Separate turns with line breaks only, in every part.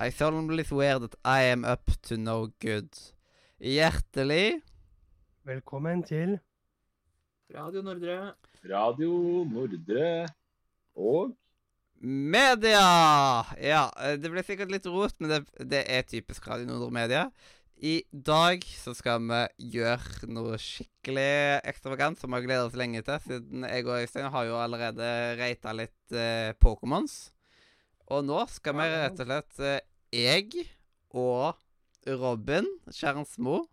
I solemnly swear that I am up to no good. Hjertelig
Velkommen til
Radio Nordre.
Radio Nordre og
Media! Ja, eh, det ble sikkert litt rot, men det, det er typisk Radio Nordre Media. I dag så skal vi gjøre noe skikkelig ekstravagant som vi har gleda oss lenge til, siden jeg og Øystein har jo allerede reita litt eh, Pokémons. Og nå skal vi rett og slett eh, Jeg og Robin Kjernsmo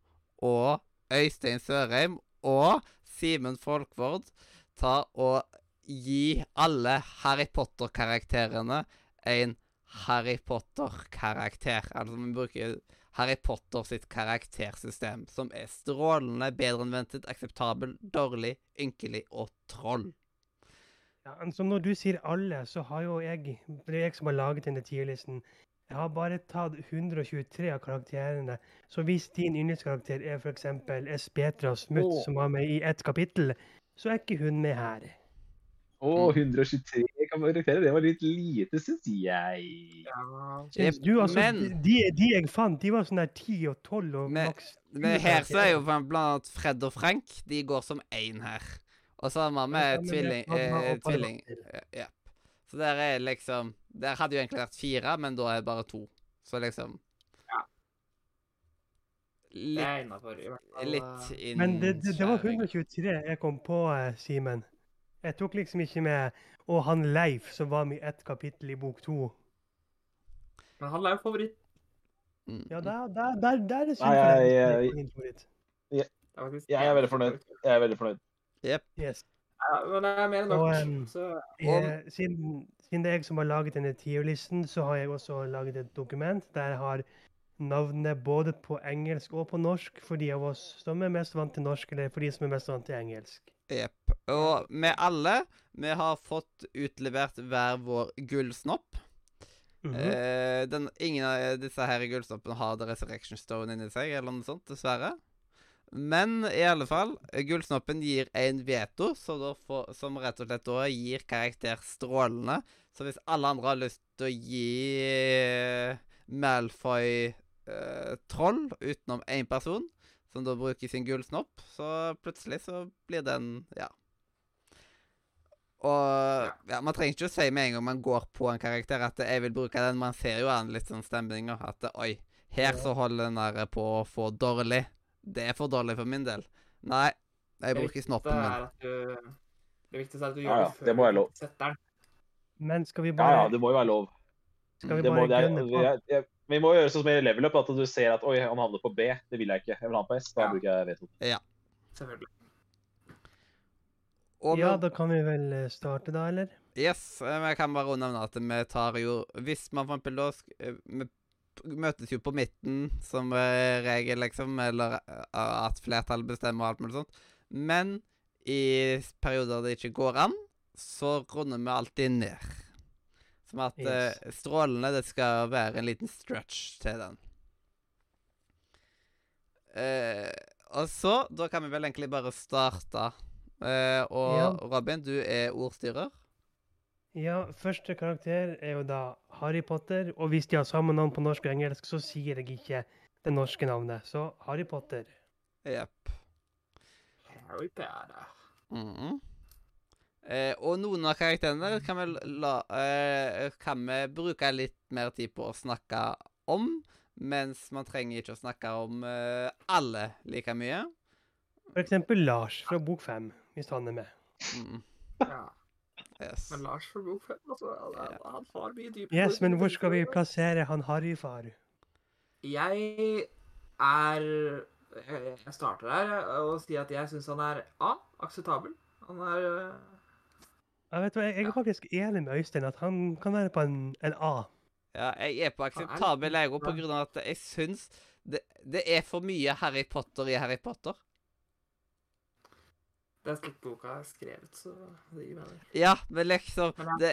og Øystein Sørheim og Simen Folkvord ta og gi alle Harry Potter-karakterene en Harry Potter-karakter. Altså, vi bruker Harry Potter sitt karaktersystem, som er strålende, bedre enn ventet, akseptabel, dårlig, ynkelig og troll.
ja, men Som når du sier alle, så har jo jeg Det er jeg som har laget denne tierlisten. Jeg har bare tatt 123 av karakterene. Så hvis din yndlingskarakter er f.eks. Espetra Smutt,
Åh.
som var med i ett kapittel, så er ikke hun med her.
Å, 123 kan karakterer. Det var litt lite, syns jeg.
Ja.
Syns
Jep,
du, altså,
men-
de, de jeg fant, de var sånn der 10 og 12 og
Men-
maks
Men her så er jo blant annet Fred og Frank. De går som én her. Og samme med tvilling... Eh, tvilling. Ja. Så der er liksom Der hadde jo egentlig vært fire, men da er det bare to. Så liksom
Ja. Det
Litt,
er innafor.
litt
eh,
inn...
Men det, det, det var 123 jeg kom på, eh, Simen. Jeg tok liksom ikke med Og han Leif som var med i ett kapittel i bok to.
Men han er jo favoritt.
Mm,
Ja, der, der, der, der syns
Nei,
jeg
jeg-
det
jeg-
er min favoritt.
Det er faktisk-
Jeg er veldig fornøyd. Jeg er veldig fornøyd.
Yes.
Ja, men det er mer enn nok.
Og, em,
så
Og-
Eh, siden, siden det er jeg som har laget denne tierlisten, så har jeg også laget et dokument der jeg har navnene både på engelsk og på norsk for de av oss som er mest vant til norsk, eller for de som er mest vant til engelsk.
Jepp. mm, Og vi alle, vi har fått utlevert hver vår gullsnopp.
Mhm.
eh, den, ingen av disse her gullsnoppene har The Resurrection Stone inni seg, eller noe sånt, dessverre. Men i alle fall, gullsnoppen gir en veto, så da får, som rett og slett da gir karakter strålende. Så hvis alle andre har lyst til å gi eh, Malfoy eh, troll, utenom én person, som da bruker sin gullsnopp, så plutselig så blir den Ja. Og ja, Man trenger ikke å si med en gang man går på en karakter at 'jeg vil bruke den'. Man ser jo an litt sånn stemninger. At 'oi, her så holder den der på å få dårlig'. Det er for dårlig for min del. Nei, jeg
Det
bruker
det
snoppen min.
er at du Det viktigste er at du
Ja,
gjør
ja, det må jeg
du
lov.
setter den.
Men skal vi
Ja,
bare,
ja, det må jo være lov.
skal vi
Det må,
bare
det er,
gønne på?
jeg, jeg, vi må gjøre sånn som i level up, at du ser at oi, han havner på B. Det vil jeg ikke. Jeg vil ha han på S. Da
Ja.
bruker jeg veto.
Selvfølgelig.
Og
Ja,
vi-
da kan vi vel eh, starte da, eller?
Yes, eh, men jeg kan bare nevne at vi tar jo Hvis man for eksempel da sk- eh, Vi p- møtes jo på midten som eh, regel, liksom, eller eh, at flertallet bestemmer og alt mulig sånt. Men i s- perioder det ikke går an, så runder vi alltid ned. Som at eh, strålene Det skal være en liten stretch til den. Eh, og så Da kan vi vel egentlig bare starte. Eh, og
Ja.
Robin, du er ordstyrer.
Ja, første karakter er jo da Harry Potter, og hvis de har samme navn på norsk og engelsk, så sier jeg ikke det norske navnet. Så Harry Potter.
Jepp.
Harry Potter.
Mhm. Eh, og noen av karakterene kan vi, la, eh, kan vi bruke litt mer tid på å snakke om, mens man trenger ikke å snakke om eh, alle like mye.
For eksempel Lars fra bok fem, hvis han er med.
Mhm.
Ja.
yes.
Men Lars får bok fem, altså. Han, han har mye dypere
Yes, men hvor skal vi plassere han Harry-far?
Jeg er eh, Jeg starter her eh, og sier at jeg syns han er A. Akseptabel. Han er øh,
Jeg vet hva, jeg jeg er faktisk enig med Øystein at han kan være på en, en A.
Ja, jeg er på akseptabel jeg òg, på grunn av at jeg syns det, det er for mye Harry Potter i Harry Potter.
Det er slik boka er skrevet, så det gir mening.
Ja, men liksom
Men
Det,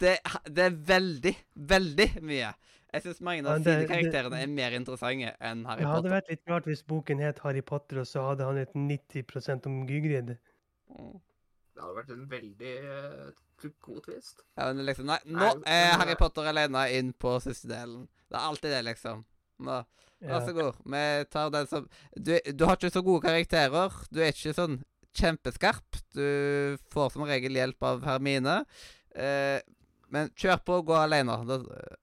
det, det er veldig, veldig mye. Jeg syns mange av
Men det-
sine
det-
karakterene er mer interessante enn Harry
Det hadde
Potter.
vært litt rart hvis boken het Harry Potter, og så hadde han et 90 om Gygrid.
Mm.
Det hadde vært en veldig eh, t- god twist.
Ja, men liksom, nei, nå
Nei,
er
men- eh,
Harry Potter alene inn på siste delen. Det er alltid det, liksom. Nå,
Ja.
Vær så god. Vi tar den som du, du har ikke så gode karakterer. Du er ikke sånn kjempeskarp. Du får som regel hjelp av Hermine. Eh, men kjør på og gå alene. Da- eh,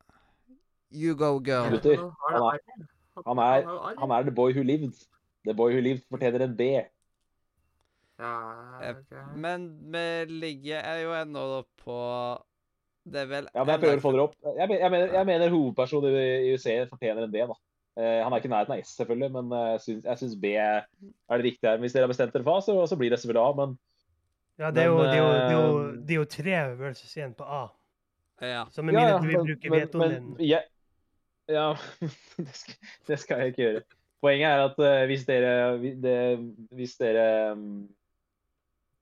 You go, girl.
Gutter,
Han har
han
arr.
han er-
har arr.
Han er the boy who lived. The boy who lived fortjener en B.
Ja,
Eh,
ok.
Men vi ligger er jo ennå da på Det er vel
Ja, men jeg prøver å få dere opp. Jeg, men- jeg, mener, jeg mener hovedpersonen i i UC fortjener en B, da. Eh, han er ikke i nærheten av S, selvfølgelig, men eh, jeg syns- jeg syns B er det riktige her. Hvis dere har bestemt dere for A, så, så blir det selvfølgelig A, men
Ja, det er jo,
Men,
det er jo, det er jo,
eh,
det er jo tre versus én på A.
Ja.
Så med mindre du vil bruke vetoen din
men- jeg- Ja, det skal, det skal jeg ikke gjøre. Poenget er at eh, hvis dere vi- det, Hvis dere mm,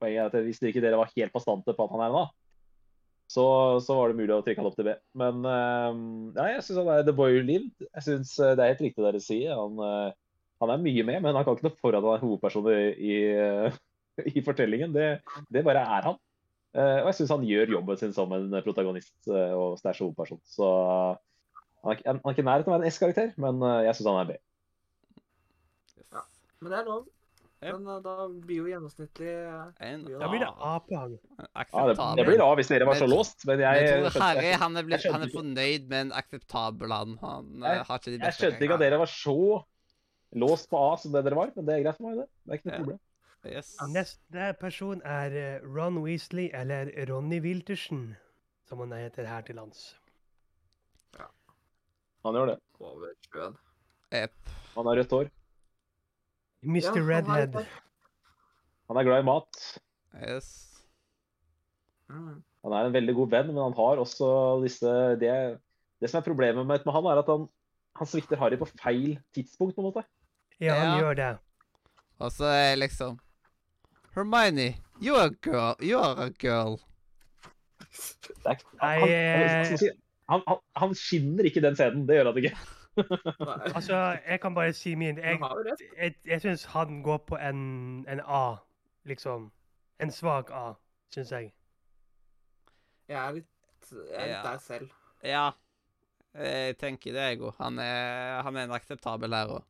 Poenget er at hvis ikke dere var helt bastante på at han er en A, så, så var det mulig å trykke han opp til B. Men eh, ja, jeg syns han er the boy who lived. Jeg synes eh, Det er helt riktig det dere sier. Han, eh, han er mye med, men han kan ikke noe for at han er hovedperson i, i, eh, i fortellingen. Det, det bare er han. Eh, og jeg syns han gjør jobben sin som en protagonist eh, og stæsj hovedperson. Så han er, ikke- han er ikke i nærheten av å være en S-karakter, men eh, jeg syns han er B.
Ja. Men det er lov.
Ja.
Men eh, da blir jo gjennomsnittlig eh,
En
Da
Da blir det
annen
A-poeng.
Ja, det,
akseptabel.
det blir da hvis dere var så
Men-
låst, men
Men
jeg,
jeg tror
skjønte,
Harry
jeg,
han er, blitt,
skjønte
han er
ikke-
fornøyd med en akseptabel han. Han eh,
Jeg-
har ikke de
jeg
beste
skjønte ikke at dere var så låst på A som det dere var, men det er greit for meg, det. Det er ikke
Ja.
noe problem.
Yes.
Neste person er eh, Ron Weasley, eller Ronny Wiltersen, som han heter her til lands.
Han gjør det.
over sjøen.
Yep.
Han har rødt hår.
Ja,
Mr.
han har
Redhead.
et
Han er glad i mat.
Yes.
Mm.
Han er en veldig god venn, men han har også disse Det, det som er problemet med, med han, er at han, han svikter Harry på feil tidspunkt, på en måte.
Ja, han
Ja.
gjør det.
Og så er liksom Hermione, you are a girl. You are a girl.
Det er,
Nei,
han,
eh.
han, han, han, han skinner ikke i den scenen. Det gjør han ikke.
Nei,
Altså, jeg kan bare si min. Jeg,
Du har jo rett.
jeg, jeg syns han går på en, en A, liksom. En svak A, syns jeg.
Jeg er litt, jeg er litt
Ja.
der selv.
Ja. Jeg tenker det, jeg òg. Han, er- han er en akseptabel her òg.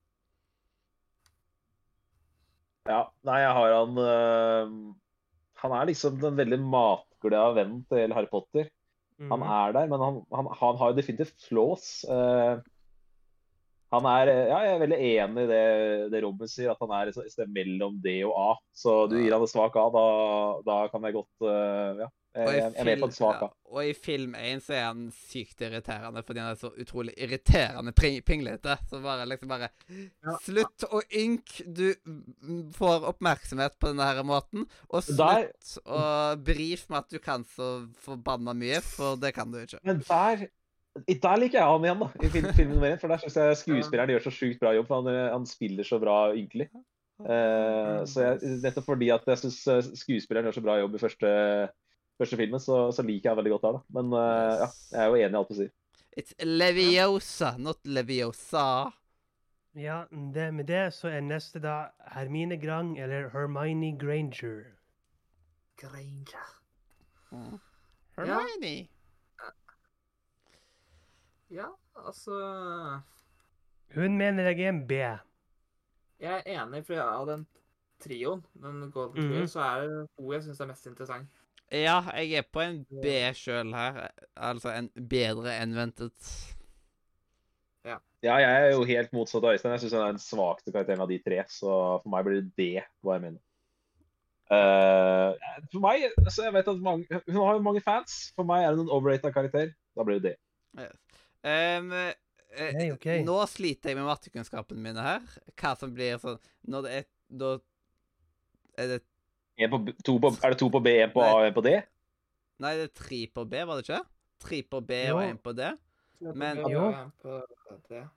Ja, nei, jeg har han øh, Han er liksom den veldig matglade vennen til Harry Potter.
Mhm.
Han er der, men han, han, han har jo definitivt flaws. Eh, han er Ja, jeg er veldig enig i det, det Robin sier, at han er et sted mellom D og A. Så du gir han en svak A, da, da kan jeg godt eh, Ja, jeg, jeg er med på en svak A.
og i film 1 så er han sykt irriterende fordi han er så utrolig irriterende pri- pinglete. Så bare liksom bare
Ja.
Slutt å ynk! Du m- får oppmerksomhet på denne her måten. Og
Der-
slutt å brief med at du kan så forbanna mye, for det kan du ikke.
Men der i- der liker jeg han igjen, da, i film, filmen nummer én. For der syns jeg skuespilleren gjør så sjukt bra jobb. For han, eh, han spiller så bra ynkelig. Eh, så jeg, nettopp fordi at jeg syns skuespilleren gjør så bra jobb i første, første filmen, så, så liker jeg han veldig godt der, da. Men eh, ja, jeg er jo enig i alt du sier.
It's Leviosa, not Leviosa.
Ja, det, med det så er neste da Hermine Grang, eller Hermione Granger.
Granger.
Hermione.
Ja, altså
Hun mener jeg er en B.
Jeg er enig, for av den trioen, den Golden
Mhm.
Trio, så er det hun jeg syns er mest interessant.
Ja, jeg er på en B sjøl her. Altså en bedre enn ventet.
Ja, jeg er jo helt motsatt av Øystein. Jeg syns han er den svakeste karakteren av de tre. Så for meg blir det det hva jeg mener. Eh, for meg, altså jeg vet at mange, Hun har jo mange fans. For meg er hun en overrated karakter. Da blir det det.
Yes. Um, eh,
Hey, ok.
Nå sliter jeg med mattekunnskapene mine her. Hva som blir sånn Når det er Da er det
En på, B- to på, er det to på B, en på A og en på D?
Nei, det er tre på B, var det ikke? Tre på B og
Jo.
én på D. Men-
Jo.
På det.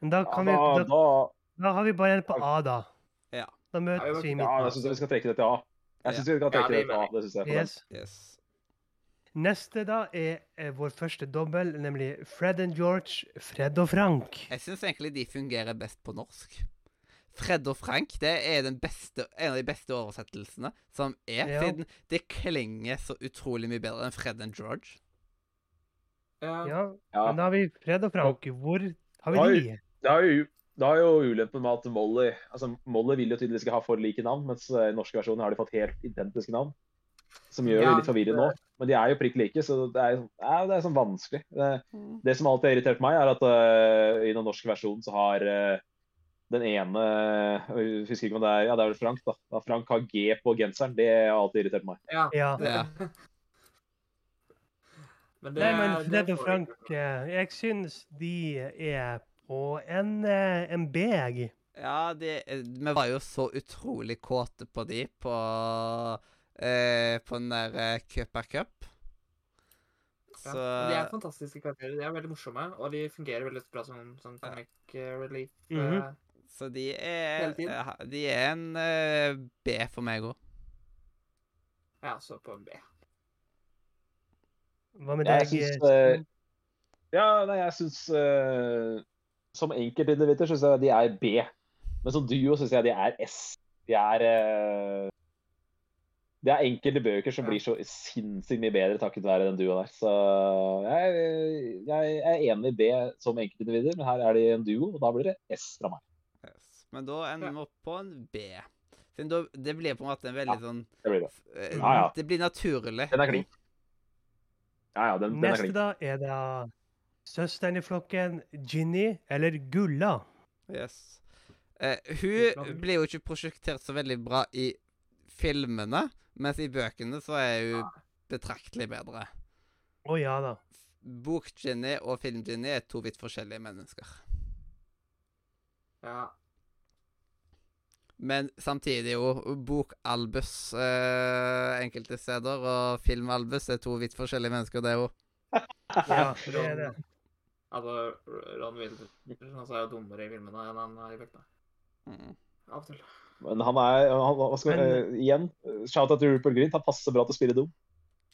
Men da,
Ja,
kan
da,
vi, da,
da,
da har vi bare en på A, da.
Ja.
Da
Ja,
møtes vi
vi-
i
ja, jeg
midten.
syns vi skal trekke det til A. Jeg syns vi skal
Ja,
trekke
det
det til A.
mener
det synes jeg.
Yes.
Yes.
Neste da er eh, vår første dobbel, nemlig Fred and George, Fred og Frank.
Jeg syns egentlig de fungerer best på norsk. Fred og Frank det er den beste, en av de beste oversettelsene som er,
Ja.
siden det klinger så utrolig mye bedre enn Fred and George.
Ja.
Ja,
Ja.
men da har vi Fred og Frank. Hvor har
Har-
vi de?
Det har jo, det har jo ulempen med at Molly altså Molly vil jo tydeligvis ikke ha for like navn, mens eh, i norske versjoner har de fått helt identiske navn. Som gjør det
Ja,
litt forvirrende nå. Men de er jo prikk like, så det er, ja, det er sånn vanskelig. Det, det som alltid har irritert meg, er at eh, i den norske versjonen så har eh, den ene Jeg husker ikke om det er Ja, det er vel Frank, da. da Frank har G på genseren. Det har alltid irritert meg.
ja.
Ja.
Ja.
Men
Nei, men Fred
det
og
får
Frank,
vi ikke.
eh, jeg syns de er på en, eh, en B, jeg.
Ja, de, eh, vi var jo så utrolig kåte på de på, eh, på den der eh, Cupper Cup.
Ja.
Så
men De er fantastiske karakterer. De er veldig morsomme, og de fungerer veldig bra som, som
Ja.
comic eh, relief.
Mhm.
eh,
Så de er,
Hele tiden.
eh, ha- de er en eh, B for meg òg.
Ja, så på en B.
Hva med
Jeg
deg?
syns,
eh,
eh, Ja, nei, jeg syns eh, Som enkeltindivider syns jeg de er B. Men som duo syns jeg de er S. De er eh, Det er enkelte bøker som
Ja.
blir så sinnssykt mye bedre takket være den duoen der. Så jeg, jeg er enig i B som enkeltindivider, men her er de en duo, og da blir det S fra meg.
Yes. Men da ender vi opp på en B. Siden da, det blir på en måte en veldig
Ja.
sånn
Det blir det.
eh,
Ja, ja.
Det blir naturlig.
Den er klink. Ja, ja, den, den er
Neste,
klink.
da, er da søsteren i flokken, Ginny eller Gulla.
Yes. Eh,
Utenom-
hun blir jo ikke prosjektert så veldig bra i filmene, mens i bøkene så er hun
Nei.
betraktelig bedre.
Å ja da.
Bok-Jenny og Film-Jenny er to vidt forskjellige mennesker.
Ja.
Men samtidig er jo Bok-Albus eh, enkelte steder, og Film-Albus er to vidt forskjellige mennesker, det er jo.
Ja, det er det.
Altså, Ron Wildersen altså, er jo dummere i filmene enn han er i bøkene.
Mm.
Av og til.
Men han er han, hva skal,
Men-
eh, Igjen, shout-out til Rupert Grint. Han passer bra til å spille dum.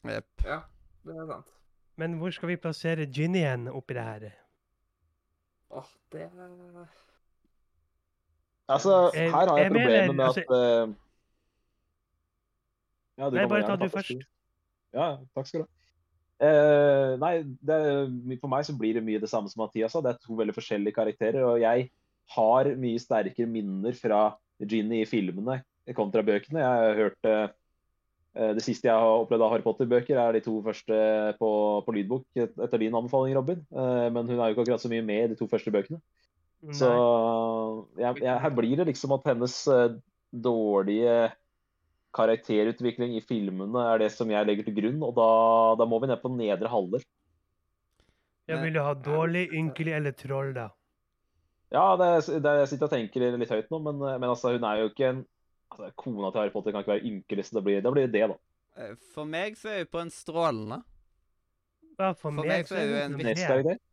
Jepp.
Ja, det er sant.
Men hvor skal vi plassere Ginny hen oppi det her?
Åh, det er-
Altså,
Eh,
her har jeg
jeg mener,
problemer med at
altså-
eh, ja, du
Nei,
kan
bare
gjerne
ta du
plass.
først.
Ja, takk skal du ha. Eh, nei, det, er- for meg så blir det mye det samme som Mathias sa. Det er to veldig forskjellige karakterer. Og jeg har mye sterkere minner fra Ginny i filmene kontra bøkene. Jeg hørte eh, Det siste jeg har opplevd av Harry Potter-bøker, er de to første på, på lydbok et- etter din anbefaling, Robin. Eh, men hun er jo ikke akkurat så mye med i de to første bøkene. Så
Nei.
jeg, jeg, her blir det liksom at hennes eh, dårlige karakterutvikling i filmene er det som jeg legger til grunn, og da, da må vi ned på nedre halvdel.
Ja, vil du ha dårlig, ynkelig eller troll, da?
Ja, det, det, jeg sitter og tenker litt høyt nå, men, men altså, hun er jo ikke en altså, Kona til Harry Potter kan ikke være ynkelig, så det blir det, blir det da.
Eh, For meg så er hun på en strålende.
Ja, for,
For meg
meg
så er jo en
det
Neste
B.
karakter.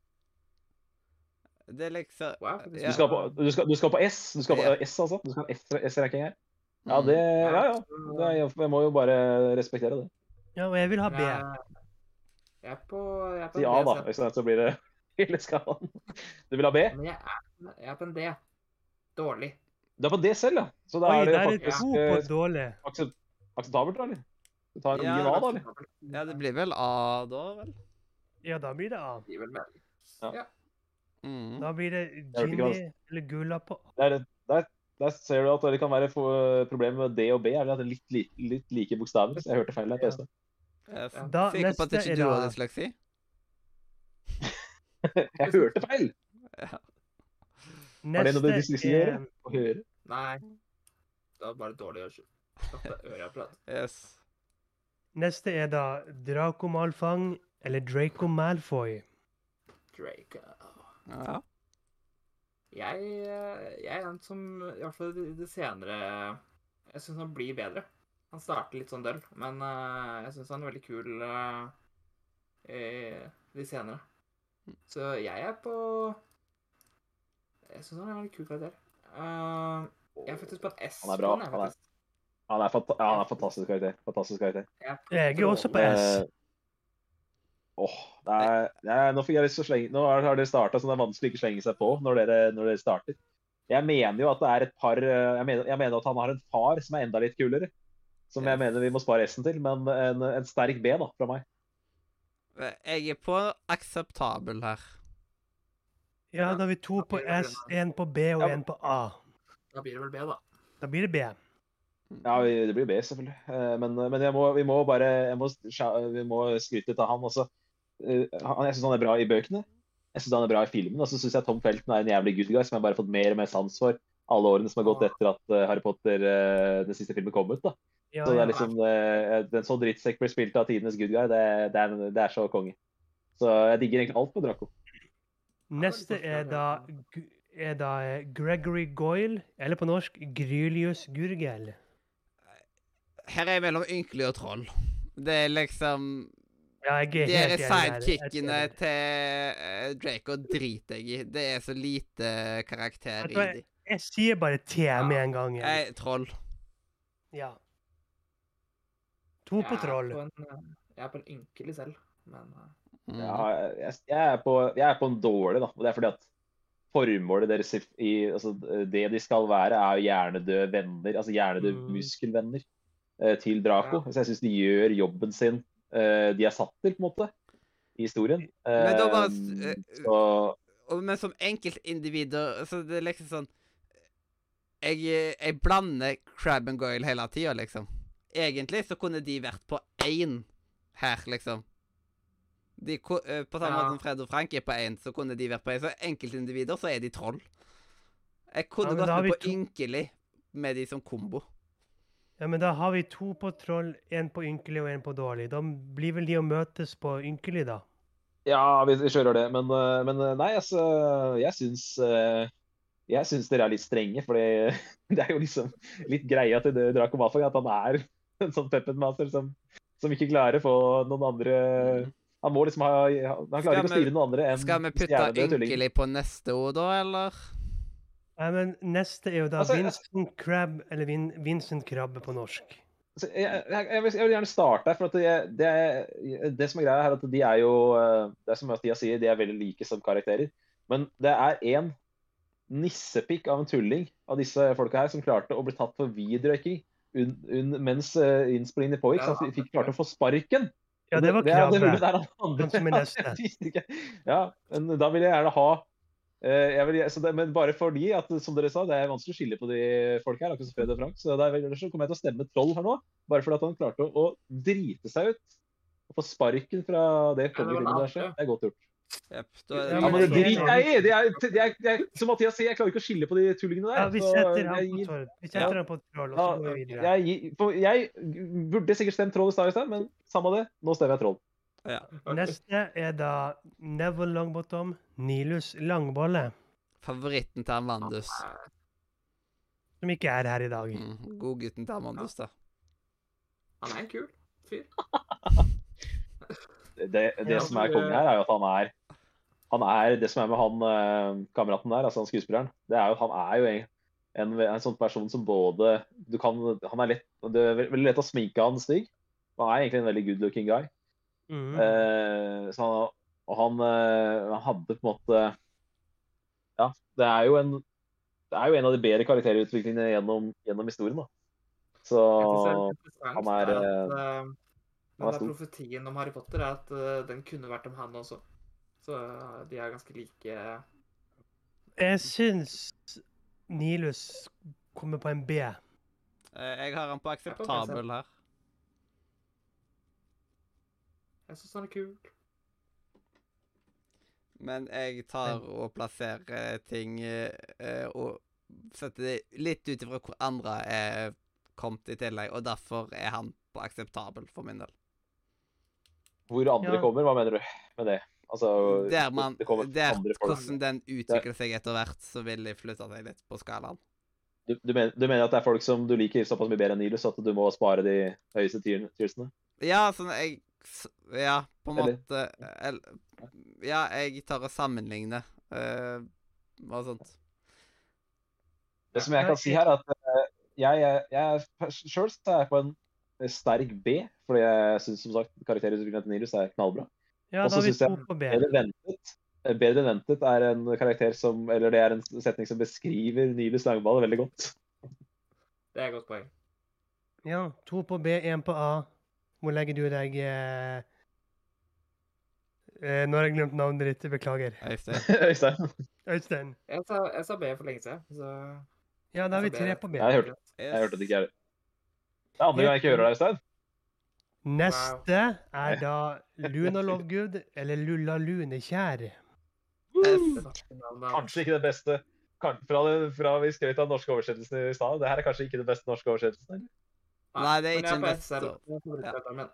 Det er liksom
Wow, faktisk.
Ja.
Du skal, på, du, skal, du skal på S, du skal på
Ja. Mm.
eh, S, altså. Du skal ha en S- S-ranking her. Ja, det Ja, ja.
så-
Det er, jeg må jo bare respektere det.
Ja, og jeg vil ha B.
Jeg- Jeg er på jeg er på
Si A,
en
da,
D,
ikke sant, så blir det hele skalaen. Du vil ha B?
så- Men jeg er, jeg er på en D. Dårlig.
Du er på det selv, ja. Så da
Oi,
er det
der
jo
er det
faktisk
to på
eh,
dårlig.
aksep- akseptabelt, da, eller? Du tar en
Ja,
ny A, da, eller?
Mm. ja, det blir vel A da, vel?
Ja, da blir det A.
Gir vel mening.
Ja.
Ja.
Mm.
Da blir det
hørte ikke hva du
Ginny eller Gulla på A.
Der, der, der ser du at det kan være for- problemer med D og B. Er det at det er litt, litt, litt like bokstaver? Så jeg hørte feil der. på
Ja.
Øystein.
Ja, f-
Da,
Sikker på at ikke
neste er
du har
da-
dysleksi?
Jeg hørte feil! Har det noe med dysleksi
Neste eh, er
å gjøre? Å høre.
Nei. Det var bare dårlig å slappe øreapparat.
Yes.
Neste er da Draco Malfang eller Draco Malfoy.
Drake. ah.
Ja.
Jeg, eh, jeg er en som, i hvert fall i det senere, jeg syns han blir bedre. Han starter litt sånn døll, men eh, jeg syns han er veldig kul eh, i de senere. Så jeg er på Jeg syns han er en veldig kul karakter. Eh, jeg er faktisk på en S.
Han er bra,
på den, jeg,
han er-
faktisk.
Han er, fant ja, han er fantastisk karakter. Fantastisk karakter.
Jeg er på
Jeg er også på
Men,
S.
Eh, Åh, det er, det er, nå fikk jeg lyst til å slenge Nå har har dere starta, så det er vanskelig å ikke slenge seg på når dere, når dere starter. Jeg mener jo at det er et par eh, Jeg mener, jeg mener at han har en far som er enda litt kulere. Som jeg
Yes.
mener vi må spare S-en til, men en, en sterk B da, fra meg.
Jeg er på akseptabel her.
Ja, da har vi to på S, én på B og
Ja.
én på A.
Da blir det vel B, da.
Da blir det B.
Ja, vi- det blir B, selvfølgelig. Eh, Men, men jeg må, vi må bare jeg må, sja- Vi må skryte litt av han også. Eh, Han, jeg syns han er bra i bøkene. Jeg syns han er bra i filmen. Og så syns jeg Tom Felton er en jævlig good guy som jeg bare har fått mer og mer sans for alle årene som har gått etter at eh, Harry Potter, eh, den siste filmen, kom ut. da.
Ja,
Så det
ja.
er liksom eh, Den så drittsekk blir spilt av tidenes good guy, det, det, er, det er så konge. Så jeg digger egentlig alt med Draco.
Neste er da, Gu- er da eh, Gregory Goyle, eller på norsk Grylius Gurgel.
Her er jeg mellom ynkelig og troll. Det er liksom
Ja, jeg
De her
er helt enig der.
sidekickene
Jeg-
til eh, Draco driter jeg i. Det er så lite karakter
Vet
i
du hva,
de.
Jeg sier bare T med en gang. Jeg.
Jeg troll.
Ja. To på
Jeg er
troll.
på en, eh, Jeg er på en ynkelig selv, men eh,
Mm.
Ja, jeg, jeg, er på, jeg er på en dårlig, da. Og det er fordi at formålet deres i, i altså, Det de skal være, er jo hjernedøde venner. Altså hjernedøde
Mm.
muskelvenner eh, til Draco.
Ja.
Så jeg syns de gjør jobben sin eh, de er satt til, på en måte, i historien.
Men da bare-
Eh,
eh,
så,
Og, men som enkeltindivider så det er liksom sånn Jeg, jeg blander Crab and Goyle hele tida, liksom. Egentlig så kunne de vært på én her, liksom. De, ko- eh, på samme
Ja.
måte som Fred og Frank er på én, så kunne de vært på én. Så enkeltindivider så er de troll. Jeg kunne
men da
gått
har
med
vi
på
to-
ynkelig med de som kombo.
Ja, men da har vi to på troll, én på ynkelig og én på dårlig. Da blir vel de å møtes på ynkelig, da.
ja, vi, vi kjører det. Men, eh, men eh, nei, altså Jeg syns eh, jeg syns dere er litt strenge, for det er jo liksom litt greia til det Draco Malfoy at han er en sånn puppetmaster som, som ikke klarer å få noen andre Han må liksom ha Han klarer ikke å
Mm. Skal vi-
styre noen andre enn
Skal vi putte
hjernedøde tullinger.
ynkelig på neste ord, da, eller?
Nei, men neste er jo da
Altså, jeg-
Vincent Crab, eller Vin Vincent Krabbe på norsk.
Så jeg, jeg, jeg, vil, jeg vil gjerne starte her, for at jeg, det, er- det som er greia her, er at de er jo eh, Det er som Mathias sier, de er veldig like som karakterer. Men det er én nissepikk av en tulling av disse folka her som klarte å bli tatt for videorøyking un, un, mens uh, innspillingene pågikk. Så han fikk klarte å få sparken.
Ja,
Og
det var
er det
Krabbe.
hullet der han andre-
Han som er neste.
Jeg visste ikke. ja, men da vil jeg gjerne ha eh, jeg vil, så det, Men bare fordi at, som dere sa, det er vanskelig å skille på de folk her. akkurat som Fred og Frank, Så det er vel- ellers så kommer jeg til å stemme troll her nå. Bare fordi at han klarte å, å drite seg ut. Og få sparken fra det
Ja, det var
Kongekrummet-universet.
langt,
Det er godt gjort.
Jepp. Da er
Ja,
det
Ja, men det
neste ord.
drit-
driter jeg i! Det er- det er- det er- Som Mathias sier, jeg klarer ikke å skille på de tullingene der.
Ja, vi
så
setter
jeg
han på
gir-
troll. Vi setter han på troll, og så går vi
ja,
videre.
jeg, gir- for jeg burde sikkert stemt troll i stad, i stad, men samme det, nå stemmer jeg troll.
eh,
Neste er da Neville Longbottom, Nilus Langbolle,
Favoritten til Amandus.
som ikke er her i dag.
Mm. Godgutten til Amandus, da.
Han er en kul fyr.
det, det
Ja,
som er
du,
kongen her, er jo at han er han er, Det som er med han eh, kameraten der, altså han skuespilleren, det er jo at han er jo en, en, en sånn person som både du kan, Han er lett Det er ve- veldig lett å sminke han stygg. Han er egentlig en veldig good looking guy.
Mm.
Eh, så han, og han, eh, han hadde på en måte Ja, det er jo en det er jo en av de bedre karakterutviklingene gjennom, gjennom historien. da. Så
Han
han er, han er
Men det er
stor.
eh, profetien om Harry Potter er at eh, den kunne vært om han også. Så eh, de er ganske like.
Jeg syns Nilus kommer på en B.
Eh, Jeg har han på akseptabel her.
Jeg syns han er kul.
Men jeg tar og plasserer ting eh, eh, og setter det litt ut ifra hvor andre er kommet i tillegg, og derfor er han på akseptabel for min del.
hvor andre
Ja.
kommer, hva mener du med det? Altså,
Der man,
det kommer
der
andre folk.
hvordan den utvikler seg etter hvert, så vil jeg flytte seg litt på skalaen.
Du, du, mener, du mener at det er folk som du liker såpass mye bedre enn Nilus at du må spare de høyeste tier- tiersene?
Ja, sånn jeg s- Ja, på en
Eller-
måte eh, el, Ja, jeg tar og sammenligner eh, og sånt.
Det som jeg kan si her, er at eh, jeg, jeg, jeg sjøl er jeg på en eh, sterk B, fordi jeg syns som sagt karakterutviklingen til Nilus er knallbra.
Ja,
Og
da
så
har vi
synes jeg-
to på B.
Eller ventet. eh, Bedre enn ventet er en karakter som Eller det er en setning som beskriver Nyby Slangball veldig godt.
Det er et godt poeng.
Ja, to på B, én på A. Hvor legger du deg eh... eh, Nå har jeg glemt navnet ditt. Beklager.
Øystein.
Øystein.
Øystein.
Jeg sa, jeg sa B for lenge siden, så
Ja, da har vi
Altså,
tre
det-
på B.
Ja, jeg hørte det.
Yes.
Jeg hørte det ikke, jeg heller. Det er andre gang jeg ikke hører deg, Øystein.
Neste er da Luna Lovegood, eller Lulla Lunekjær. Eh,
Yes.
det er faktisk navnet hans.
Kanskje ikke det beste. Kan- Fra, det, fra vi skrøt av norske oversettelser i stad. Det her er kanskje ikke den beste norske oversettelsen.
Nei, det er
men jeg
ikke den
på
beste.
SL. Jeg får bruke dette, men-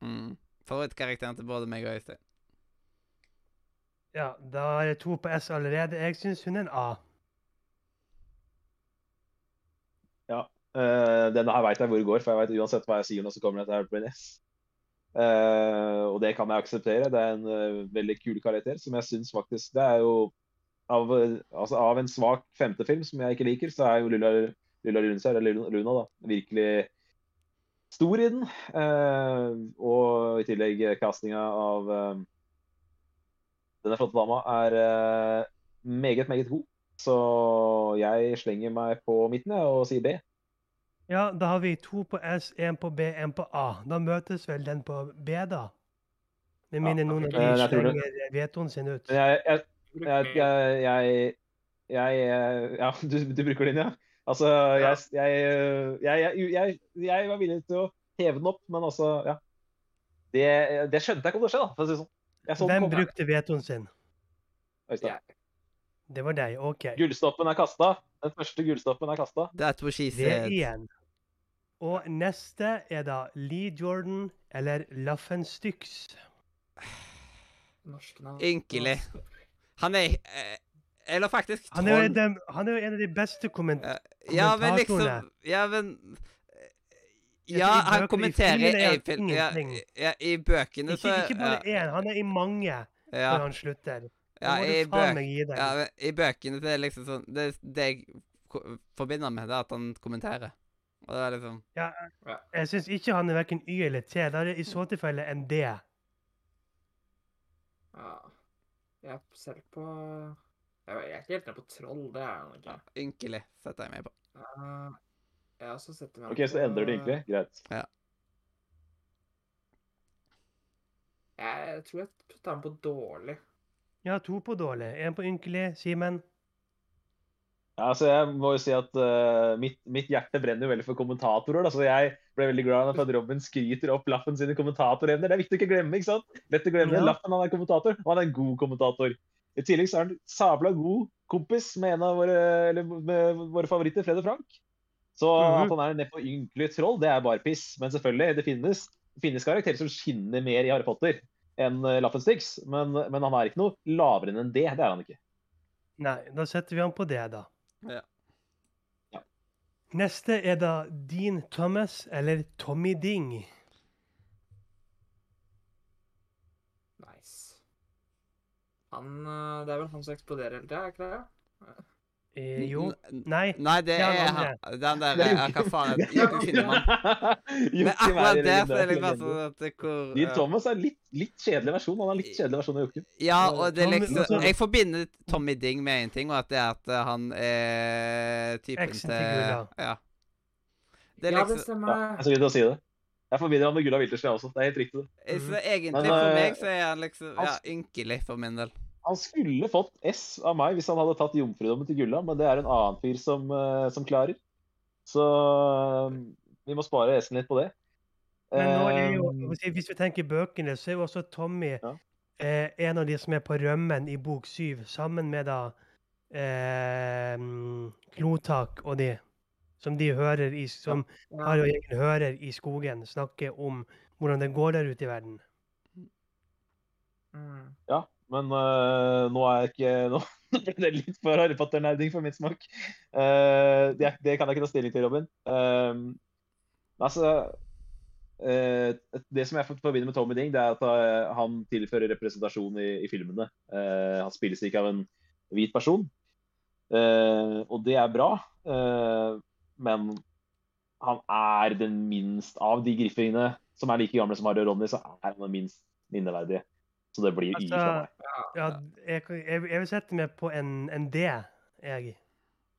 Mm. Favorittkarakteren til både meg og Øystein.
Ja, da er det to på S allerede. Jeg syns hun er en A.
Eh, denne her veit jeg hvor det går, for jeg vet uansett hva jeg sier nå, så kommer dette her på en S. Eh, og det kan jeg akseptere. Det er en eh, veldig kul karakter som jeg syns faktisk Det er jo av, eh, altså, av en svak femtefilm som jeg ikke liker, så er jo Lilla, Lilla Lundsær, eller Luna- Luna, da, virkelig stor i den. Eh, og i tillegg eh, castinga av eh, denne flotte dama er eh, meget, meget god. Så jeg slenger meg på midten jeg, og sier B.
Ja, da har vi to på S, én på B, én på A. Da møtes vel den på B, da? Med
Ja,
mindre noen av de
ok.
Eh, jeg tror det.
slenger vetoen sin ut.
Men jeg, jeg,
Bruk
jeg,
mer.
jeg, jeg, jeg eh, Ja, du, du bruker din, ja? Altså, jeg, jeg, jeg, jeg, jeg, jeg var villig til å heve den opp, men altså, ja. Det, det skjønte jeg ikke om det skjedde, da, for å si det sånn. Jeg så den
Hvem
komme.
brukte vetoen sin?
Øystein.
Ja.
Det var deg. OK.
Gullstoppen er kasta. Den første gullstoppen er kasta.
That's what she
Det
said.
igjen. Og neste er da Lee Jordan eller Laffen Styx.
Norsk navn.
Ynkelig. Han er eh, Eller faktisk
Han er, jo
troll.
den, han er jo en av de beste komment...
Eh, Ja, men
kommentatorene.
liksom Ja, men
Jeg
Ja,
tror i bøker-
han
i filmene
kommenterer
er
ei film ja,
ingenting.
ja, I bøkene så
Ikke, ikke bare én, han er i mange
Ja,
når han slutter.
ja,
Da må
i
du faen meg gi
bøk-
deg.
ja, men I bøkene så er det liksom sånn Det, det jeg ko- forbinder med, det er at han kommenterer. Og det er liksom
Jeg syns ikke han er verken Y eller T. Da er det i så tilfelle en D.
Ja. Jeg er selv på Jeg jeg er ikke helt ned på troll, det er han ikke.
ynkelig, setter jeg meg på.
Eh, Jeg har også sett det med
OK, så endrer det egentlig. Greit.
Jeg tror jeg tar den på dårlig.
Ja, to på dårlig. Én på ynkelig. Simen.
Ja, altså jeg må jo si at eh, mitt, mitt hjerte brenner jo veldig for kommentatorer. Da, så jeg ble veldig glad for at Robin skryter opp Laffen sine kommentatorevner. Det er viktig å ikke glemme. ikke sant? Lett å glemme.
Ja.
Laffen han er kommentator, og han er en god kommentator. I tillegg så er han sabla god kompis med en av våre, eller, med våre favoritter, Fred og Frank. Så
Mhm.
at han er nedpå ynkelig troll, det er bare piss. Men selvfølgelig, det finnes, det finnes karakterer som skinner mer i Harry Potter enn eh, Laffen Stix. Men, men han er ikke noe lavere enn en D. Det er han ikke.
Nei, da setter vi han på D, da.
Ja.
Ja.
Neste er da Dean Thomas eller Tommy Ding.
Nice. Han eh, Det er vel han som eksploderer hele tida, er ikke det?
Eh, jo.
N-
Nei.
Nei, det
Det er
er
han
han Den der
Det er
ja, Hva faen er
Ja,
det? Finnemann. Men
Joakim er
akkurat det
en
så er det
legendarisk
liksom
legende.
at det hvor
Dean
eh,
Thomas er litt, litt kjedelig versjon. Han er litt kjedelig versjon av Joakim.
Ja, og det er
Tommy-
liksom
altså-
Jeg forbinder Tommy Ding med én ting, og at det er at eh, han er typen
Eksen
til
til Gula.
Ja. Det er
ja, det
liksom
Ja,
stemmer.
jeg skal begynne å si det. Jeg forbinder han med Gulla Wiltersten også. Det er helt riktig. det.
jeg- så
Mhm.
Egentlig,
Men,
for
eh,
meg, så er han liksom Ja,
altså-
ynkelig, for min del.
Han skulle fått S av meg hvis han hadde tatt jomfrudommen til Gulla, men det er en annen fyr som, eh, som klarer. Så eh, vi må spare S-en litt på det.
Men nå er jo,
Eh,
hvis vi- hvis vi tenker bøkene, så er jo også Tommy
Ja.
eh, en av de som er på rømmen i bok syv, sammen med da eh, mm, Klotak og de. Som de hører i, som Harry og gjengen hører i skogen snakke om hvordan det går der ute i verden.
Mm.
Ja, men øh, nå er jeg ikke Nå ble det litt for harrepatternerding for min smak. Eh, det, det kan jeg ikke ta stilling til, Robin. Eh, altså eh, Det som jeg for- forbinder med Tommy Ding, det er at eh, han tilfører representasjon i, i filmene. Eh, han spilles ikke av en hvit person, Eh, og det er bra. eh, men han er den minst av de griffingene som er like gamle som Harry og Ronny, så er han den minst minneverdige. Så det blir Y
Altså,
fra meg.
Ja, jeg, jeg, jeg vil sette meg på en, en D, jeg.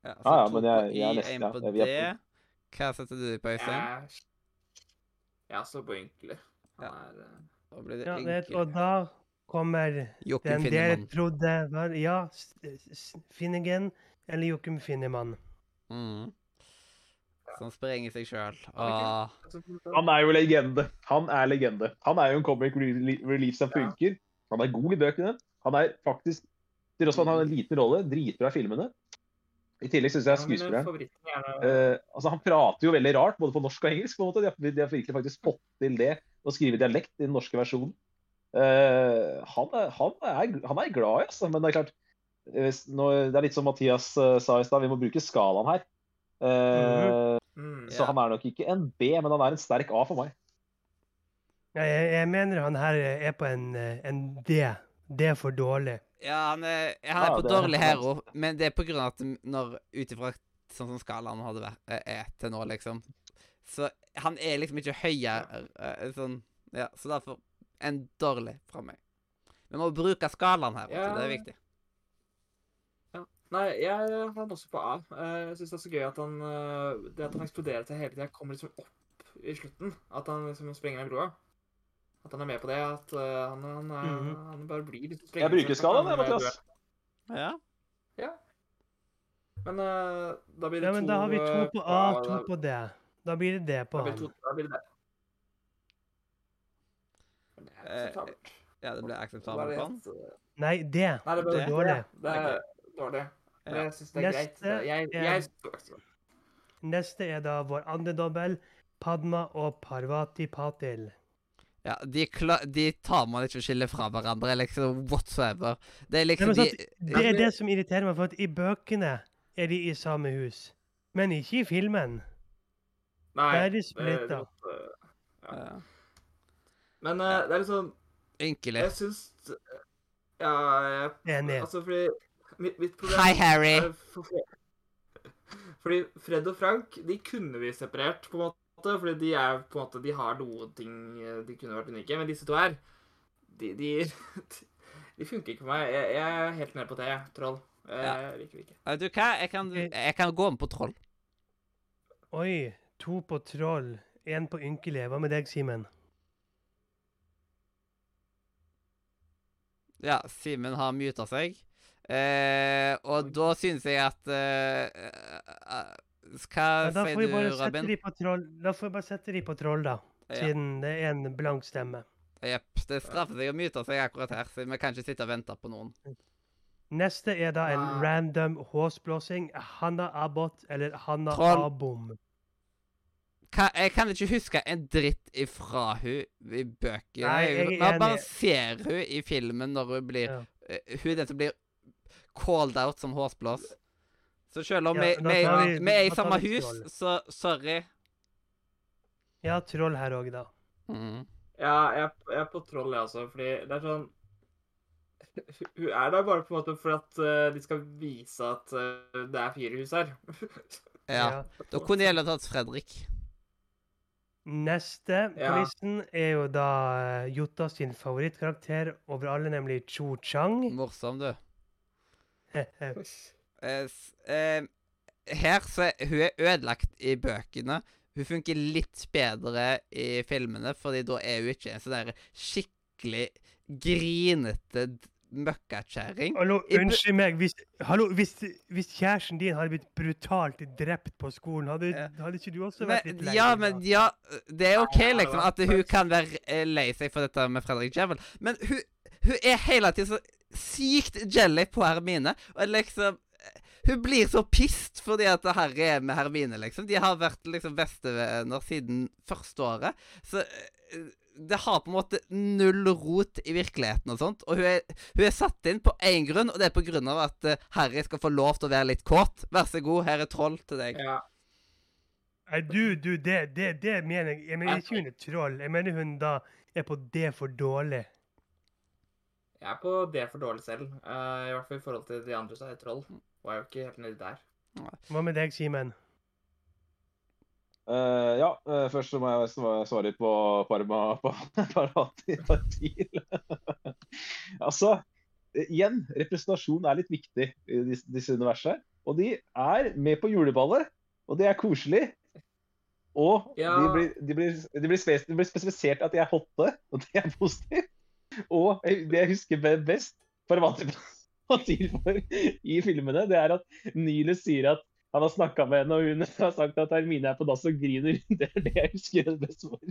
Ja, så
Ja, ja,
to
men
på
jeg- jeg er
I,
nesten-
en
ja,
på
jeg-
D.
vi er
Hva setter du på Øystein?
Jeg, jeg står på ynkelig. Han er eh,
Da blir det
Ja, det,
enkelt.
og da kommer
Jokken
den dere
Finnemann.
trodde var Ja, S- S- Finnegan eller Jokum Finnemann.
Mm. Som sprenger seg Ah. sjøl.
Ja,
Åh.
altså,
Han er jo legende. Han er legende. Han er jo en comic re- relief som
Ja.
funker. Han er god i bøkene. Han er faktisk Til tross for at han har en liten rolle, dritbra i filmene. I tillegg syns jeg
Ja, men
skuespilleren
eh, favoritten er da-
eh, altså Han prater jo veldig rart, både på norsk og engelsk. på en måte. De har, de har virkelig faktisk fått til det, å skrive dialekt i den norske versjonen. Eh, han, er, han, er, han er glad i, altså. Men det er klart eh, hvis- når, Det er litt som Mathias eh, sa i stad, vi må bruke skalaen her. Eh,
mm,
Ja.
Så han er nok ikke en B, men han er en sterk A for meg.
Ja, jeg, jeg mener han her er på en, eh, en D. D er for dårlig.
Ja, han er, han er
Ja,
på
det er
dårlig
helt
hero, men det er på grunn av at når ut ifra sånn som skalaen hadde vært, er til nå, liksom Så han er liksom ikke høyere eh, sånn Ja, så derfor en dårlig fra meg. Vi må bruke skalaen her, vet du, det er
Ja.
viktig.
Nei, jeg har han også på A. Eh, Jeg syns det er så gøy at han eh, Det at han eksploderer til hele tida, kommer liksom opp i slutten. At han liksom sprenger av broa. At han er med på det. At eh, han, han, er,
Mhm.
han bare blir liksom sprengende.
Jeg bruker skalaen, jeg,
Han er
Mathias.
død.
Ja.
Men eh, da blir det
Ja, men da har vi
eh,
to på A,
da-
to på D. Da blir det D på
Da blir
han.
det to, da blir det der. Men det er
Eh,
akseptabelt.
ja, det blir
Bare
akseptabelt på han.
at, eh,
Nei, D.
Nei, det er
Det
bare
er
dårlig.
dårlig. Det er dårlig. Men
Ja.
jeg syns det er greit.
Neste
Det- Jeg,
er-
jeg står bak skalaen.
Neste er da vår andre dobbel, Padma og Parvati Patil.
Ja, de, kla- de tar man ikke å skille fra hverandre, liksom, whatsoever. Det er liksom
Nei, men
de
sant, Det er det som irriterer meg, for at i bøkene er de i samme hus. Men ikke i filmen.
Nei.
Der er de
det- det
splitta.
måtte-
ja.
Men eh, det er litt sånn
Ynkelig.
Jeg syns Ja,
Enig.
jeg, altså fordi Mitt, mitt problem
Hei,
sånn-
Harry.
er Eh, for, Fordi Fred og Frank, de kunne vi separert, på en måte. Fordi de er på en måte De har noen ting eh, de kunne vært unike, men disse to her De, de, de funker ikke for meg. Jeg, jeg er helt nede på det, jeg. Troll. Eh, Jeg
Ja.
liker det ikke.
Vet du hva, jeg kan, jeg kan gå om på troll.
Oi, to på troll, én på ynkelig. Hva med deg, Simen?
Ja, Simen har muta seg. Eh, og da synes jeg at eh, eh, eh, Hva
Ja, da får
sier
vi
du,
bare sette
Robin?
de på troll, da får vi bare sette de på troll, da.
Ja,
Siden det er en blank stemme.
Jepp. Det straffer seg å mute seg akkurat her, så vi kan ikke sitte og vente på noen.
Neste er da en
Nei.
random håsblåsing. Hanna Abbott eller Hanna
Troll.
Abom.
Hva, jeg kan ikke huske en dritt ifra hun i bøkene.
Nei, jeg er
Vi har bare
enig.
ser hun i filmen når hun blir
Ja.
eh, Hun er den som blir called out som hårsblås. Så selv om
Ja,
vi,
da
vi,
tar
vi,
vi-
er i
da tar
samme
vi
hus,
Troll.
så sorry.
Ja, troll her òg, da.
Mm.
Ja, jeg, jeg er på troll, jeg også, fordi det er sånn Hun er der bare på en måte for at eh, de skal vise at eh, det er fire hus her.
Ja. Da kunne jeg heller tatt Fredrik.
Neste på
Ja.
listen er jo da eh, Jota sin favorittkarakter over alle, nemlig Cho Chang.
Morsom, du.
Eh,
Eh, s- eh, her så er Hun er ødelagt i bøkene. Hun funker litt bedre i filmene, fordi da er hun ikke en sånn der skikkelig grinete d- møkkakjerring.
Hallo,
I bu-
unnskyld meg. Hvis, hallo, hvis, hvis kjæresten din hadde blitt brutalt drept på skolen, hadde,
Ja.
hadde ikke du også vært litt
Men-
lei?
Ja,
deg da?
men ja, det er OK,
Ja, ja,
liksom,
ja.
at hun kan være eh, lei seg for dette med Fredrik Jevel, men hun, hun er hele tiden så sykt jelly på Hermine, og liksom eh, Hun blir så pissed fordi at Harry er med Hermine, liksom. De har vært liksom bestevenner siden første året, så eh, det har på en måte null rot i virkeligheten og sånt. Og hun er, hun er satt inn på én grunn, og det er på grunn av at eh, Harry skal få lov til å være litt kåt. Vær så god, her er troll til deg.
Ja.
Nei, du, du, det, det, det mener jeg. Jeg
Nei.
mener ikke hun er troll. Jeg mener hun da er på det for dårlig.
Jeg er på det for dårlig selv. eh, I hvert fall i forhold til de andre som er troll. Var jo ikke helt nedi der.
Hva med deg, Simen?
Eh, ja, eh, først så må jeg sva- svare på Parma på Parati. Partil. altså, eh, igjen, representasjon er litt viktig i disse, disse universene. her. Og de er med på juleballet, og det er koselig. Og de,
Ja.
blir, de, blir, de, blir spes, de blir spesifisert at de er hotte, og det er positivt. Og jeg- det jeg husker be- best for hva de til for i filmene, det er at Nilus sier at han har snakka med henne, og hun har sagt at Hermine er på dass og griner. Det er det jeg husker best for.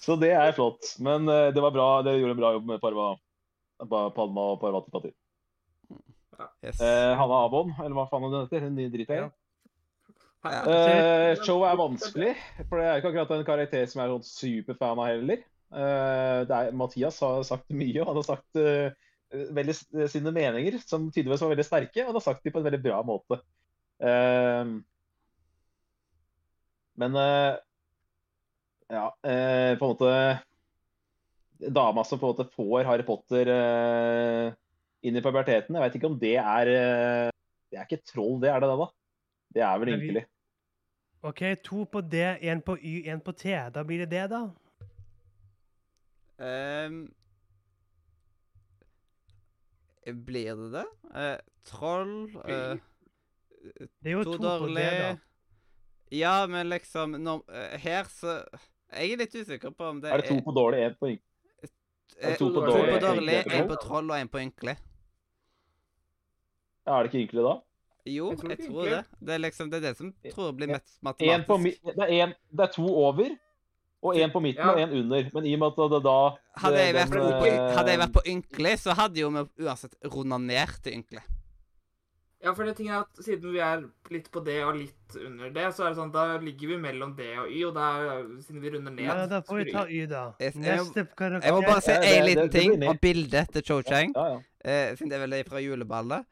Så det er flott. Men eh, det var bra. Det gjorde en bra jobb med Parva, Pa- Palma og Parvati Patil.
Yes.
Eh, Hanna Abon, eller hva faen hun heter. Hun driter jeg i.
Ja.
Eh, showet er vanskelig, for det er jo ikke akkurat en karakter som jeg er sånn superfan av heller. Eh, det er, Mathias har sagt mye, og han har sagt eh, veldig, s- eh, sine meninger, som tydeligvis var veldig sterke, og han har sagt dem på en veldig bra måte. Eh, men eh, ja, eh, på en måte Dama som på en måte får Harry Potter eh, inn i puberteten, jeg veit ikke om det er eh, Det er ikke troll, det er det, det da? Det er vel
Det er vi-
ynkelig.
OK, to på D, én på Y, én på T. Da blir det det, da.
Ehm, blir det det? Eh, troll eh,
Det er jo
To
to, på D, da.
dårlig Ja, men liksom når, eh, Her så Jeg er litt usikker på om det
Er det to på dårlig, én på ynkelig?
eh,
to
to
på
på
dårlig, en på
dårlig,
ynkelig?
en på troll og en på ynkelig?
Ja, er det ikke ynkelig da?
Jo,
Jeg tror
jeg
ikke
tror det.
ynkelig.
Det er liksom, det er det som tror jeg blir
Ja.
mest
En på, mi-
matematisk.
det, er en, det er to over, og én på midten
Ja.
og én under. Men i og med at det da
Hadde jeg vært,
den,
på,
eh,
hadde jeg vært på ynkelig, så hadde jo vi uansett runda ned til ynkelig.
Ja, for det ting er at siden vi er litt på det og litt under det, så er det sånn, da ligger vi mellom det og Y, og da, siden vi runder ned
Ja, da får vi
skru-
ta Y, da.
Jeg- jeg må-
Neste karakter
Jeg må bare si
Ja, det-
én
det-
liten
det
ting
blir
om bildet til Cho Chang,
Ja, ja.
eh, siden det er vel er fra juleballet.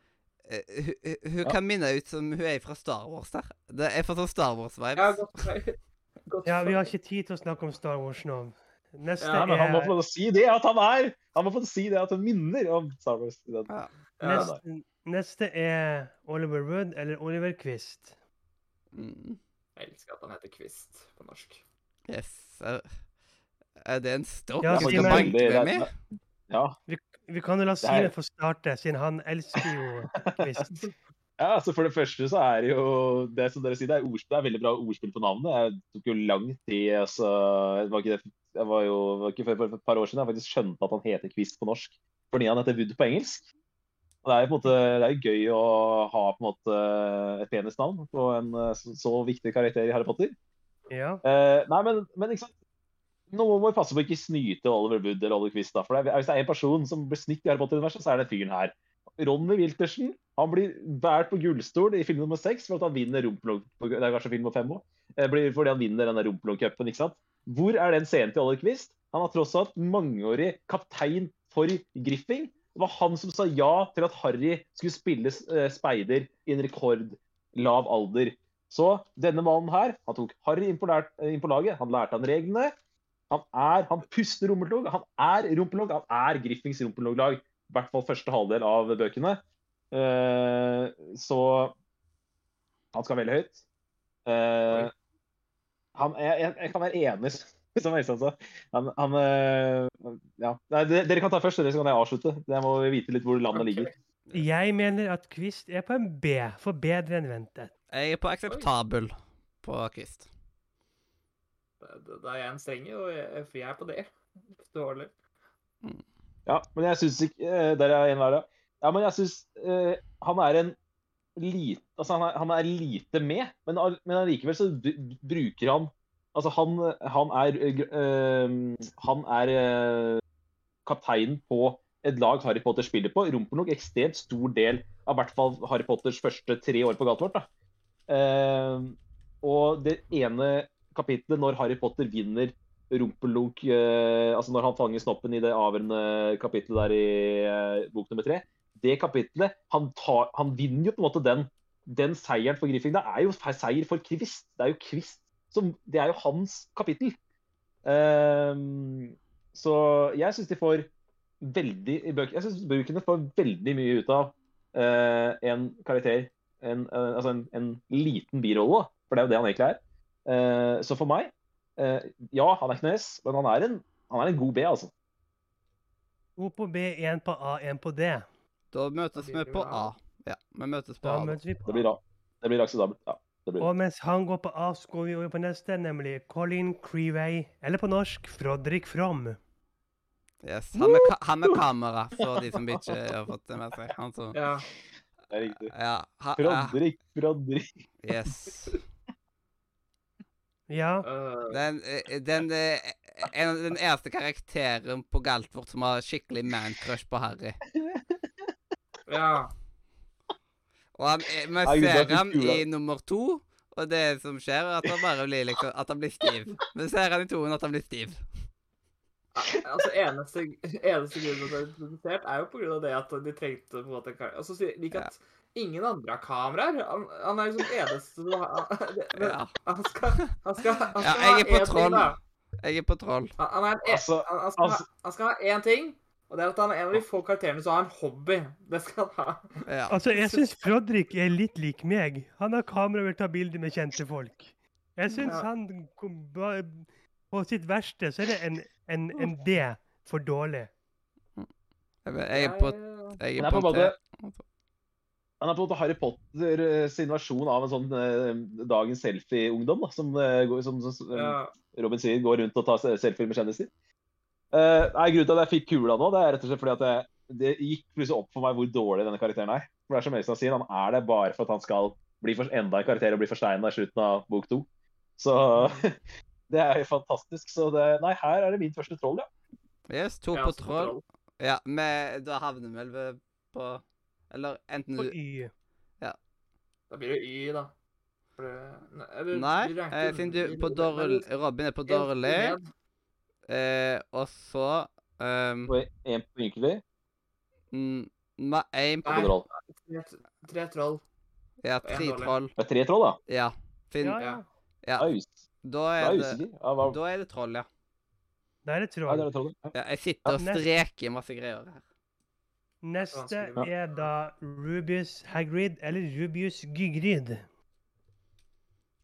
Eh, hun hun- hun
Ja.
kan minne ut som hun er fra Star Wars der. Det er for sånn Star
Ja,
Wars-vibes.
godt. godt.
Ja, vi har ikke tid til å snakke om Star Wars nå. Neste
Nei,
Ja,
men han må
er
få lov til å si det at han er Han må få si det at han minner om Star Wars. Det
Ja.
Ja,
da.
Neste, neste er Oliver Wood eller Oliver Quist.
Mm.
Jeg elsker at han heter Kvist på norsk.
Yes. Er, er det en stokk
Ja,
som
si
skal banke
meg-
Det er-
med meg?
Vi kan jo la
er-
Simen få starte, siden han elsker jo Quist.
Ja, altså For det første så er det jo det som dere sier, det er, ordspill, det er veldig bra ordspill på navnet. Jeg tok jo lang tid altså, det var ikke det, Jeg var jo det var ikke før for et par år siden jeg faktisk skjønte at han heter Kvist på norsk fordi han heter Wood på engelsk. Og Det er jo på en måte, det er jo gøy å ha på en måte et penisnavn på en eh, så, så viktig karakter i Harry Potter.
Ja.
Eh, nei, men, men ikke sant? Nå må vi passe på å ikke snyte Oliver Wood eller Oliver Quist. Da, for det er, hvis det er en person som blir snytt i Harry Potter-universet, så er det fyren her. Ronny Wiltersen han blir båret på gullstol i film nummer seks for at han vinner Rumpelung... Det er kanskje film nummer fem òg. Fordi han vinner denne Rumpelung-cupen, ikke sant. Hvor er den scenen til Oliver Quist? Han har tross alt mangeårig kaptein for Griffing. Det var han som sa ja til at Harry skulle spille eh, speider i en rekordlav alder. Så denne mannen her, han tok Harry inn på, lær- inn på laget, han lærte han reglene. Han er, han puster rummeltog, han er rumpelog, han er Griffings rumpeloglag. I hvert fall første halvdel av bøkene. Eh, så han skal veldig høyt. Eh, han, jeg, jeg, jeg kan være enig, som Øystein sa. Han, han eh, ja. Nei, dere, dere kan ta først, dere, så kan jeg avslutte. Jeg må vite litt hvor landet
Ok.
ligger.
Jeg mener at Quist er på en B, for bedre enn ventet.
Jeg er på akseptabel på kvist.
Da da er jeg en strenge, og jeg, for jeg er på det. Dårlig.
Ja, men jeg syns ikke eh, Der er en hver, ja. Ja, men jeg syns eh, han er en lite Altså, han er, han er lite med, men all- men allikevel så br- bruker han Altså, han, han er eh, gr- eh, Han er eh, kapteinen på et lag Harry Potter spiller på. Rumpelnok ekstremt stor del av i hvert fall Harry Potters første tre år på gata vårt. Da. Eh, og det ene kapitlet, når Harry Potter vinner Rumpelunk eh, Altså når han fanger snoppen i det avgjørende kapitlet der i eh, bok nummer tre. Det kapitlet han, tar, han vinner jo på en måte den, den seieren for Griffing. Det er jo fe- seier for Kvist. Det er jo Kvist som Det er jo hans kapittel. Ehm, så jeg syns de får veldig i bøk, Jeg syns bøkene får veldig mye ut av eh, en karakter. En, eh, altså en, en liten birolle, da, for det er jo det han egentlig er. Eh, så for meg Eh, ja, han er ikke noe S, men han er en, han er en god B, altså.
To på B, én på A, én på D.
Da møtes vi på A. Ja, vi møtes på
Da
A. da.
møtes vi på
Det blir, ra- det blir akseptabelt. Ja, det blir det.
Og mens han går på A, så går vi over på neste, nemlig Colin Creeway, eller på norsk Frodrik From.
Yes. Han med, ka- han med kamera, for de som ikke har fått det med seg. Han som
Ja.
Det er riktig.
Ja. Ha, eh,
Frodrik, Frodrik.
yes.
Ja,
øh,
Den, eh, den, eh, en, den eneste karakteren på Galtvort som har skikkelig man-crush på Harry.
ja.
Og han, eh,
Nei,
vi
gud, det er
ser
så
ham
kul,
i
da.
nummer to, og det som skjer, er at han bare blir liksom At han blir stiv. Vi ser han i toen at han blir stiv.
Altså, eneste, eneste grunnen til at det er produsert, er jo på grunn av det at de trengte på en måte en kar- Altså, sier de ikke at ingen andre har kameraer. Han, han er liksom eneste som har det- det-
Ja.
Han skal, han skal, han skal
Ja,
ha
jeg er på
én ting,
troll.
da.
Jeg er på troll.
Han, han, er en, e-
Altså,
han, han, skal,
altså-
ha- han skal ha én ting, og det er at han er en av de få karakterene som har en hobby. Det skal han ha.
Ja.
altså jeg syns Frodrik er litt lik meg. Han har kamera og vil ta bilder med kjente folk. Jeg syns
Ja.
han kom ba- På sitt verste så er det en, en, en D for dårlig.
Jeg vet- jeg er på
Jeg-
Jeg
Han
er
er på en
på
måte
en
Han er på en måte Harry Potter eh, sin versjon av en sånn eh, dagens selfie-ungdom, da, som, eh, går- som, som
ja,
Robin sier, går rundt og tar se- selfier med kjendiser. Eh, nei, Grunnen til at jeg fikk kula nå, det er rett og slett fordi at jeg, det gikk plutselig opp for meg hvor dårlig denne karakteren er. For det er som Øystein sier, Han er der bare for at han skal bli for, enda en karakter og bli forsteina i slutten av bok to. Så det er jo fantastisk. Så det, nei, her er det min første troll, ja.
Yes, to
jeg er
på
også altså, på
troll. Ja, men da havner vi vel ved- på Eller enten
På
du
Y.
Da blir det Y, da. For det- ne- eller-
Nei,
vi ranker-
eh, siden du på
vi-
dårlig
men-
Robin er på
en
dårlig,
ned.
eh, og så um,
Og en på ynkelig,
mm, ma- en på
og på troll.
Tre- Tre troll.
Ja,
en
tre
dårlig.
troll.
Det er tre troll, da.
Ja. Finn.
Ja, ja.
Ja.
Ja,
Da er jeg us-
da er
da er jeg
det
usikker. Ja, hva,
Da er det troll, ja.
Da er det
nei, det
troll.
er troll. ja.
ja jeg sitter og
Ja, nest-
streker i masse greier her.
Neste er da Rubius Hagrid, eller Rubius Gygrid.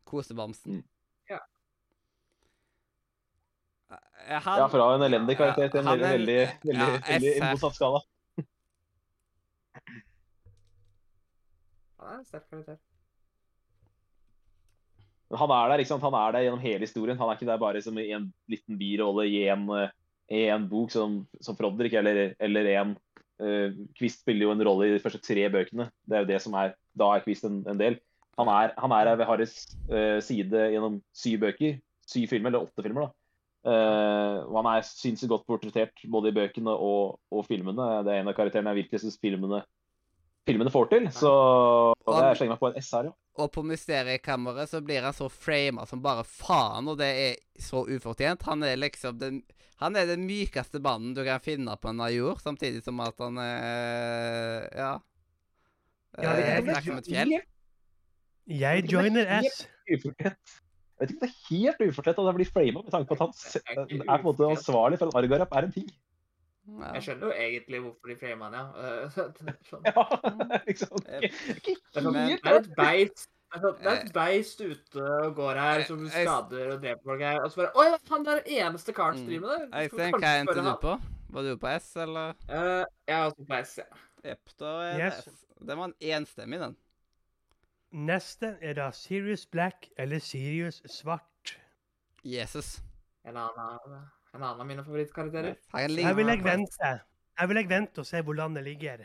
Kosebamsen.
Mm.
Ja.
Eh, Han
Ja, fra en elendig karakter til en
Ja, han
veldig,
er-
veldig, veldig,
ja,
veldig
SF.
motsatt skala.
Han er en sterk karakter.
Men han er der ikke sant? Han er der gjennom hele historien. Han er ikke der bare som i en liten birolle i en, eh, i en bok som, som Frodrik, eller, eller en eh, Kvist spiller jo en rolle i de første tre bøkene. Det er jo det som er Da er Kvist en, en del. Han er, han er ved Harrys eh, side gjennom syv bøker. Syv filmer, eller åtte filmer, da. Eh, og han er sinnssykt godt portrettert både i bøkene og, og filmene. Det er en av karakterene jeg virkelig syns filmene, filmene får til. Så og jeg slenger meg på en S her, ja.
Og på Mysteriekammeret så blir han så frama som bare faen, og det er så ufortjent. Han er liksom den Han er den mykeste mannen du kan finne på en jord, samtidig som at han er Ja.
Ja, det er
Eh, sterk som et fjell.
Jeg joiner S.
ufortjent. Jeg vet ikke om det er helt ufortjent at han blir frama, med tanke på at han se-
Det er ikke
er på en måte
ufortjent.
ansvarlig for at Argarap er en ping.
Ja.
Jeg skjønner jo egentlig hvorfor de framer han, ja. Eh, sånn.
Ja, liksom.
Eh,
Det er sånn,
Men- Eh,
det er et beist det er sånn, det er et beist ute og går her som
Jeg- jeg-
skader og dreper folk her. Og så bare Oi, han der eneste karen
Mm.
som driver med det. Vi skal
Øystein, hva
kanskje
endte
spørre
du
han.
på? Var du på S, eller?
Eh, jeg er også på beist, ja.
Jepp, da er det
Yes.
S. Den var en enstemmig, den.
Neste er da Sirius Black, eller Sirius Svart.
Jesus.
En annen av, en annen av mine favorittkarakterer.
Han
Her vil jeg
ligner
vente. Her vil jeg vente og se hvor landet ligger.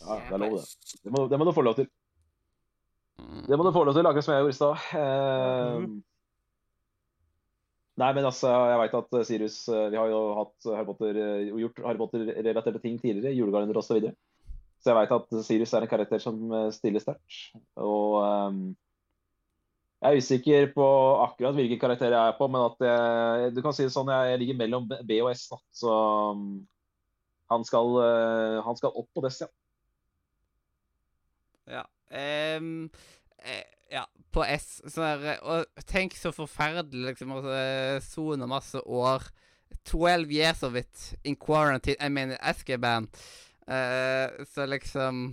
Ja,
Jeg
det er lov, det.
beist.
Det må, det må du få lov til. Det må du få lov til, akkurat som jeg gjorde i stad. Eh, Nei, men altså, jeg veit at eh, Sirius eh, Vi har jo hatt Harry Potter, eh, gjort Harry Potter-relaterte ting tidligere. Julegardener osv. Så, videre. så jeg veit at Sirius er en karakter som eh, stiller sterkt. Og eh, jeg er usikker på akkurat hvilken karakter jeg er på, men at jeg, du kan si det sånn, jeg ligger mellom B og S. Da. Så mm, han skal, eh, han skal opp på dess, ja.
Ja. ehm, eh, ja, på S. Så er, det- og tenk så forferdelig, liksom. å eh, sone masse år. 12 years of it in quarantine. Jeg mener Eskeban. Eh, så liksom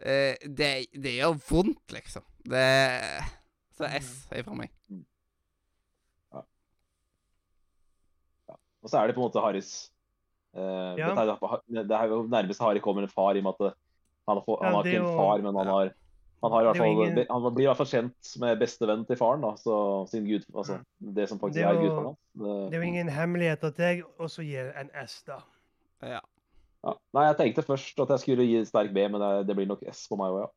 eh, det, det gjør vondt, liksom. Det Så S er fra meg.
Og så er det på en måte Harrys Eh,
Ja.
dette er jo- det er jo nærmest Harry kommer en far, i og med at det- han har, få- han
Ja,
har
det
ikke
er
en
jo-
far, men han har han, har i hvert
Det er jo
fall,
ingen-
han blir i hvert fall kjent med bestevennen til faren, da, så, sin gud, altså, det som faktisk
Det er
er
jo-
gudfaren hans. Det-
Det er jo ingen hemmelighet at jeg også gir en S, da.
Ja.
Ja. Nei, jeg tenkte først at jeg skulle gi sterk B, men det, det blir nok S på meg òg, ja.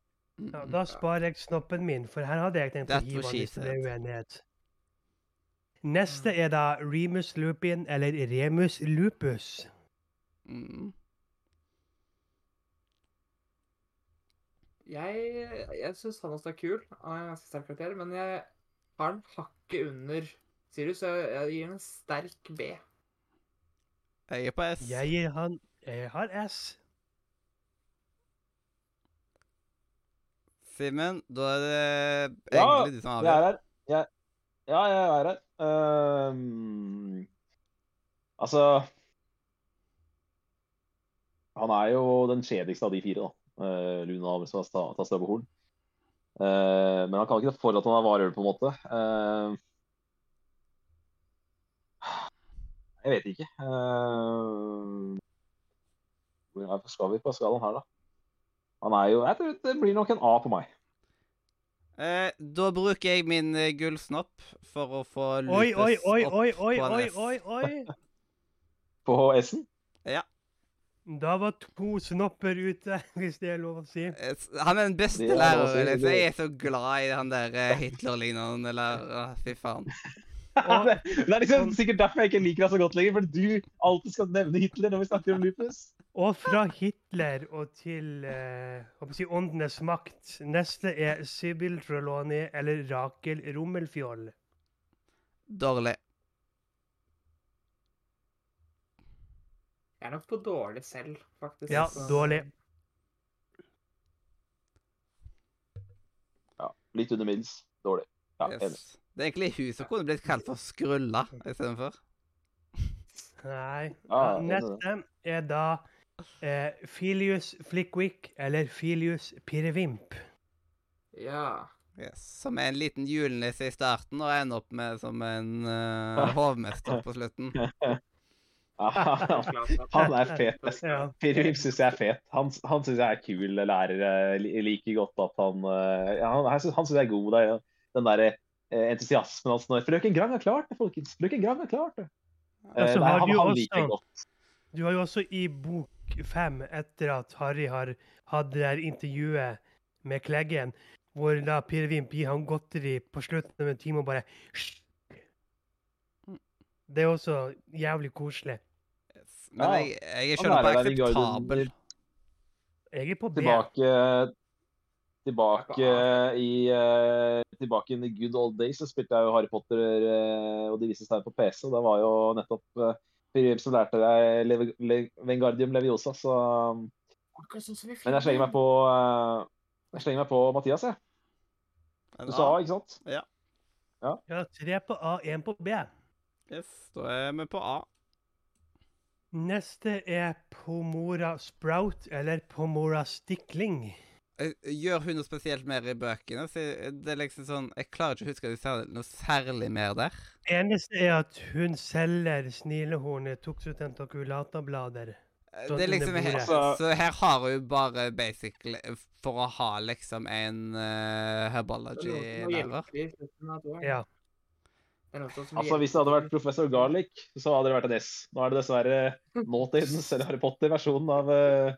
Mm,
Ja,
mm.
da sparer jeg snoppen min, for her hadde jeg tenkt å
That
hive
was
den hvis
she
det ble
said.
uenighet. Neste
Mm.
er da Remus lupin, eller Remus lupus.
Mm.
Jeg, jeg syns han også er kul. Han er en ganske sterk karakter. Men jeg har han hakket under Sirius, så jeg, jeg gir han en sterk B.
Jeg er på S.
Jeg gir han Jeg har S.
Simen, da er det
Ja,
egentlig du som
Jeg
avgjør.
er her. Jeg... Ja, jeg er her. Ehm, Altså Han er jo den kjedeligste av de fire, da. Eh, Luna har som har sta- tatt seg på horn. Eh, men han kan ikke for at han er varulv, på en måte. Ehm, Eh, jeg vet ikke. Eh, hvor er- skal vi på skalaen her, da? Han er jo Jeg tror det blir nok en A på meg.
Eh, da bruker jeg min eh, gullsnopp for å få
Oi,
Lupus
oi, oi,
opp
oi, oi,
på en
oi,
S.
oi, oi.
På S-en.
Da var to snopper ute, hvis det er lov å si.
Eh, s- Han er den beste
Det er lov å si,
læreren.
det-
Liksom. Jeg er så glad i han der eh, Hitler-lignende læreren. Fy faen.
Og-
det, det er liksom sikkert derfor jeg ikke liker deg så godt lenger, fordi du alltid skal nevne Hitler når vi snakker om lupus.
Og fra Hitler og til eh, hva skal jeg si, åndenes makt. Neste er Sybil Trelawney eller Rakel Rommelfjoll.
Dårlig.
Jeg er nok på dårlig selv, faktisk.
Ja,
så-
dårlig.
Ja, litt under middels. Dårlig. Ja, enig.
Yes. Det er egentlig hun som kunne blitt kalt for Skrulla istedenfor.
Nei.
Ja, enig i det.
Neste er da eh, Filius Flickwick eller Filius Pirrevimp.
Ja.
Yes. Som er en liten julenisse i starten og ender opp med som en eh, hovmester på slutten.
Ja,
helt klart at-
han er fet.
Ja.
Pirrim syns jeg er fet. Han, han syns jeg er kul lærer. Jeg li- liker godt at han eh, ja, Han, han syns- han syns jeg er god. Det er jo den derre eh, entusiasmen hans når 'Frøken Grang har klart det, folkens! Frøken Grang har klart det!' Eh,
Ja, så
nei,
har
han,
du jo
han
også-
liker jeg godt.
Du har jo også i bok fem, etter at Harry har hatt det der intervjuet med Kleggen, hvor da Pirrevimp gir han godteri på slutten av en time og bare «Hysj!» Det er også jævlig koselig.
Yes. Men
Ja,
jeg, jeg er
han
selv på
er der i garden.
akseptabel.
Jeg er på B.
Tilbake Tilbake i eh, Tilbake in the good old days så spilte jeg jo Harry Potter eh, og De viste stein på PC. og Det var jo nettopp uh, som lærte deg Leve, Le, Vengardium Leviosa, så um,
Akkurat sånn som i
Men jeg slenger meg
filmen.
på eh, Jeg slenger meg på Mathias, jeg. Du sa A, ikke sant?
Ja, tre på A, én på B.
Yes, da er vi på A.
Neste er Pomora Sprout, eller Pomora Stikling.
Eh, Gjør hun noe spesielt mer i bøkene? Så jeg- det er liksom sånn, Jeg klarer ikke å huske at hun ser noe særlig mer der.
Eneste er at hun selger snilehornet, tuxutentaculata-blader.
Eh,
Sånn
Det er
under
liksom, he-
bordet.
så, her har hun bare basically For å ha liksom en uh,
Det er noe som
herbology-lærer.
hjelper i slutten av boka.
Ja.
Det er noe som
Altså,
hjelper.
Hvis det hadde vært professor Garlic, så hadde det vært en S. Nå er det dessverre nåtidens eller Harry Potter-versjonen av eh,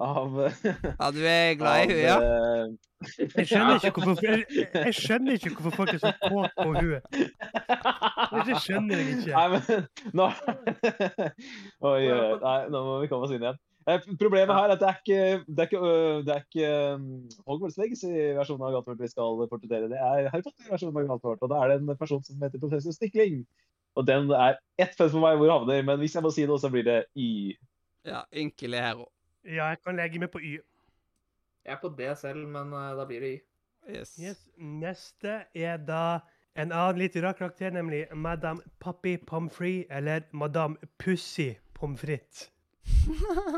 av,
Ja, du er glad i
av,
hun, ja?
eh,
Jeg skjønner ikke hvorfor, jeg, jeg skjønner ikke hvorfor folk er så kåt på henne. Det skjønner jeg ikke.
Nei, men nå Oi, oi, nei, nå må vi komme oss inn igjen. Eh, Problemet her er at det er ikke, det er ikke, øh, det er ikke um, Hogwarts Legacy-versjonen av Galtvort vi skal portrettere. Det er Harry Potter-versjonen av Galtvort, og da er det en person som heter professor Stikling. Og den er ett fett for meg hvor det havner, men hvis jeg må si noe, så blir det Y.
Ja, Ynkelig hero.
Ja, jeg kan legge meg på Y.
Jeg er på D selv, men eh, da blir det Y.
Yes.
Yes. Neste er da en annen litt rar karakter, nemlig Madame Poppy Pomfrey, eller Madame Pussy Pommes frites.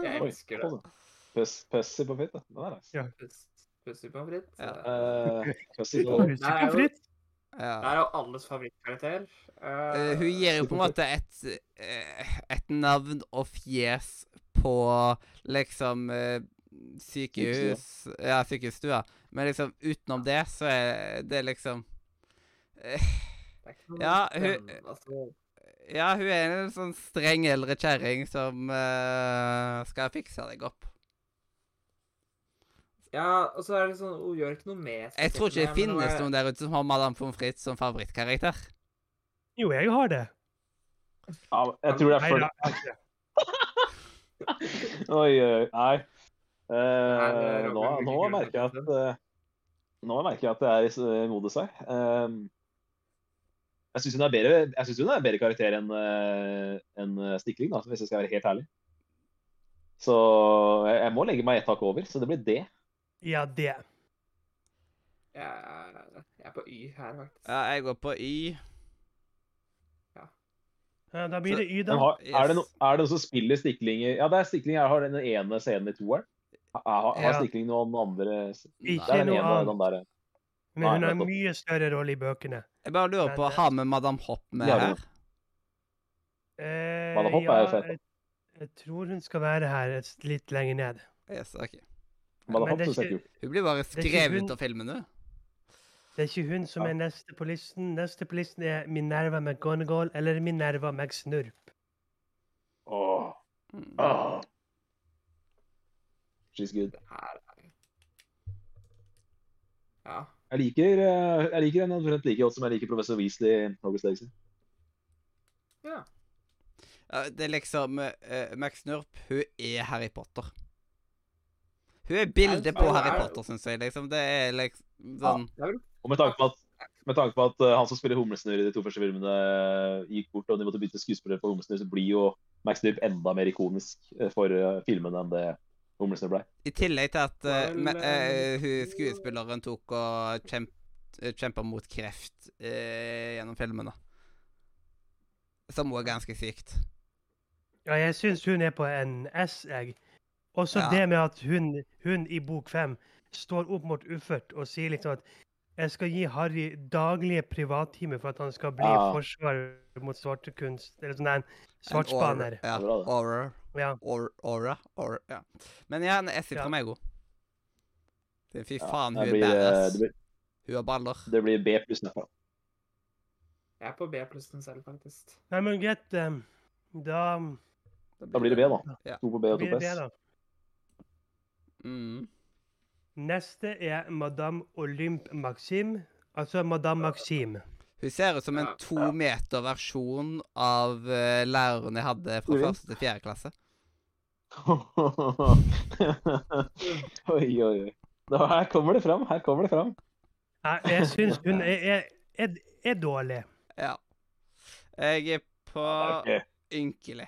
Jeg
Oi,
elsker det.
sånn, da. Puss- Pussy på fitt, da. Den er nice.
Ja.
Puss- Pussy pommes frites.
Ja.
Eh,
Eh, pussy på-
Pussy
det er jo-
pommes frites?
ja.
Det er jo alles favorittkarakter. Eh,
Eh, hun gir jo på en måte et eh, et navn og fjes på liksom eh, sykehus Ja, sykehusstua. Men liksom utenom det, så er det liksom
Det er ikke noe
Ja, hun-
spennende, altså,
Ja, hun er en sånn streng eldre kjerring som eh, skal fikse deg opp.
Ja, og så er det sånn, hun gjør ikke noe med
Jeg tror ikke det
spesielt, men hun
finnes
er-
noen der ute som har Madame Pommes frites som favorittkarakter.
Jo, jeg har det.
Ja, jeg tror det er
Nei,
for
da, jeg har ikke det.
Oi, oi, nei. Eh,
Her, eh,
nå,
Robin,
nå
hvilke
merker jeg
grunner
at eh, Nå merker jeg at det er i s- modus her. Eh, jeg syns hun, er bedre- jeg synes hun er en bedre karakter enn eh, enn, eh, Stikling, da, hvis jeg skal være helt ærlig. Så jeg, jeg må legge meg ett hakk over, så det blir det.
Ja, det.
Jeg, jeg er på Y her, faktisk.
Ja, jeg går på Y.
Ja, da blir
Så-
det Y, da.
Men har,
yes.
er, det no, er det noen som spiller Stikling i Ja, det er Stikling her. Har den ene scenen i toeren? Har, har har
Ja.
Stikling noen andre Det
Nei.
Ikke
er den
noe
ene, den
annet.
der.
Men hun
Nei,
har en
nettopp.
mye større rolle i bøkene.
Jeg bare lurer
Men,
på,
eh,
har vi Madame Hopp med
Ja,
her?
Eh,
Madam Hopp er jo fett, da.
jeg, jeg tror hun skal være her et, litt lenger ned.
Yes, ok.
Men
Men det er
synes jeg
ikke-
er kult.
Hun blir bare
er ikke
skrevet
hun-
ut av filmen, du.
Det er ikke hun som
Ja.
er neste på listen. Neste på listen er Minerva McGonagall eller Minerva McSnurp.
Åh,
Mm.
Ah.
åh. She's good.
Det her er Ja.
Jeg liker, eh, jeg liker henne omtrent like godt som jeg liker professor Weasley. i Hogwarts Legacy.
ja.
Ja, Det er liksom eh, Max Nurp, hun er Harry Potter. Hun er bildet på
hun
Harry
er-
Potter, syns jeg. liksom. Det er liksom
Ja.
sånn
Det er vel
Og med tanke på at, med tanke på at eh, han som spiller Humlesnurr i de to første filmene, eh, gikk bort, og de måtte bytte skuespiller for Humlesnurr, så blir jo Max Dypp enda mer ikonisk eh, for eh, filmene enn det Humlesnurr ble.
I tillegg til at eh,
Vel,
me- eh,
eh,
hun skuespilleren tok og kjemp, eh, kjempa mot kreft eh, gjennom filmene. Som òg er ganske sykt.
Ja, jeg syns hun er på en S, jeg. Også
Ja.
det med at hun, hun i bok fem står opp mot Uffert og sier liksom at jeg skal gi Harry daglige privattimer for at han skal bli
Ja.
forsvarer mot svartekunst, eller sånn en
En
svartspaner.
aura- Ja,
Det er bra, det.
aura,
Ja.
aur- aura, aura, ja. Men ja, en S
Ja.
fra meg er god. Det- Fy
Ja,
faen,
det
hun er
blir, eh,
badass.
det, blir,
Hun har baller.
det blir B pluss neste.
Jeg er på B pluss den selv, faktisk.
Nei, men greit. em, Da
Da blir det B, da.
Ja.
To på B og to
blir
på
det det,
S.
da.
Mm.
Neste er Madame Olympe Maxime. Altså Madame Maxime.
Hun ser ut som en
Ja.
to meter versjon av eh, læreren jeg hadde fra
Ulven.
første til fjerde klasse.
oi, oi, oi. Nå, her kommer det fram. Her kommer det fram.
Jeg, jeg syns hun er, er, er, er dårlig.
Ja. Jeg er på
Det er ikke-
ynkelig.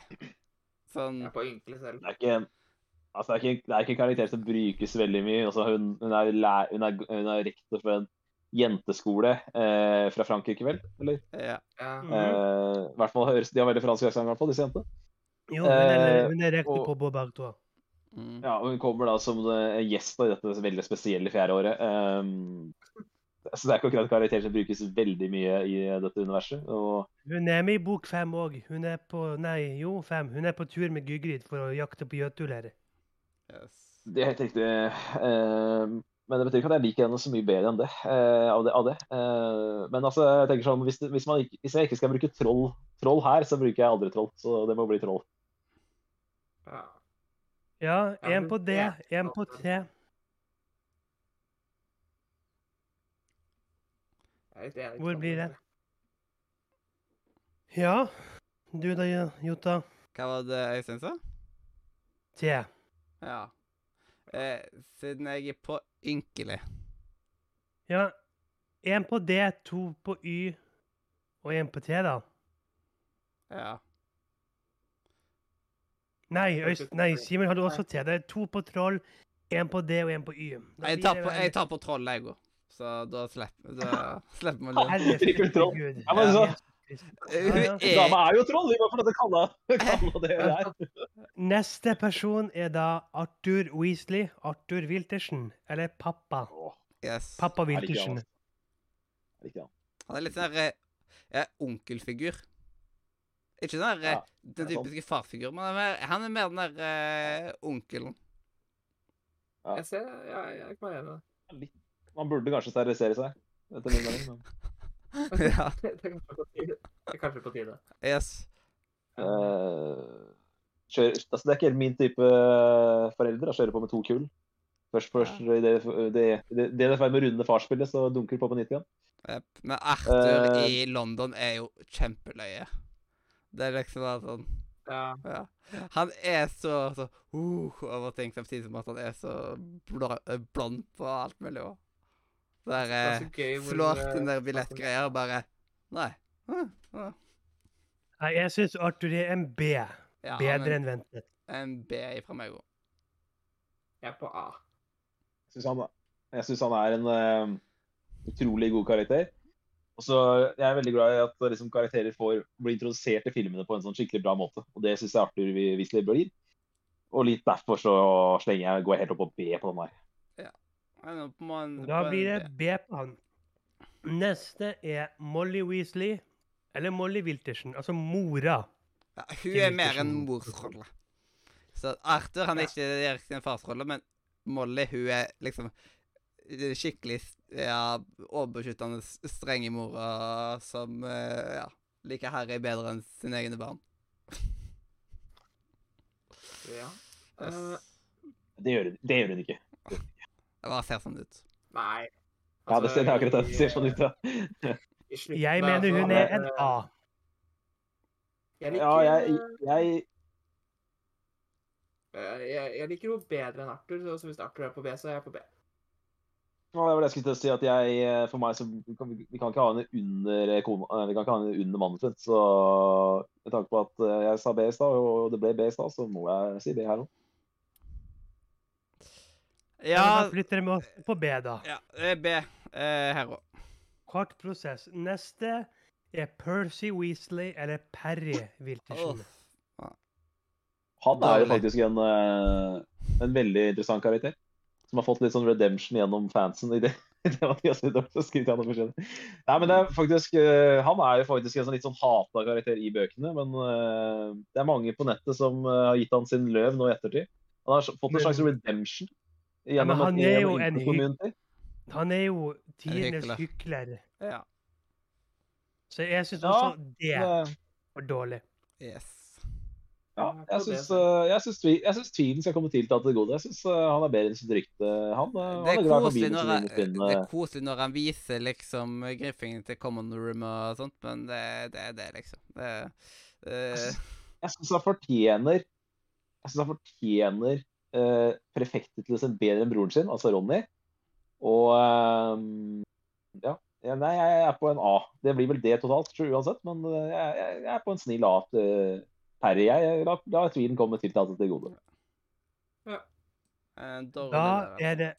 Sånn
Jeg er på ynkelig selv.
det er ikke en Altså, det, er ikke, en- det er ikke en karakter som brukes veldig mye. Altså, hun, hun, er læ- hun, er, hun er rektor for en jenteskole eh, fra Frankrike, vel? Eller?
ja.
Ja.
Mm.
Eh, i hvert fall høres, De har veldig fransk aksent, i hvert fall, disse jentene.
Jo, hun er,
Eh,
hun er rektor
og-
på Bobarto.
Mm.
Ja, og hun kommer da som eh, gjest da, i dette veldig spesielle fjerde året. Eh, så det er ikke akkurat en karakter som brukes veldig mye i dette universet. Og
Hun er med i bok fem òg. Hun er på Nei, jo, fem. Hun er på tur med Gygrid for å jakte på gjøtuler.
Yes.
det er helt riktig. eh, men det betyr ikke at jeg liker henne så mye bedre enn det. eh, av det, av det. Eh, men altså, jeg tenker sånn, hvis, det- hvis, man, ikke- hvis jeg ikke skal bruke troll, troll her, så bruker jeg aldri troll. Så det må bli troll.
Ja.
Ja,
Ja,
én
men
på D,
det-
én på T.
Jeg er litt enig.
Hvor blir det? Ja. Du da, Jota?
Hva var det Øystein sa?
T.
Ja. Eh, siden jeg er på ynkelig
Ja. Én på D, to på Y og én på T, da.
Ja.
Nei,
Det er
Øyst,
ikke-
nei Simen hadde også T. Det er to på troll, én på D og én på Y. Da
Jeg
blir
tar
det
på,
vel-
jeg tar på troll, jeg òg. Så da slipper da slipper vi det.
Herre
Drikker du troll?
Gud.
Ja, men så-
Jesus Kristus.
Hun
Ja, altså, ja.
er
Dama er jo troll! Vi må få lov til å kalle kalle det det der.
Neste person er da Arthur Weasley. Arthur Wiltersen. Eller pappa.
Åh,
yes.
Pappa
jeg liker han,
Wiltersen.
altså. Jeg liker han.
Han er litt sånn her, eh, ja, onkelfigur. eh, Ikke den, der, eh,
Ja,
den
det er sant.
typiske farfiguren, men han er, han er mer den der eh, onkelen.
Ja.
Jeg ser, ja, jeg kan være enig i det.
Man burde kanskje sterilisere seg. Etter min mening. Men,
ja,
Det er kanskje på tide. Det er kanskje på tide.
yes.
eh, kjør, altså, det er ikke helt min type eh, foreldre. da. Kjører på med to kull. Først, først i det det, det, det er ferdig med å runde farsspillet, så dunker det på på nytt igjen.
Jep. Men Arthur
Eh.
i London er jo kjempeløye. Det er liksom bare sånn
Ja.
ja. Han er så, så uh, over ting, samtidig som at han er så bla, eh, blond på alt mulig òg. Der
Det
eh,
er så gøy hvor,
slår
eh,
den der billettgreia og bare Nei. Hm, hm.
Nei, jeg syns Arthur er en B.
Ja, han
Bedre
er
enn ventet.
en B fra meg òg.
Jeg er på A.
Jeg syns han, jeg synes han er en eh, utrolig god karakter. Og så Jeg er veldig glad i at liksom, karakterer får bli introdusert i filmene på en sånn skikkelig bra måte. Og Det syns jeg Arthur Vi- Weasley blir. Og litt derfor så slenger jeg, går jeg helt opp på B på den her.
Han er på en- på
Da
en
blir
B.
det B på han. Neste er Molly Weasley. Eller Molly Wiltersen. Altså mora.
Ja, hun
Det
er
virker
mer en
som-
morsrolle. Så Arthur han er
Ja.
ikke direkte en farsrolle, men Molly hun er liksom eh, skikkelig ja, overbeskyttende, s- strenge mora som eh, ja, liker Harry bedre enn sine egne barn.
Ja.
Yes.
Eh,
Det gjør, hun- det gjør hun ikke.
Det bare ser sånn ut.
nei.
Ja, det ser, det er akkurat det.
i-
det ser sånn ut, da.
i slutten
Jeg
der,
mener
altså,
så
hun er
eh,
en A.
Jeg liker,
Ja, jeg, jeg
eh, jeg, jeg liker henne bedre enn Arthur, så hvis Arthur er på B, så er jeg på B.
Ja, det var det jeg skulle til å si. at jeg, eh, For meg så vi kan vi kan ikke ha henne under kona, eh, vi kan ikke ha henne under mannen sin. Så med tanke på at eh, jeg sa B i stad, og det ble B i stad, så må jeg si B her òg.
Da
Ja,
flytter vi oss på B, da.
ja det er B eh, her òg.
Kort prosess. Neste er Percy Weasley eller Perry Wiltersen.
Han er jo
Deilig.
faktisk en, eh, en veldig interessant karakter. Som har fått litt sånn redemption gjennom fansen. i det. Det var det jeg skulle til å skrive til han om forskjellig. Nei, men det er faktisk, eh, Han er jo faktisk en sånn litt sånn hata karakter i bøkene, men eh, det er mange på nettet som eh, har gitt han sin løv nå i ettertid. Han har fått en slags redemption.
Ja, men
gjennom
han
et-
er
gjennom
jo en
Innsbruck
hy-
Community.
Han er jo
En hykler.
tidenes hykler,
Ja.
så jeg syns
Ja,
også det er
Men, eh,
for dårlig.
Yes.
Ja,
Ja,
jeg
på det
syns,
så-
eh, jeg syns tvi- jeg syns tvilen skal komme til til alt det gode. Jeg syns eh, han er bedre enn sitt rykte, han. Eh, han
Det er,
glad i
koselig
forbindelsen
når
inn
han,
mot sin,
det
eh,
er koselig når han viser liksom griffingen til common room og sånt, men det er det, er det, liksom. Det,
Jeg
det,
syns- Jeg syns han fortjener Jeg synes han fortjener eh, prefektet til å se bedre enn broren sin, altså Ronny. Og eh, ja. ja, Nei, jeg er på en A. Det blir vel det totalt, tror jeg, uansett. Men eh, jeg, jeg, jeg er på en snill A til Terje. Jeg, jeg la, la tvilen komme til til alt det gode.
eh, dårlig
Da
der,
er det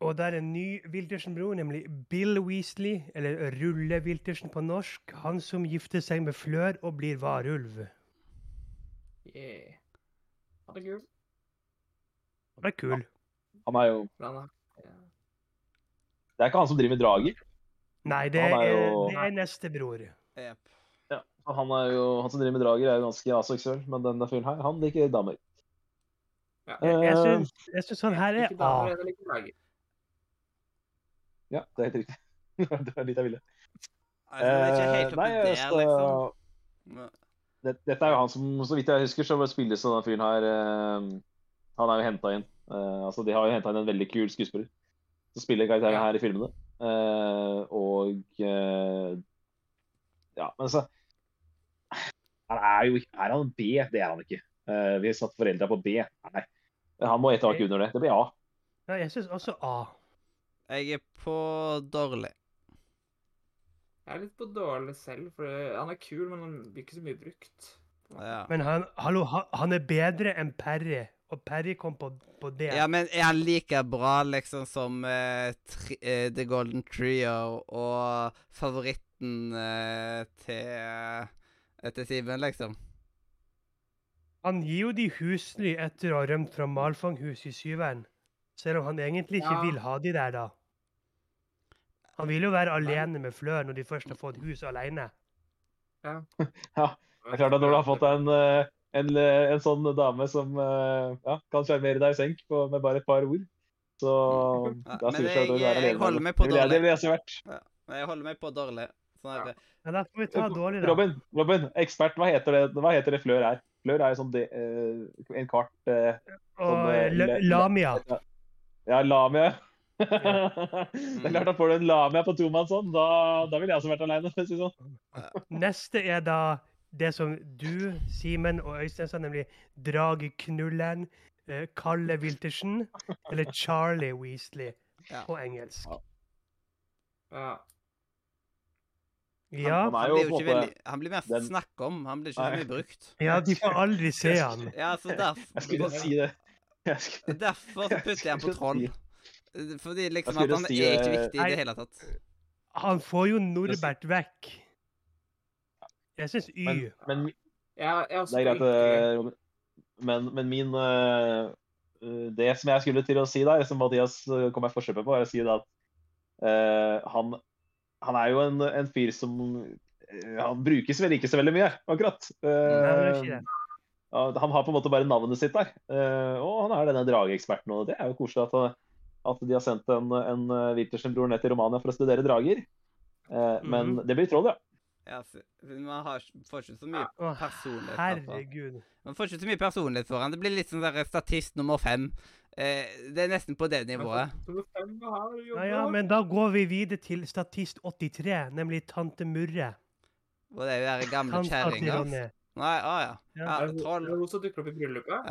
Og da er det en ny Wiltersen-bror, nemlig Bill Weasley, eller Rulle Wiltersen på norsk. Han som gifter seg med Flør og blir varulv.
Yeah. Han er kul.
Han er kul.
Han er jo
men han er-
Det er ikke han som driver med drager.
Nei, det
Han
er,
er jo-
det er neste bror.
Jep.
Ja, og han, er jo, han som driver med drager, er jo ganske aseksuell, men denne fyren her, han liker damer.
Ja.
Jeg, jeg
Eh,
syns- jeg syns han her er
Ikke
A.
damer, jeg liker dager.
Ja, det er helt riktig. du er litt av ville.
Altså, det er ikke helt oppi
Eh, nei,
der,
så-
liksom.
det, Dette er jo han som, så vidt jeg husker, så spilles denne fyren her eh, Han er jo henta inn. Eh, altså, de har jo henta inn en veldig kul skuespiller som spiller karakteren
Ja.
her i filmene. Eh, og eh, Ja, men så Han er jo ikke Er han B? Det er han ikke. Eh, vi har satt foreldra på B. Nei. Han må et hakk under det. Det blir A.
Ja, jeg syns også A.
Jeg er på dårlig.
Jeg er litt på dårlig selv, for han er kul, men han blir ikke så mye brukt.
Ja.
Men han, hallo, han- han er bedre enn Perry, og Perry kom på, på det.
ja, men er han like bra liksom som eh, tri eh, The Golden Trio og favoritten eh, til eh, til Simen, liksom?
Han gir jo de husly etter å ha rømt fra Malfanghuset i syveren. Selv om han egentlig ikke
Ja.
vil ha de der, da. Han vil jo være alene med Flør når de først har fått hus alene.
Det er klart at når du har fått deg en, eh, en, eh, en sånn dame som eh, ja, kan sjarmere deg i senk på, med bare et par ord, så
Ja,
da
men
sier det seg at du vil
jeg- jeg
være alene. med
holder
henne.
meg på
Det ville jeg- Det ville jeg også vært.
Men jeg holder meg på dårlig. Sånn er det.
Ja, da får vi ta dårlig, da.
Robin, Robin, ekspert, hva heter det, hva heter det flør er? Flør er jo sånn det, eh, en kvart eh,
Og eh, la- Lamia.
Ja, lamia. det er klart at får du en lamia på tomannshånd, da, da ville jeg også vært aleine. Si det sånn.
Neste er da det som du, Simen og Øystein sa, nemlig Drageknulleren, eh, Kalle Wiltersen eller Charlie Weasley
Ja.
på engelsk.
Ja.
Ja,
Han er
Han
jo
blir, jo
på
ikke
en måte-
veldig, han blir mest
den-
snakka om, han blir ikke så
Nei.
mye brukt.
ja de får aldri se han.
Ja, så
Jeg skulle
derfor,
si det. Jeg skulle,
derfor
Jeg
putter jeg han på
skulle
troll.
si-
Fordi liksom
Jeg
at
skulle
han
si eh,
er ikke
det-
viktig i
Nei.
det hele tatt.
Han får jo Norbert vekk. Jeg syns Y.
men, men
Jeg, jeg også
det er greit, eh, Robin. Men, men min eh, eh, Det som jeg skulle til å si der, som Mathias eh, kom jeg forsøpet på, er å si det at eh, han, han er jo en, en fyr som eh, Han brukes vel ikke så veldig mye, akkurat.
Nei, men det er
Eh,
ikke det.
ja, han har på en måte bare navnet sitt der. Eh, og han er denne drageeksperten. Og det er jo koselig at, at de har sendt en, en eh, Wiltersen-bror ned til Romania for å studere drager. Eh, men
Mhm.
det blir troll, ja.
Ja, så, man har, ikke- får ikke så mye
Å,
personlighet, altså.
herregud.
Man får ikke så mye personlighet for han. Det blir litt sånn der statist nummer fem. Eh, det er nesten på det nivået.
Ja, ja, men da går vi videre til statist 83, nemlig tante Murre.
Og det er jo den gamle
Hans tante
kjerringa. altså.
Ronny.
Nei, å ja. ja.
Ja.
Troll.
Hun som dukker opp i bryllupet?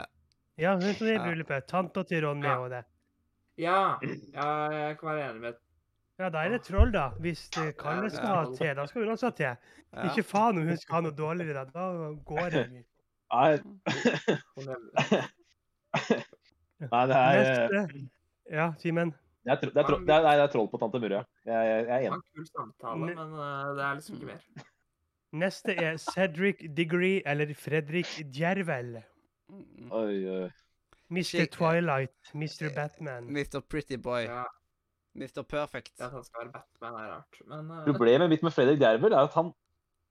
Ja, hun som er i
Ja.
bryllupet. Tanta til Ronny
Ja.
og det.
Ja. ja. Jeg kan være enig med
Ja, da er det troll, da. Hvis eh, Kalle
det
skal
er
ha
troll.
te, da skal hun også ha te.
Ja.
Ikke faen om hun skal ha noe dårligere, da. Da går det. ikke.
Nei,
hun nevner.
nei det er eh,
Neste. Ja, Simen.
Det er, tro, det, er tro, det, er, nei, det er troll på tante Murre. Jeg, jeg, jeg er
Det var
enig.
en kul samtale,
Ne-
men eh, det er liksom ikke mer.
Neste er Cedric Diggory eller Fredrik Djervel.
Mm,
Oi, oi.
Mr.
Shit.
Twilight, Mr. Batman.
Mr. mm. Pretty Boy.
Ja,
Mr. Perfect.
det at han skal være Batman, er rart. Men eh,
Problemet mitt med Fredrik Dervel er at han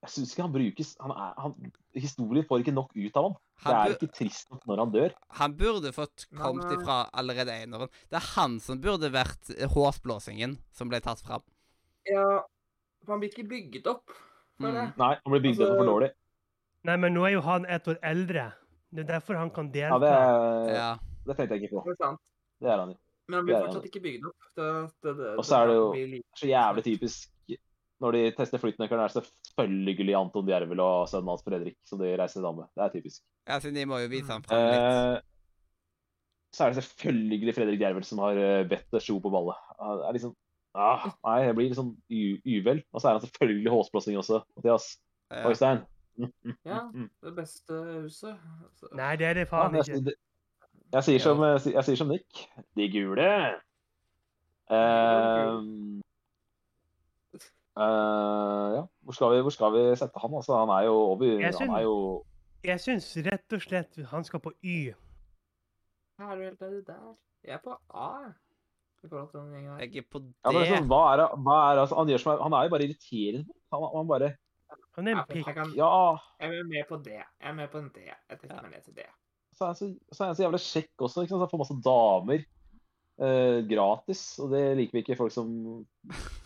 jeg synes ikke han brukes han er, han, Historien får ikke nok ut av ham. Det
Han,
er
bur
ikke trist nok når han dør.
han burde fått
Men,
kommet
eh,
ifra allerede eneren. Det er han som burde vært hårsblåsingen som ble tatt fram.
ja, man blir ikke bygget opp for det.
Mm.
Nei, han blir bygd opp
Altså-
for dårlig.
Nei, men nå er jo han ett år eldre. Det er derfor han kan
Ja, det,
delta.
Ja.
det tenkte jeg ikke på.
Det er sant.
Det er han jo.
Men han blir
Ja, ja.
fortsatt ikke bygd opp. Det, det, det,
Og så er det jo-
blir lite-
Så jævlig typisk når de tester flytnøkkelen, er det selvfølgelig Anton Djervel og sønnen hans Fredrik som de reiser sammen med. Det er typisk.
ja, siden de må jo vise
Mm.
ham fram litt.
Eh, så er det selvfølgelig Fredrik Djervel som har eh, bedt Sjo på ballet. Han er liksom, ah, nei, jeg blir liksom u uvel. Og så er han selvfølgelig håsblåsning også. Mathias.
Ja.
Øystein.
Ja,
Mm.
det beste huset. altså. Så-
Nei, det er det
Ja,
faen
jeg,
ikke.
sier- jeg, sier som, jeg sier- jeg sier som Nick. De gule. Eh, Ehm, eh, ja. Hvor skal, vi, hvor skal vi sette han? Altså, han er jo over
Jeg
Han
syns-
er jo
Jeg syns rett og slett han skal på Y.
Her er du helt nede der. Jeg er på A, jeg. I forhold til den gjengen her.
Jeg er på det.
ja, men liksom, Hva er det hva er, det- altså, han gjør som er, Han er jo bare irriterende. Han, han bare
Han er
Ja,
en pikk.
jeg, kan,
Ja.
jeg er med på det. Jeg er med på en D. Jeg trekker
Ja.
meg
Eh,
ned til det.
så er han så, så, er han så jævla kjekk også. Ikke sant? Så han får masse damer eh, gratis. Og det liker vi ikke, folk som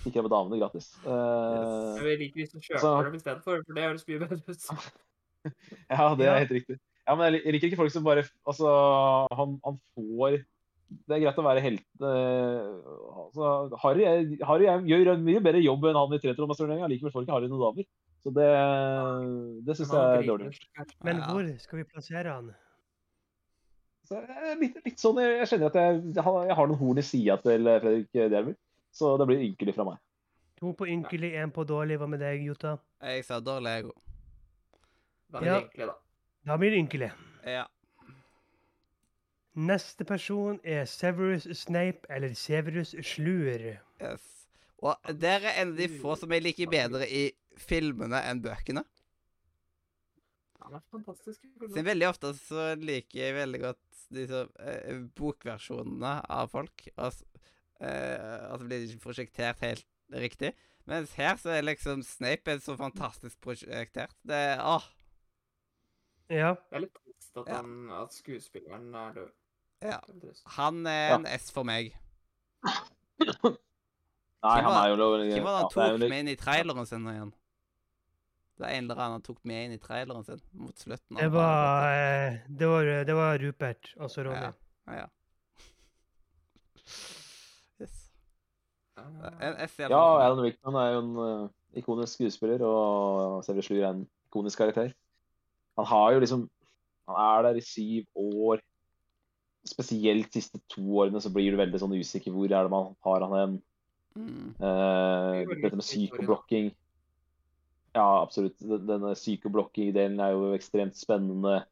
ikke er med damene gratis. Eh,
Jeg liker de som kjøper
Så-
dem istedenfor, for det høres mye bedre
Ah, Ja,
ut.
det
Ja.
er helt riktig. Ja, men jeg lik- jeg liker ikke folk som bare Altså, han, han får Det er greit å være helt eh, altså, Harry, er- Harry er, gjør en mye bedre jobb enn han i Tretromasturneringa. Likevel får ikke Harry noen damer. Så det, det syns jeg er dårlig.
Men
Ja.
hvor skal vi plassere han?
Så jeg er litt, litt sånn, jeg, jeg kjenner at jeg, jeg har jeg har noen horn i sida til eh, Fredrik Dermer, så det blir ynkelig fra meg.
To på ynkelig, én på dårlig. Hva med deg, Jota?
Jeg sa dårlig, jeg òg.
Da er det
Ja.
egentlig, da.
Da blir det ynkelig.
Ja.
Neste person er Severus Snape eller Severus Slur.
Yes. Og der er en av de få som jeg liker bedre i filmene enn bøkene.
Han er fantastisk.
Så veldig ofte så liker jeg veldig godt de som, eh, bokversjonene av folk. Og så eh, altså blir de ikke prosjektert helt riktig. Mens her så er liksom Snape er så fantastisk prosjektert. Det er, åh,
Ja.
Det er litt trist at,
Ja.
han, at skuespilleren er død.
Ja.
Det er trist.
Han er
Ja.
en S for meg.
Nei,
Hvem
han
var-
er jo lov...
Hvem var det
ja,
han
det er jo
tok
litt-
med inn i traileren sin nå igjen? Det var en eller annen han tok med inn i traileren sin mot slutten. av
Det var, eh, det var, det var Rupert, altså Ronny.
Ja. Ja. Yes. En
Eh,
S i alle
Ja,
fall.
Alan Rickman er jo en eh, ikonisk skuespiller, og Selve Slur er en ikonisk karakter. Han har jo liksom Han er der i syv år. Spesielt de siste to årene så blir du veldig sånn usikker hvor er det man har han hen.
Mm.
Eh,
Det er jo
dette med
litt
psykoblokking. Ja, absolutt. Den- Denne psykoblokking-delen er jo ekstremt spennende.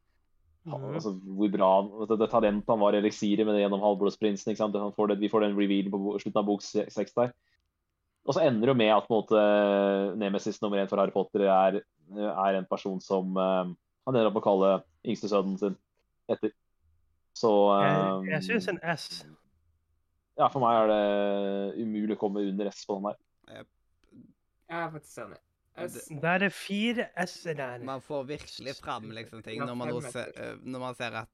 Han-
Mhm.
Altså, hvor bra han, det, det talentet han var i eliksiret med det gjennom Halvblodsprinsen. ikke sant? Han får det, vi får den revealen på bo- slutten av bok se- seks der. Og så ender det jo med at på en måte, nemesis nummer én for Harry Potter er, er en person som eh, han ender opp med å kalle yngstesønnen sin etter. Så
Jeg,
eh,
jeg syns en S.
Ja, for meg er det umulig å komme under S på den her.
jeg er faktisk enig. Jeg s-
Det er det fire S-er der.
Man får virkelig fram liksom ting
Ja,
når man, nå
fem
ser,
etter.
øh, når man ser at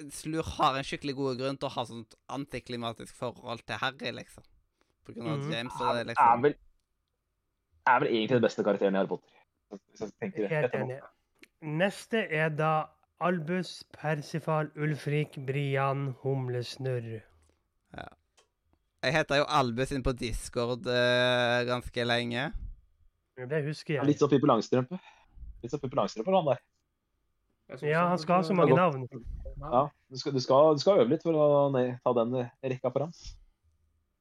øh, Slur har en skikkelig god grunn til å ha sånt antiklimatisk forhold til Harry, liksom. På grunn av at
Mhm.
James og
Er,
det,
er,
liksom.
vel, er vel egentlig den beste karakteren i Harry Potter. Hvis jeg tenker rett
Helt
etterpå.
enig. Neste er da Albus, Persifal, Ulfrik, Brian, Humlesnurr.
Jeg heter jo Albus inn på Discord øh, ganske lenge.
Det husker
Ja,
jeg.
Litt sånn Pippi Langstrømpe. Litt sånn Pippi Langstrømpe var han der.
jeg synes
Ja, han skal ha så
burde-
mange navn.
Ja, du skal, du skal, du skal øve litt for å ne- ta den rekka foran.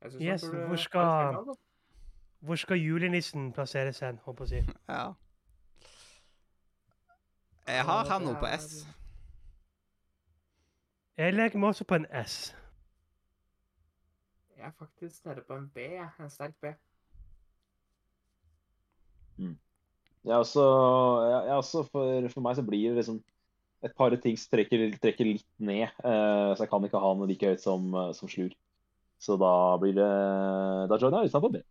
Jeg synes
Yes,
han burde-
hvor
han
skal-
spille av, da.
Hvor skal julenissen plasseres hen, håper jeg å si.
Ja. Jeg har
Ja,
han
det
nå på
er-
S.
Jeg leker meg også på en S.
Jeg er faktisk nede på en B, jeg. En sterk B.
Jeg er også, jeg, jeg er også for, for meg så blir det liksom et par ting som trekker, trekker litt ned. eh, så jeg kan ikke ha den like høyt som, eh, som slur. Så da blir det Da joiner jeg utenfor B.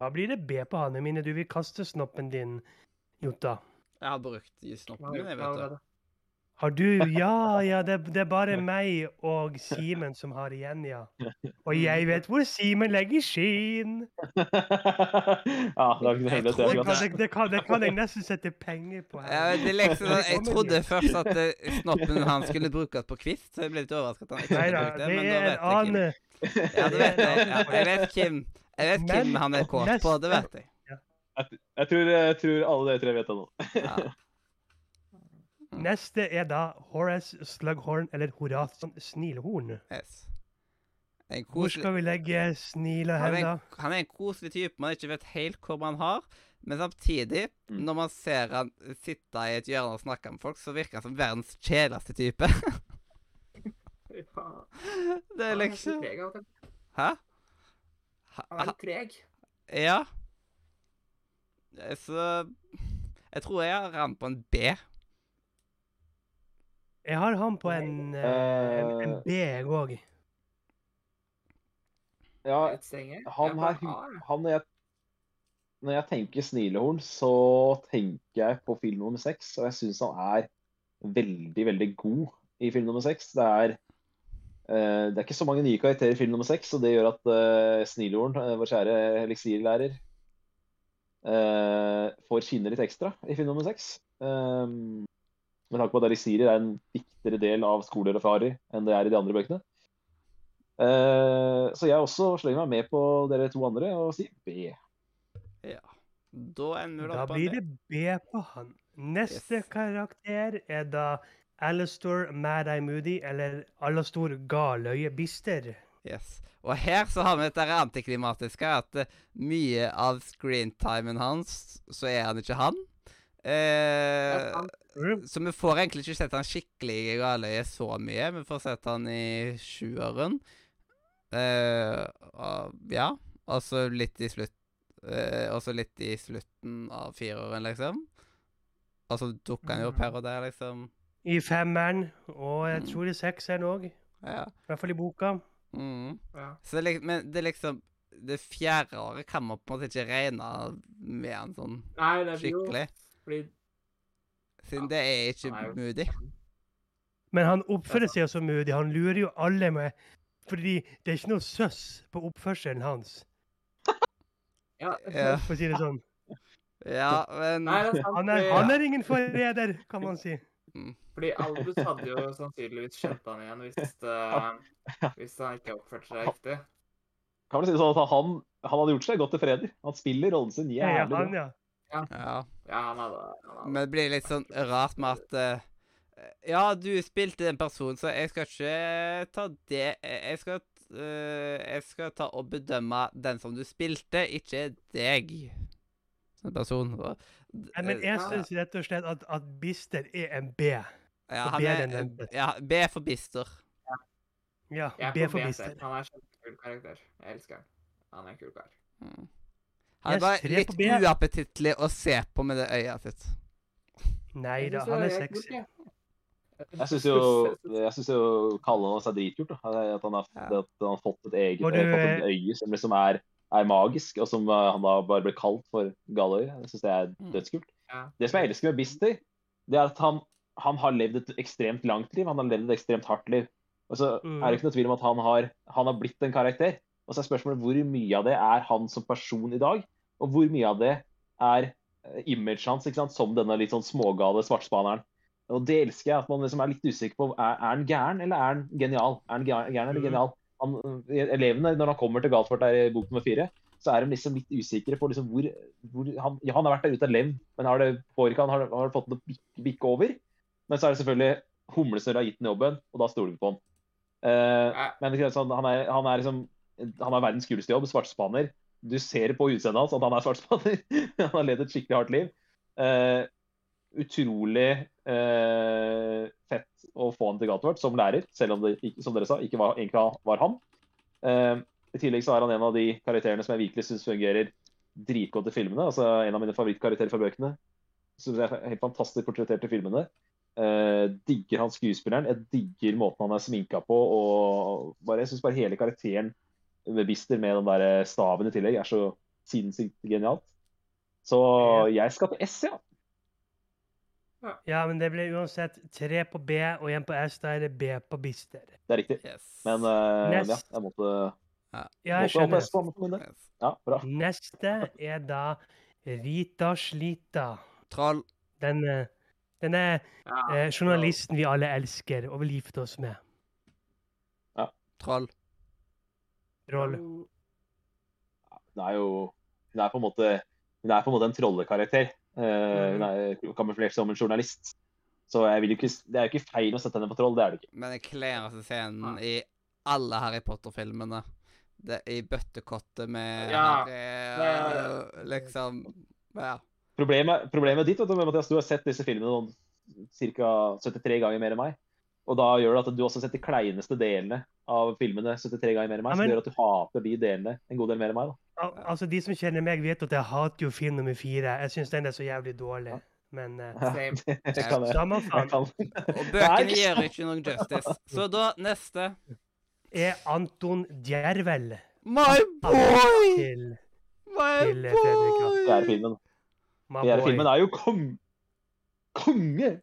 Da blir det B på hane mine. Du vil kaste snoppen din, Jota.
Jeg har brukt snoppen min, jeg, vet du.
Har du Ja, ja, det, det er bare meg og Simen som har igjen, ja. Og jeg vet hvor Simen legger skinn.
ja, det var ikke
Jeg
noe hemmelig.
tror
Det
Det,
kan,
altså.
jeg- det, kan, det kan jeg nesten sette penger på.
Ja,
her.
det er liksom, sånn- jeg
Velkommen
trodde
hit.
først at eh, snoppen hans skulle brukes på kvist, så jeg ble litt overrasket at han ikke
Nei
hadde
da,
brukt det.
det
Men nå
er
vet jeg Kim.
en annen
Ja, det vet jeg. Ja, jeg vet Kim. Jeg vet Kim
Men-
han er kåt på, det vet jeg.
jeg, tror, jeg tror alle dere tre vet det nå.
Ja.
Neste er da Horace Slughorn, eller Horace sånn Snilhorn.
Yes. En
Hvor
koselig,
skal vi legge Snila
han,
hen,
er
da?
en, han er en koselig type man ikke vet helt hvor man har, men samtidig,
Mm.
når man ser han sitte i et hjørne og snakke med folk, så virker han som verdens kjedeligste type.
Ja.
Det er
Han er litt
liksom
treg, han.
Hæ?
Han er litt treg.
Ja. Eh, Så Jeg tror jeg har rammet på en B.
Jeg har han på en, eh, en, en
Eh,
B, jeg òg.
Ja,
Litt strenge.
han
Jeg er
her
på en A, jeg.
han når jeg, når jeg tenker Snilehorn, så tenker jeg på film nummer seks. Og jeg syns han er veldig, veldig god i film nummer seks. Det er eh, det er ikke så mange nye karakterer i film nummer seks, og det gjør at uh, Snilehorn, eh, vår kjære eliksirlærer, eh, får skinne litt ekstra i film nummer seks. Um, med tanke på at eliksirer er en viktigere del av skoler og farer enn det er i de andre bøkene. Eh, så jeg også slenger meg med på dere to andre og sier B.
Da ender det
Da
opp på en
blir
B.
det B på han. Neste
Yes.
karakter er da Alastor Mad-Eye Moody, eller Alastor Galøye Bister.
Yes. Og her så har vi dette her antiklimatiske, at eh, mye av screentimen hans, så er han ikke han.
Ja,
Eh,
han-
så vi får egentlig ikke sett han skikkelig i galøyet så mye. Vi får sett han i sjueren. Eh, og- ja. Og så litt i slutt eh, Og så litt i slutten av fireåren, liksom. Og så dukker han jo
Mm.
opp her og der, liksom.
I femmeren, og jeg
Mm.
tror i sekseren òg.
Ja.
I hvert fall i boka.
Mm.
Ja.
Så lik- men det er liksom Det fjerde året kan man på en måte ikke regne med han sånn
Nei, det blir jo
skikkelig.
fordi
Siden det er ikke
Han er jo-
moody.
Men han oppfører seg jo så modig. Han lurer jo alle med Fordi det er ikke noe søss på oppførselen hans,
Ja.
Ja,
for å si det sånn.
ja men
Nei, det er sant.
Han er,
fordi-
han er ingen forræder, kan man si.
Fordi Albus hadde jo sannsynligvis kjent han igjen hvis, eh, hvis han ikke oppførte seg riktig.
Kan vel si det sånn at han, han hadde gjort seg godt til freder. Han spiller rollen sin
Ja, ja,
jævlig bra.
han, ja.
ja.
Ja, han hadde, han hadde.
Men det blir litt sånn rart med at eh, Ja, du spilte en person, så jeg skal ikke ta det Jeg skal, eh, jeg skal ta og bedømme den som du spilte, ikke deg som person. Og, eh,
Nei, Men jeg
Ja.
syns rett og slett at, at Bister er en B.
ja,
for
han
B er
er,
den nevnte.
ja, B er for bister.
Ja,
Jeg er
B
på
for
B
Bister.
selv. Han er kjempekul karakter. Jeg elsker han. Han er en kul kar.
Mm. Han
Jeg
er bare
strer
litt
på B.
uappetittlig å se på med det øyet sitt.
Nei
Jeg
da,
synes
han
det
er
helt kult,
sexy.
jeg.
Jeg syns jo, jeg synes jo Kalle hans er dritkult. da. At han har,
Ja.
at han har fått et eget
Var
øye,
du,
fått et øye som liksom er, er magisk, og som eh, han da bare ble kalt for Galløy. Jeg syns det er
Mm.
dødskult.
Ja.
Det som jeg elsker med Bister, det er at han, han har levd et ekstremt langt liv. Han har levd et ekstremt hardt liv. Og så
Mm.
er det ikke noe tvil om at han har, han har blitt en karakter. Og så er spørsmålet hvor mye av det er han som person i dag, og hvor mye av det er eh, imaget hans ikke sant? som denne litt sånn smågale svartspaneren. Og det elsker jeg, at man liksom er litt usikker på er, er han gæren eller er han genial. Er han gæren, gæren eller
Mhm.
genial? Han, eh, elevene, når han kommer til Galtvort der i bok nummer fire, så er de liksom litt usikre på liksom hvor, hvor han, ja, han har vært der ute og levd, men har det, får ikke han, har, har det fått det å bikke- bikke over? Men så er det selvfølgelig Humlesnørr har gitt den jobben, og da stoler vi på han. Eh,
Ja.
men det er sånn, han, er, han er liksom Han har verdens kuleste jobb, svartspaner. Du ser på utseendet hans at han er svartspaner. han har levd et skikkelig hardt liv. Eh, utrolig eh, fett å få han til Gatvert som lærer, selv om det ikke- som dere sa, ikke var, egentlig var han. Eh, I tillegg så er han en av de karakterene som jeg virkelig syns fungerer dritgodt i filmene. altså En av mine favorittkarakterer fra bøkene. Synes jeg er helt fantastisk portrettert i filmene. Eh, digger han skuespilleren. Jeg digger måten han er sminka på. og bare, Jeg syns bare hele karakteren med Bister med den der staven i tillegg er så sinnssykt genialt. Så jeg skal til S, ja.
Ja, men det ble uansett tre på B og én på S. Da er det B på Bister.
Det er riktig.
Yes.
Men eh,
Nest.
ja, jeg måtte,
Ja, jeg
måtte opp
skjønner.
S på måtte på det.
yes.
Ja, bra.
Neste er da Rita Slita.
Troll.
Den, eh, denne
Ja,
eh, journalisten vi alle elsker og vil gifte oss med.
Troll.
Roll.
Hun er jo Hun er på en måte, hun er på en, måte en trollekarakter. Eh,
Mm.
hun er kamuflert som en journalist. Så jeg vil jo ikke, det er jo ikke feil å sette henne på troll. det er det ikke.
Men den klæreste
Ja.
scenen i alle Harry Potter-filmene. Det I bøttekottet med
Ja,
Harry
det-
og liksom Ja.
Problemet, problemet ditt vet du, med Mathias, du har sett disse filmene noen ca. 73 ganger mer enn meg. Og da gjør det at du også har sett de kleineste delene av filmene 73 ganger mer enn meg.
Ja, men-
Så det gjør at du hater de delene en god del mer enn meg. da.
Al altså, de som kjenner meg, vet at jeg hater jo film nummer fire. Jeg syns den er så jævlig dårlig. Men eh,
Same.
Det kan jeg.
samme
jeg
faen.
kan.
Og
Nei,
bøkene
ikke
gjør ikke noen justice. Så da neste
Er Anton Djervel
My boy!
til
My
Til Fredrik, ja.
Det er
boy!
filmen.
My
Det er
Boy?
filmen er jo kong... konge!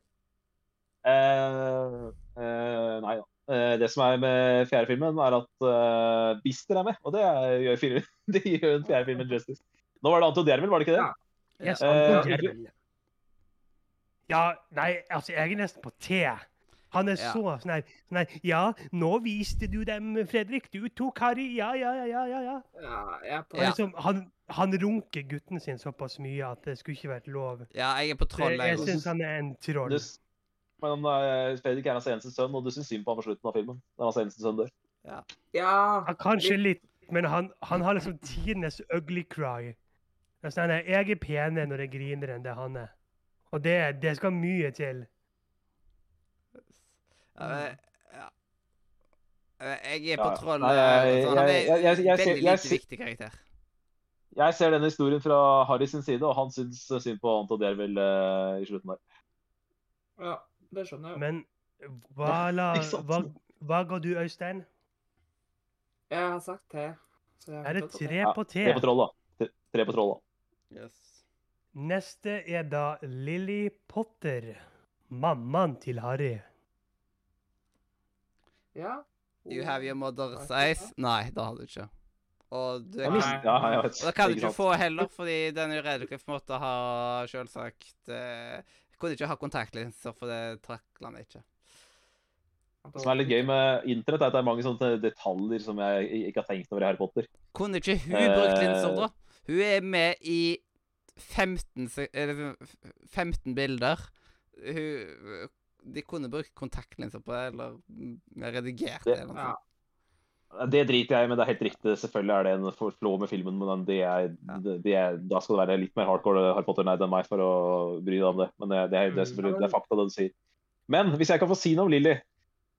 Eh, eh, nei da. Eh, det som er med fjerde filmen, er at eh, Bister er med. Og det er, gjør, filmen, det gjør den fjerde filmen justice. Nå var det Anto Djervel, var det ikke det?
Ja.
Yes,
Eh,
Anton
ikke-
Djervel. Ja, nei, altså, jeg er nesten på T. Han er
Ja.
så sånn her sånn her, Ja, nå viste du dem, Fredrik. Du tok Harry. Ja, ja, ja, ja. ja, ja.
Ja, jeg er på
Han,
Ja.
liksom, han, han runker gutten sin såpass mye at det skulle ikke vært lov.
Ja, jeg er sånn. på
Så
troll.
Jeg, jeg
Jeg.
syns han er en troll.
Du, s- men eh, Fredrik er hans eneste sønn, og du syns synd på ham på slutten av filmen. Når hans eneste sønn dør.
Ja,
Ja, kanskje litt, men han, han har liksom tidenes ugly cry. Det er sånn, nei, jeg er penere når jeg griner enn det han er. Og det, det skal mye til.
Ja, men- ja. Jeg er
Ja,
på
ja.
troll.
Nei, jeg-
så Han
jeg- jeg- jeg-
er
jeg-
en veldig
jeg-
lite viktig karakter.
Jeg ser denne historien fra Harry sin side, og han syns synd på Anto Djervel eh, i slutten der.
ja, det skjønner jeg. jo.
Men hva, la,
ikke sant?
hva, hva ga du, Øystein?
Jeg har sagt T. så jeg har
Er det
forstått
tre på T?
Tre på troll, da. Tre, tre på troll, da.
Yes.
Neste er da Lily Potter. Mammaen til Harry.
Ja.
You have your mother's
Nei.
eyes. Nei, det har du ikke. Og du
Ja,
kan,
Jeg
men-
visste, ja, jeg vet,
og det kan du
ikke
ikke
sant.
få heller, fordi den er Radcliffe måtte ha selvsagt eh, Kunne ikke ha kontaktlinser, for det takla han ikke.
Det som er litt gøy med internett, er at det er mange sånne detaljer som jeg ikke har tenkt over i Harry Potter.
Kunne ikke hun brukt
Eh.
linser, da? Hun er med i 15, se- eller f- 15 bilder. Hun De kunne brukt kontaktlinser på det, eller mm, redigert det,
Det-
eller noe
Ja.
sånt.
Det driter jeg i, men det er helt riktig. Selvfølgelig er det en for- flå med filmen, men det er, det, det er, da skal du være litt mer hardcore Harry Potter-nerd enn meg for å bry deg om det. Men det, det, er, det, er, selvfølgelig- det er fakta, det du sier. Men hvis jeg kan få si noe om Lilly,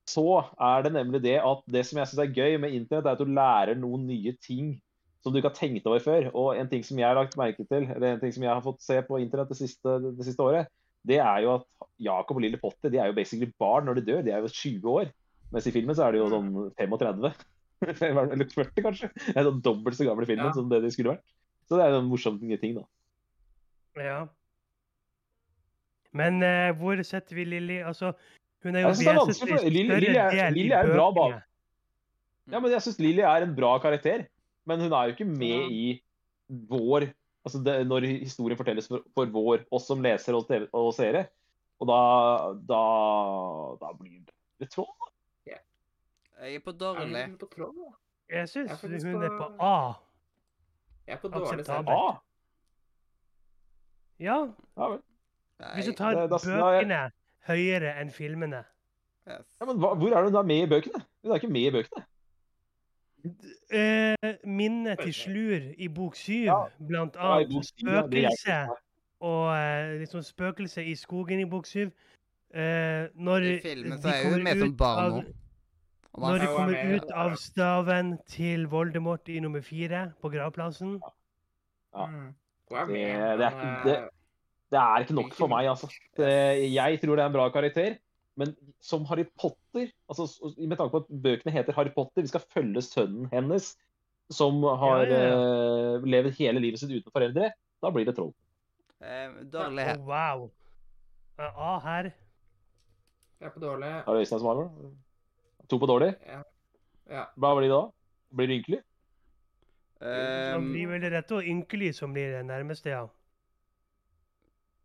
så er det nemlig det at det som jeg syns er gøy med internett, er at du lærer noen nye ting som du ikke har tenkt over før. Og en ting som jeg har lagt merke til, eller en ting som jeg har fått se på internett det siste, det siste året, det er jo at Jacob og Lille Potter de er jo basically barn når de dør. De er jo 20 år. Mens i filmen så er de jo sånn 35. Eller 40, kanskje. Det er sånn dobbelt så gammel i filmen
Ja.
som det de skulle vært. Så det er jo en morsom ting, da.
Ja. Men eh, hvor setter vi Lilly? Altså, hun er jo
Jeg synes det er vanskelig, for Lily- Lily er- Lily er en bra
bøkene.
bak- Ja, men jeg syns Lily er en bra karakter, men hun er jo ikke med i vår Altså det, når historien fortelles for, for vår, oss som leser og, TV, og seere. Og da, da Da blir det litt tråd. da.
Jeg er på
Jeg
dårlig.
er litt på tråd, da.
Jeg syns
Jeg er faktisk
hun er på
på-
A.
Jeg er på dårlig
Akseptabel.
sted.
Ah,
Ja,
ja, vel.
hvis du
Nei,
tar
det- da- da-
bøkene høyere enn filmene.
yes.
ja, men hva, hvor er hun da med i bøkene? Hun er ikke med i bøkene.
Eh, minnet til Slur i bok syv,
Ja.
blant
Ja, i
annet.
bok syv, ja, det er jeg
spøkelse og eh, liksom spøkelse i skogen i bok syv. Eh, når
I filmen så
de
er hun
kommer
med som
ut
barn
av-
nå. Og man-
Når de
Ja,
kommer
men-
ut av staven til Voldemort i nummer fire på gravplassen.
Ja.
Mm. Hun er
Det-
med,
det er
men,
ikke- det-
eh,
Det er ikke nok for meg, altså. Det- Jeg tror det er en bra karakter, men som Harry Potter altså, s- Med tanke på at bøkene heter Harry Potter, vi skal følge sønnen hennes, som har
Ja, ja,
eh, levd hele livet sitt uten foreldre, da blir det troll.
Eh, dårlig
Å,
her.
wow. Eh, A her.
Jeg er på dårlig.
Er det Øystein som har det? To på dårlig?
Ja.
Hva blir det da? Blir det ynkelig?
Så
Um,
blir vel det rette og ynkelig som blir det nærmeste, ja.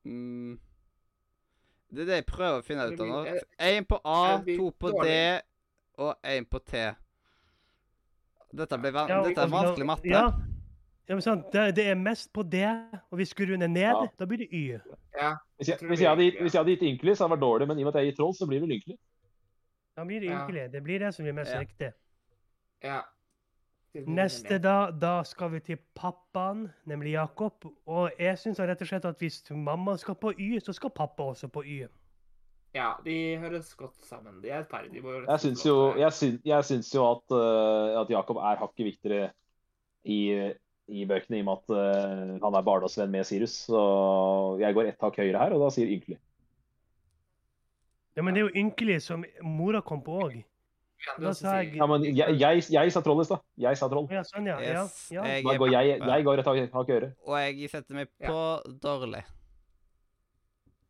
mm, det er det jeg prøver å finne ut av nå.
Jeg-
Én på A,
jeg blir
to på D
dårlig.
og én på T. Dette, blir van
ja
Dette er
og- og-
vanskelig matte.
Ja, ja men sant. Det, det er mest på D, og vi skrur den ned.
Ja.
Da blir det Y.
Hvis jeg,
Jeg tror det
hvis jeg, hadde,
blir
gitt-
ynkelig,
hvis jeg hadde gitt ynkelig, så hadde det vært dårlig, men i og med at jeg gir troll, så blir det vel ynkelig.
Da blir det
Ja.
ynkelig. Det blir det som blir mest
Ja.
riktig.
ja. Til den
Neste,
med.
da, da skal vi til pappaen, nemlig Jakob. Og jeg syns rett og slett at hvis mamma skal på Y, så skal pappa også på Y.
Ja, de høres godt sammen. De er et par. De må liksom
Jeg syns jo, jeg syns, jeg syns jo at, eh, at Jakob er hakket viktigere i, i bøkene, i og med at eh, han er barndomsvenn med Sirus. Så jeg går ett hakk høyere her, og da sier ynkelig.
Ja, Men det er jo ynkelig som mora kom på òg. da sa jeg-
Ja, men jeg, jeg, jeg sa troll i stad. Jeg sa troll.
Ja, sånn, ja. ja,
Yes,
ja.
jeg
Da
er
går jeg,
pappa,
jeg går et hakk hakk høyere.
Og jeg setter meg
Ja.
på dårlig.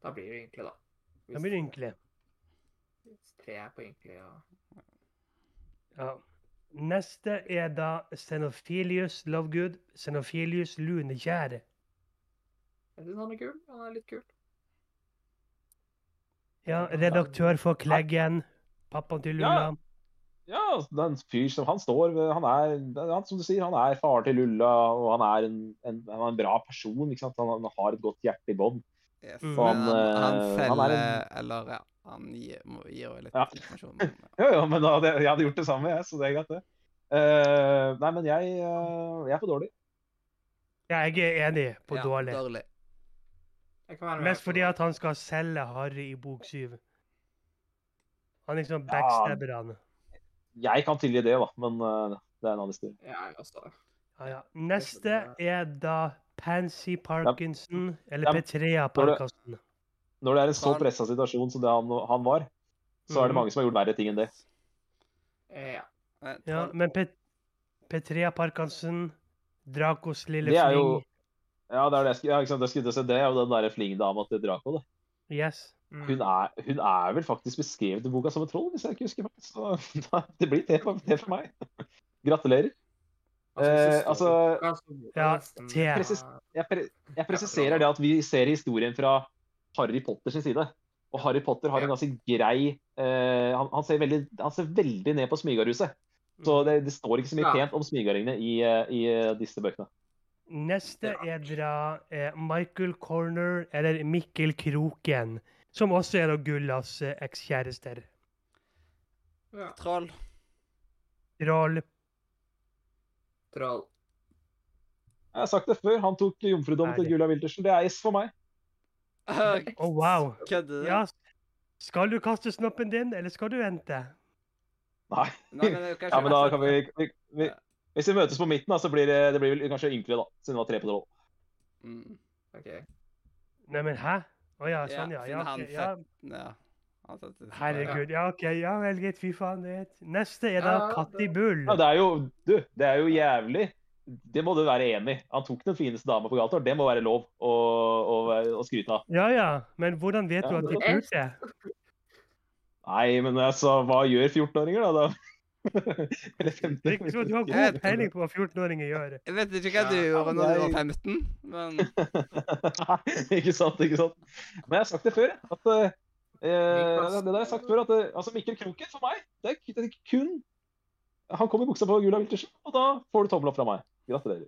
Da blir det ynkelig, da. Hvis,
Da blir det ynkelig.
hvis tre er på ynkelig, og
Ja. Neste er da Xenophilius Lovegood. Xenophilius Lunekjær.
Jeg syns han er kul. Han er litt kul.
Ja, redaktør for Kleggen. Pappaen til
Ja.
Luna.
Ja, det er en fyr som han står ved- Han er han, som du sier, han er far til Lulla, og han er en, en, han er en bra person. Ikke sant? Han, han har et godt hjerte i bånd.
Yes.
Mm.
men
Han,
Han, han
eh, han er
selger
en-
Eller ja, han gir, må, gir jo litt
Ja.
informasjon. men, ja.
Jo, jo, men da hadde, jeg hadde gjort det samme, jeg, så det er greit, det. Eh, nei, men jeg, eh, jeg er for dårlig.
Ja, jeg er enig på
Ja,
dårlig.
dårlig.
Jeg kan være med
Mest
på
fordi
det.
at han skal selge Harry i bok syv. Han liksom
Ja.
backstabber han.
Jeg kan tilgi det, da, men eh, det er en annen historie.
Ja, jeg også.
Ja, ja. Neste er da Pansy Parkinson, eller
Ja, men-
Petrea Parkinson.
Når det er en så
Barn.
pressa situasjon som det han, han var, så er
Mhm.
det mange som har gjort verre ting enn det.
Eh, Ja.
Nei,
Ja,
troll.
men Pet Petrea Parkinson, Dracos lille
Det er
fling
jo Ja, det er det jeg skulle ja, ikke sant, jeg skulle til å si. Det er jo den derre flingdama til Draco, det.
Yes.
Mm. Mhm.
Hun er, hun er vel faktisk beskrevet i boka som et troll, hvis jeg ikke husker feil. Så da, det blir det for, det for meg. Gratulerer. Eh, altså-
Ja, det-
Jeg, pre jeg presiserer det at vi ser historien fra Harry Potter sin side. Og Harry Potter har en ganske grei eh, han, han, ser veldig, han ser veldig ned på smygarhuset. Så det, det står ikke så mye
Ja.
pent om smygaringene i, eh, i eh, disse bøkene.
Neste er dra eh, Michael Corner, eller Mikkel Kroken, som også er da Gullas eh, ekskjærester.
Ja,
Troll.
Roll
troll.
Jeg har sagt det før, han tok jomfrudom til
Ærlig.
Gula Wiltersen. Det er S for meg.
Oh, wow.
Kødder du?
Ja, s- skal du kaste snoppen din, eller skal du vente?
Nei.
Nei, men det er jo kanskje
Ja, men da kan vi, vi, vi
Ja.
Hvis vi møtes på midten, da, så blir det, det blir vel kanskje ynkelig, da. Siden det var tre på tolv.
Mm,
OK.
Nei, men hæ? Å ja,
Ja,
sånn, ja.
siden
ja,
han
ok, ja.
ja. Han satt det-
Herregud. Ja, OK. Ja vel, greit. Fy faen. det er- Neste er da
Ja,
Katti
det-
Bull.
Ja, det er jo Du, det er jo jævlig. Det må du være enig i. Han tok den fineste dama på gata. Det må være lov å, å, å skryte av.
Ja ja, men hvordan vet
Ja,
du at de
det-
pulte?
Nei, men altså, hva gjør 14-åringer, da? da? Eller
Det er ikke sånn at du har god peiling på hva 14-åringer gjør.
Jeg vet ikke hva
Ja,
du gjorde når du var
jeg-
15, men
ikke sant, ikke sant. Men jeg har sagt det før, jeg, at eh,
Niklas.
det der har jeg sagt før, at eh, altså Mikkel Kroken for meg, det er, det er kun Han kom i buksa på Gula Wiltersen, og da får du tommel opp fra meg. Gratulerer.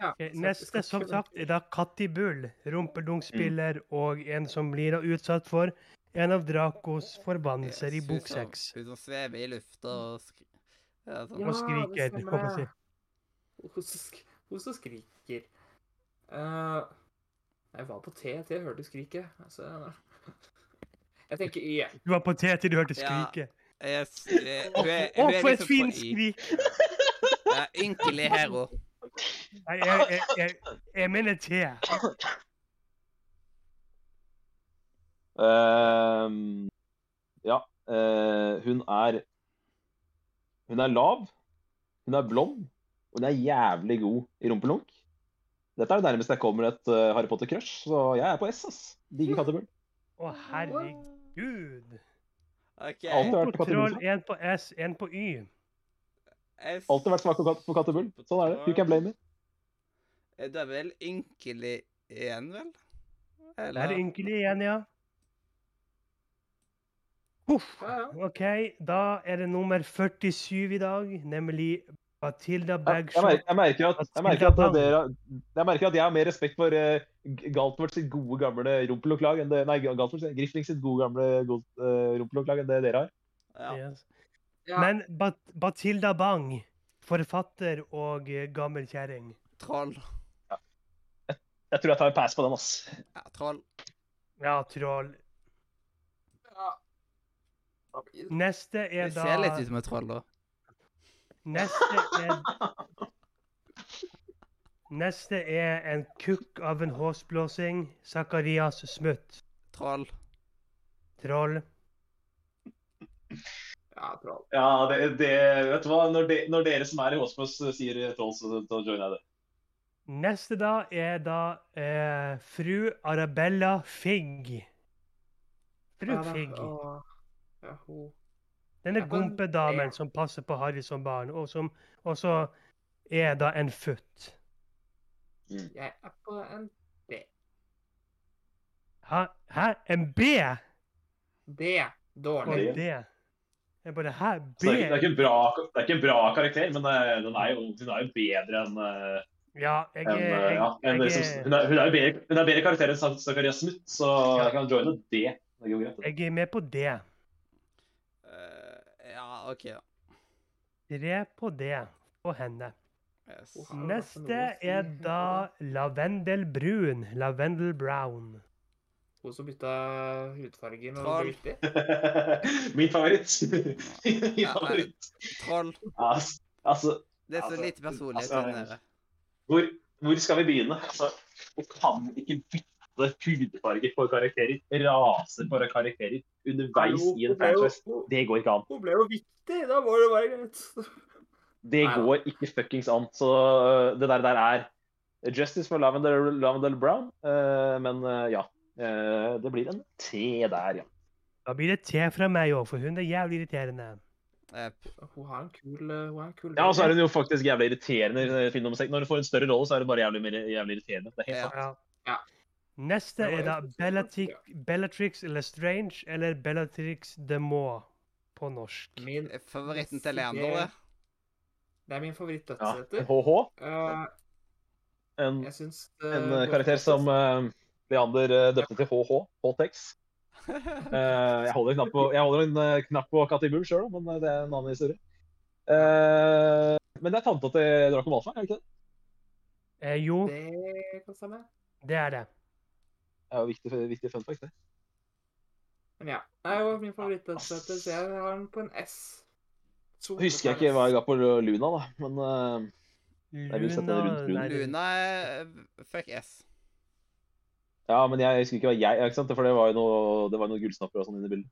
Ja,
Ok,
så-
Neste,
skal
som
ikke-
sagt, er da Katti Bull, rumpedunkspiller og en som blir da utsatt for en av Dracos
Sånn
forbannelser i
Yes,
bok
hun som-
seks.
Hun som svever i lufta og skri... Ja, sånn.
Ja,
Og skriker,
det
holdt jeg på å si.
stemmer. Hun som sk- hun som skriker Eh, Jeg var på T til jeg hørte skriket. Altså, jeg tenker I.
Du var på T til du hørte
Ja,
skrike.
Jeg s- jeg- hun er-
Å,
hun er
for et
liksom på
fint
i.
skrik!
Ja, Ynkelig hero.
Nei, jeg, jeg, jeg, jeg mener T.
Ehm, ja. eh, hun er Hun er lav, hun er blond, og hun er jævlig god i rumpelunk. Dette er det nærmeste jeg kommer et eh, Harry Potter-crush, så jeg er på S. ass. Digger kattebull.
Å, herregud.
OK.
Alt
En
har vært
på
på
troll,
kattebull.
en på S, en på Y.
jeg s-
Alltid vært svak på kat- på kattebull. Sånn er det. You can blame me.
Du Eh, er vel ynkelig igjen, vel?
Det er ynkelig igjen, ja. Huff.
Ja, ja.
OK, da er det nummer 47 i dag, nemlig Batilda
Jeg, jeg, merker,
Bagshot.
jeg, merker at, jeg merker at dere Jeg merker at jeg har mer respekt for uh, Galtvort sitt gode gamle rumpeloklag enn det Nei, Galtvort sitt Grifling sitt gode gamle god- eh, rumpeloklag enn det dere har.
Ja.
Yes.
Ja.
Men Bat Batilda Bang, forfatter og eh, gammel kjerring.
Troll.
Jeg tror jeg tar en pass på den, ass.
Ja, troll.
Ja, troll.
ja.
Neste er
Hun
da
ser litt ut som et troll, da.
Neste er Neste er en kukk av en håsblåsing. Zakarias Smutt.
Troll.
Troll.
ja, troll.
Ja, det, det Vet du hva, når, de, når dere som er i Håsplass sier troll, så, så joiner jeg det.
Neste da er da eh, fru Arabella Figg. Fru
Ja da,
Figg.
og- Ja, hun
Denne
ja, men-
gompedamen som passer på Harry som barn, og som også er da en futt.
Jeg er på en
Hæ? Hæ? En B?
D.
Og
Dårlig.
Oi.
en D? Jeg bare Hæ? B?
Så det, er, ikke- det, er ikke en bra, det er ikke en bra karakter, men eh, den er jo, hun er jo bedre enn eh,
Ja, jeg
enn, eh,
er
ja, enn det
jeg,
som-
jeg,
Hun er hun er jo bedre, hun er bedre karakter enn Zakarias Smutt, så jeg kan joine det. Det er jo greit. det.
jeg er med på D.
Eh, ja, OK. da.
Tre på D på henne.
Yes.
Hun har i hvert fall noe å
Neste
si.
er da Lavendel Brun. Lavendel Brown.
Hun som bytta hudfarge når
Troll.
hun ble riktig.
Min favoritt. Min favoritt.
Troll.
Altså, altså
Det er så
Altså,
lite personlighet
altså,
inni der.
hvor, hvor skal vi begynne? Altså, vi kan ikke bytte hudfarge for karakterer. Raser for karakterer underveis i en
Hun ble jo-
franchise.
hun-
Det går ikke an.
Hun ble jo viktig! Da må det være greit.
Det
Nei da.
går ikke fuckings an. Så øh, det der, der er justice for Lavendel, Lavendel Brown. øh, men øh, ja, Eh, det blir en T der, ja.
Da blir det te fra meg òg, for hun er jævlig irriterende.
Jepp.
Hun har en kul eh, hun har en kul
Ja, Og så er hun jo faktisk jævlig irriterende. i film nummer seks. Når du får en større rolle, så er det bare jævlig, mer- jævlig irriterende. Det er helt
Ja.
sant.
Ja.
Ja.
Neste
Det var
er da
helt-
Bellatrix, Bellatrix Lestrange eller Bellatrix de Mois på norsk.
Min,
Favoritten til
Det-
Leander, det.
det er min
Ja.
favoritt-dødssetter.
HH,
Eh,
en,
jeg syns
en eh, karakter som eh, Leander eh, døpte til HH, H-Tex. Eh, jeg holder en knapp på, jeg holder en eh, knapp på Katti Bull sjøl, men eh, det er en annen historie. Eh, men det er tanta til Draco Malfa, er det ikke det?
Eh, jo,
Det kan stemme.
det er det.
Det er jo viktig, viktig fun fact, det.
Men ja. Det er jo min favoritt-dødssetter, så jeg har den på en S.
Husker jeg ikke hva jeg ga på Luna, da, men eh, vil sette det
Luna
rundt
nei, det-
Luna er Fuck S.
Ja, men jeg husker ikke hva jeg ikke sant? For det var jo noe, det var noe gullsnapper og sånn inne i bildet.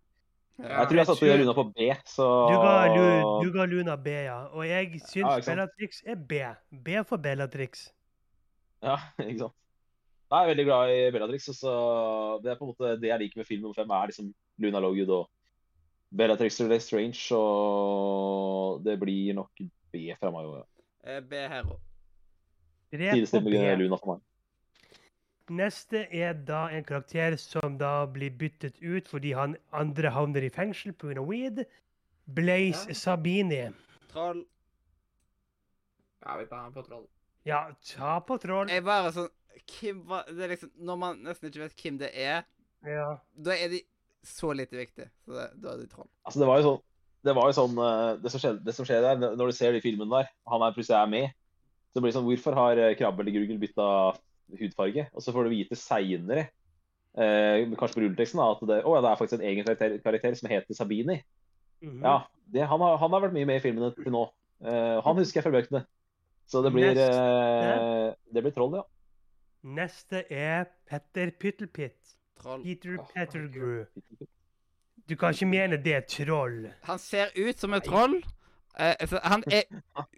Ja.
Jeg tror jeg satte Luna på B, så
Du ga, Lu, du ga Luna B, ja. Og jeg syns
Ja, ikke sant.
Bellatrix er B. B for Bellatrix.
Ja, ikke sant. Nei, Jeg er veldig glad i Bellatrix. og så det er på en måte det jeg liker med film nummer fem, er liksom Luna Logood og Bellatrix og Strange, og det blir nok B fra meg. også, ja.
Eh, B her òg.
Tre på
Sidestilt med
B.
Luna for meg.
Neste er da en karakter som da blir byttet ut fordi han andre havner i fengsel pga. weed. Blaze
Ja.
Sabini.
Troll.
Ja, vi tar den på troll.
Ja, ta på troll.
Jeg bare sånn Hvem var Det er liksom Når man nesten ikke vet hvem det er,
Ja.
da er de så lite viktige. Så det, da er de troll.
Altså, det var jo sånn, det, var jo sånn eh, det, som skjedde, det som skjer der, når du ser de filmene der, han er plutselig er med, så blir det sånn Hvorfor har eh, Krabbe eller Gurgel bytta hudfarge? Og så får du vite seinere, eh, kanskje på rulleteksten, da, at det, å, ja, det er faktisk en egen karakter, karakter som heter Sabini.
Mhm.
Ja, det, han, har, han har vært mye med i filmene til nå. Eh, han husker jeg fra bøkene. Så det blir, eh, det blir troll, ja.
Neste er Petter Pyttelpitt.
Troll.
Peter
Åh,
Pettergrew. Du kan ikke mene det er troll.
Han ser ut som et troll. Eh, altså, han er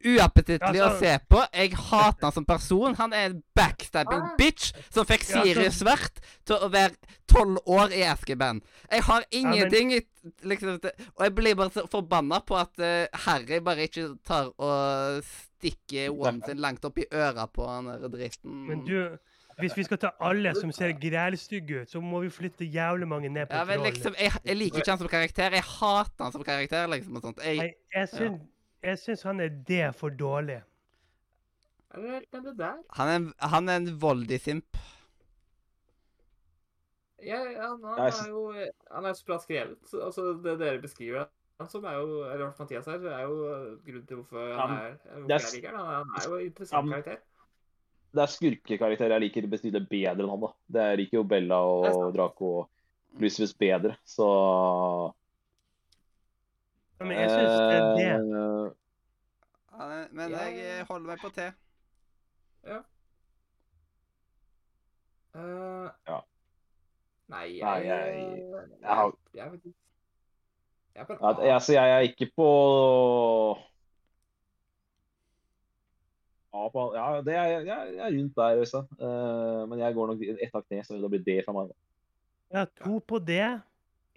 uappetittlig å
Altså-
se på. Jeg hater han som person. Han er en backstabbing
Ah.
bitch som fikk
Ja, altså-
Siri Svart til å være tolv år i Askeband. Jeg har ingenting i- liksom, til- Og jeg blir bare så forbanna på at eh, Harry bare ikke tar og stikker Wong sin langt opp i øra på han der dritten.
Men du,
Mm.
hvis vi skal ta alle som ser grælstygge ut, så må vi flytte jævlig mange ned på
ja, men
troll.
liksom, jeg, jeg liker ikke han som karakter. Jeg hater han som karakter, liksom, og sånt. Jeg,
Nei, jeg, syns, jeg syns han er det for dårlig.
Eller den det der.
han, er en, han er en voldig simp.
Jeg, han, han,
Jeg
er
syns-
jo, han er jo så bra skrevet. så- Altså, det dere beskriver han som, er jo, eller i hvert fall Mathias her, er jo eh, grunnen til hvorfor han
men
er, hvorfor
det er
jeg
s-
liker han. Han er jo en
Ja,
interessant
men-
karakter.
Det er skurkekarakterer jeg liker betydelig bedre enn han. da. Det jeg liker jo Bella
Det
og
er sant.
Draco og Lucius bedre, så
Ja, Men jeg syns det er det.
Eh,
Han er, men
Ja, ja, ja.
jeg holder meg på T.
Eh,
Ja.
Nei, jeg
Nei, jeg-
jeg,
har-
jeg er faktisk- jeg er på en
at-
annen.
altså, jeg er ikke på ja, på, ja, det er, jeg, jeg er rundt der, Øystein. Eh, men jeg går nok ett hakk ned, så det blir det fra meg. da.
Ja, to på D,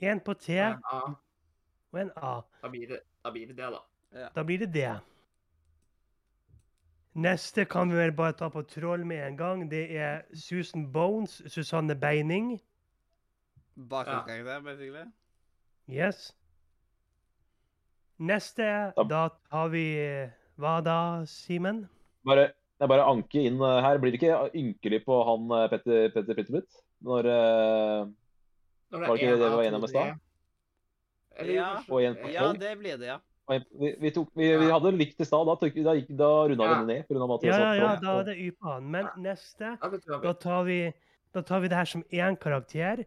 én på T
Men, ja,
og en A.
da, blir det, da blir det det, da.
Da blir det det. Neste kan vi vel bare ta på troll med en gang. Det er Susan Bones, Susanne Beining.
Bakgrunnskarakter, basically.
Yes. Neste,
Da-
da tar vi Hva da, Simen?
Bare, jeg bare anke inn eh, her. Blir det ikke ynkelig på han eh, Petter Petter Pyttebutt? Når eh,
Når
Var det ikke det
en
vi
av
var enige om i
to,
stad?
det- Eller
Ja.
kanskje-
Og en på
Ja, det blir det, ja.
vi, vi, tok, vi, vi
Ja.
hadde likt i stad, da, tok- da, gikk- da runda
Ja.
vi det ned. På grunn av Mathias
Ja, ja, ja,
Oppdal.
da er det Y på han. Men neste,
Ja, vet du hva,
da tar vi, da tar vi det her som én karakter.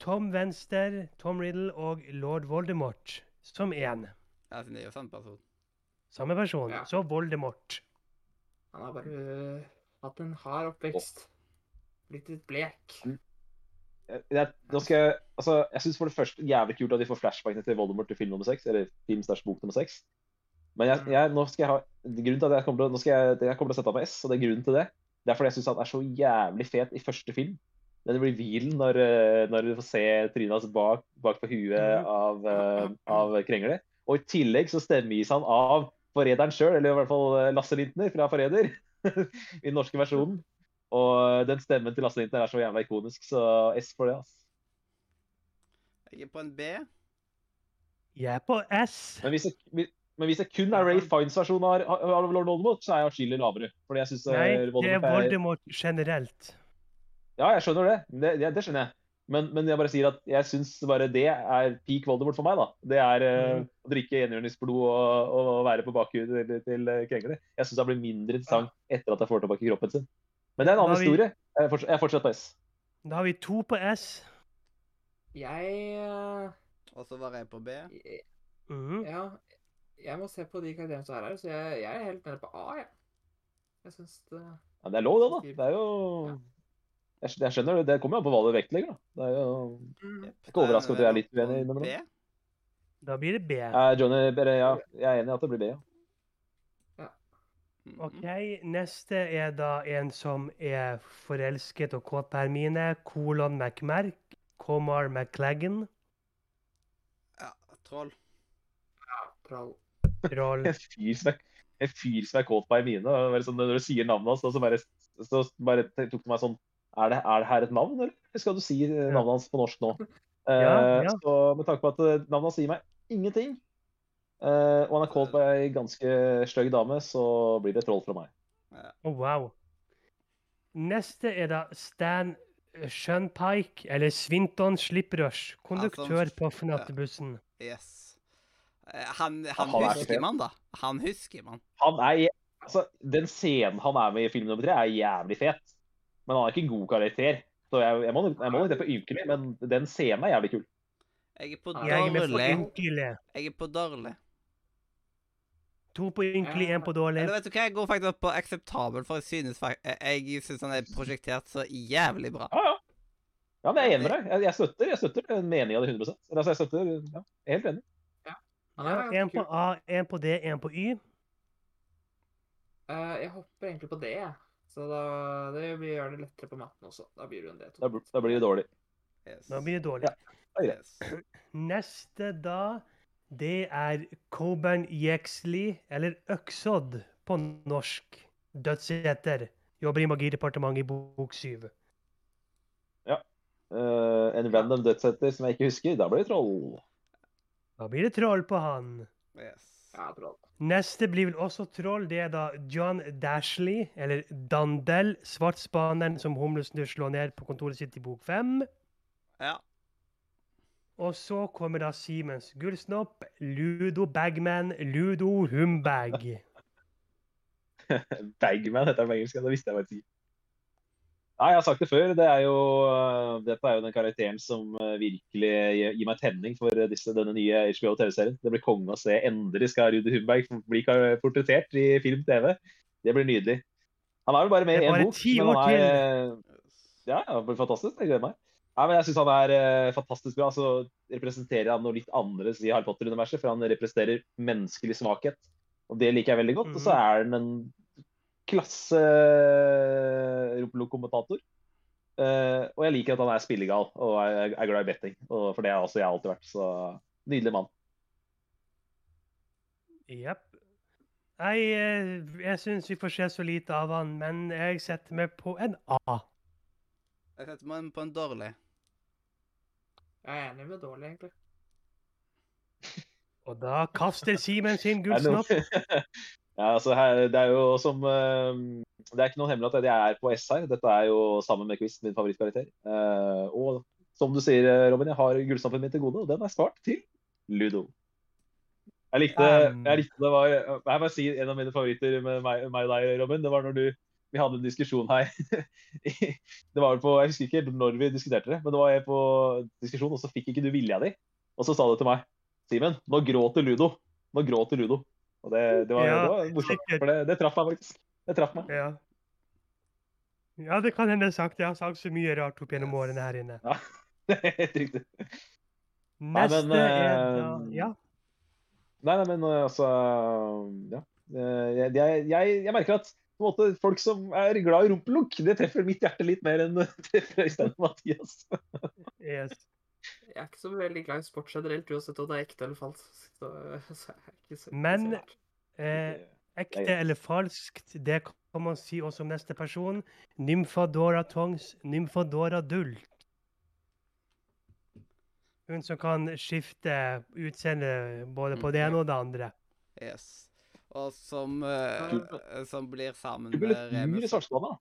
Tom Venstre, Tom Riddle og lord Voldemort som én.
Ja, siden det er jo samme person.
Samme person.
Ja.
Så Voldemort.
Han har bare øh, hatt en hard oppvekst. Blitt litt blek.
Jeg, jeg, nå skal jeg, altså, jeg syns for det første jævlig kult at vi får flashbackene til Voldemort til film nummer seks. Eller film slash bok nummer seks. Men jeg, jeg, nå skal jeg ha, grunnen til at jeg kommer til, å- nå skal jeg, jeg kommer til å sette av på S, og det er grunnen til det. Det er fordi jeg syns han er så jævlig fet i første film. den revealen når, eh, når du får se trynet hans bak, bak på huet
Mhm.
av, eh, av Krengle. Og i tillegg så stemmegis han av forræderen sjøl, eller i hvert fall eh, Lasse Lintner fra Forræder. I den norske versjonen. Og eh, den stemmen til Lasse Lintner er så jævla ikonisk, så S for det. ass.
Jeg er på en B.
Jeg er på S.
Men hvis det, vi- men hvis det kun er Ray Fines versjon av, av Lord Voldemort, så er jeg atskillig lavere. Fordi jeg synes eh,
Nei, det er
Voldemort er
Voldemort generelt.
Ja, jeg skjønner det. Det, det, det skjønner jeg. Men, men jeg bare sier at jeg syns bare det er peak Voldemort for meg. da. Det er eh,
Mhm.
å drikke enhjørningsblod og, og, være på bakhudet til, til eh, krenkere. Jeg syns det blir mindre interessant etter at jeg får tilbake kroppen sin. Men det er en
Da
annen
har vi-
historie. Jeg er fortsatt- jeg er fortsatt på S.
Da har vi to på S.
Jeg
Og så var jeg på B.
eh,
Mhm.
Ja. Jeg må se på de karakterene som er her, så jeg, jeg er helt nede på A, jeg. Jeg syns det
Ja, det er lov, det, da. Det er jo Jeg, skj- jeg skjønner det. Det kommer jo an på hva du vektlegger. da. Det er jo...
mm,
Yep.
Ikke overrasket at jeg er litt
Da
uenig
jeg på
innimellom.
B.
Da blir det B.
Eh, Johnny, bare, ja, jeg er enig i at det blir B. ja.
Mhm.
OK, neste er da en som er forelsket og kåt på Hermine. Colon McMerk. Comar McClaggan.
Ja, troll.
troll.
Roll.
en fyr som er, en fyr som er kåt på Hermine. og det var Sånn, når du sier navnet hans, da så bare, så bare tok det meg sånn er det, er det her et navn, eller skal du si eh,
Ja.
navnet hans på norsk nå?
Ja,
Eh,
ja.
Så Med tanke på at eh, navnet hans sier meg ingenting, eh, og han er kåt på ei ganske stygg dame, så blir det troll fra meg.
Å, Oh, wow. Neste er da Stan Shunpike, eller Svinton Slipprush, konduktør
Altså,
på fnattebussen.
Yes. Eh, Han, han
han er så
husker
fet.
man, da. Han husker man.
Han er, jæ- altså, den scenen han er med i film nummer tre, er jævlig fet, men han er ikke en god karakter. Så jeg, jeg må nok jeg må nok det på ymkelig, men den scenen er jævlig kul.
Jeg er på
Ja,
Jeg er med på
dårlig.
ynkelig.
Jeg er på dårlig.
To på ynkelig, én på dårlig.
Eller vet du hva, jeg går faktisk opp på akseptabel, for jeg synes, fak- eh, jeg synes han er prosjektert så jævlig bra.
Ja, ja. Ja, men jeg er enig med deg. Jeg, jeg støtter jeg støtter en mening av det 100 Eller, altså, jeg støtter, ja, jeg er Helt enig.
Han er
Én
ganske
på
kul.
A, én på D, én på Y.
Eh, jeg hopper egentlig på D, jeg. Så da, det blir, gjør det lettere på matten også. Da blir det en D2.
Da, bl- da blir det dårlig.
Yes.
Da blir det dårlig.
Ja. Oi, det.
Yes.
Neste da, det er Coburn Jexley, eller Øksodd på norsk. Dødsheter. Jobber i Magidepartementet i bok syv.
Eh, en random dødshetter som jeg ikke husker, da blir det troll.
Da blir det troll på han.
Yes.
Ja, troll.
Neste blir vel også troll. Det er da John Dashley, eller Dandel, svartspaneren som humlesnurr slår ned på kontoret sitt i bok fem.
Ja.
Og så kommer da Simens Gullsnopp, Ludo Bagman, Ludo Humbag.
Bagman heter han på engelsk, ja, det visste jeg faktisk ikke. Nei, jeg har sagt det før. Det er jo, eh, dette er jo den karakteren som eh, virkelig gir, gir meg tenning for eh, disse, denne nye HBO TV-serien. Det blir konge å se. Endelig skal Rudi Humberg bli kar- portrettert i film-TV. Det blir nydelig. Han er vel bare med
Det er
i én
bare
bok,
ti
men
år
han er eh,
Yes.
Ja, ja, det blir fantastisk. Jeg gleder meg. Nei, men jeg syns han er eh, fantastisk bra. Så representerer han noe litt annerledes i Harry Potter-universet, for han representerer menneskelig svakhet. Og det liker jeg veldig godt. Og så er han en klasse lokomotator. Eh, og jeg liker at han er spillegal og er, er glad i betting, og for det har også jeg alltid vært. Så nydelig mann.
Jepp. Nei, eh, jeg syns vi får se så lite av han, men jeg setter meg på en A.
Jeg setter meg på en dårlig.
Jeg er enig med dårlig, egentlig.
Og da kaster Simen sin
Er det noe-
gullsnopp.
ja, altså her, det er jo som eh, Det er ikke noe hemmelig at jeg er på S her. Dette er jo sammen med Quiz min favorittkarakter. Eh, og som du sier, eh, Robin, jeg har gullstampen min til gode, og den er spart til Ludo. Jeg likte,
Um.
jeg likte det var Jeg må bare si en av mine favoritter med meg, meg og deg, Robin. Det var når du vi hadde en diskusjon her. i- det var vel på, Jeg husker ikke helt når vi diskuterte det, men det var jeg på diskusjon, og så fikk ikke du vilja di. Og så sa du til meg Simen, nå gråter Ludo. Nå gråter Ludo. Og det, det, var,
Ja,
det var morsomt,
sikkert.
for det, det traff meg faktisk. Det traff meg.
Ja. ja, det kan hende jeg har sagt. Jeg har sagt så mye rart opp gjennom
Yes.
årene her inne.
Helt riktig. men,
Neste er da
eh,
Ja.
Nei, nei, men eh, altså Ja. Eh, Jeg, jeg, jeg, jeg merker at på en måte, folk som er glad i rumpelunk, det treffer mitt hjerte litt mer enn det treffer Øystein og Mathias.
Yes.
Jeg er ikke så veldig glad i sport generelt, uansett om det er ekte eller falskt. Så, så er jeg ikke så,
Men-
så rart.
Eh, ekte eller falskt, det kan man si også om neste person. Nymfadora Tongs, Nymfadora Dult. Hun som kan skifte utseende både på
Mm-hmm.
det ene og det andre.
Yes. Og som, eh,
Ja.
som blir sammen
Du blir litt
med
yngre
Remus.
svartspanne, da.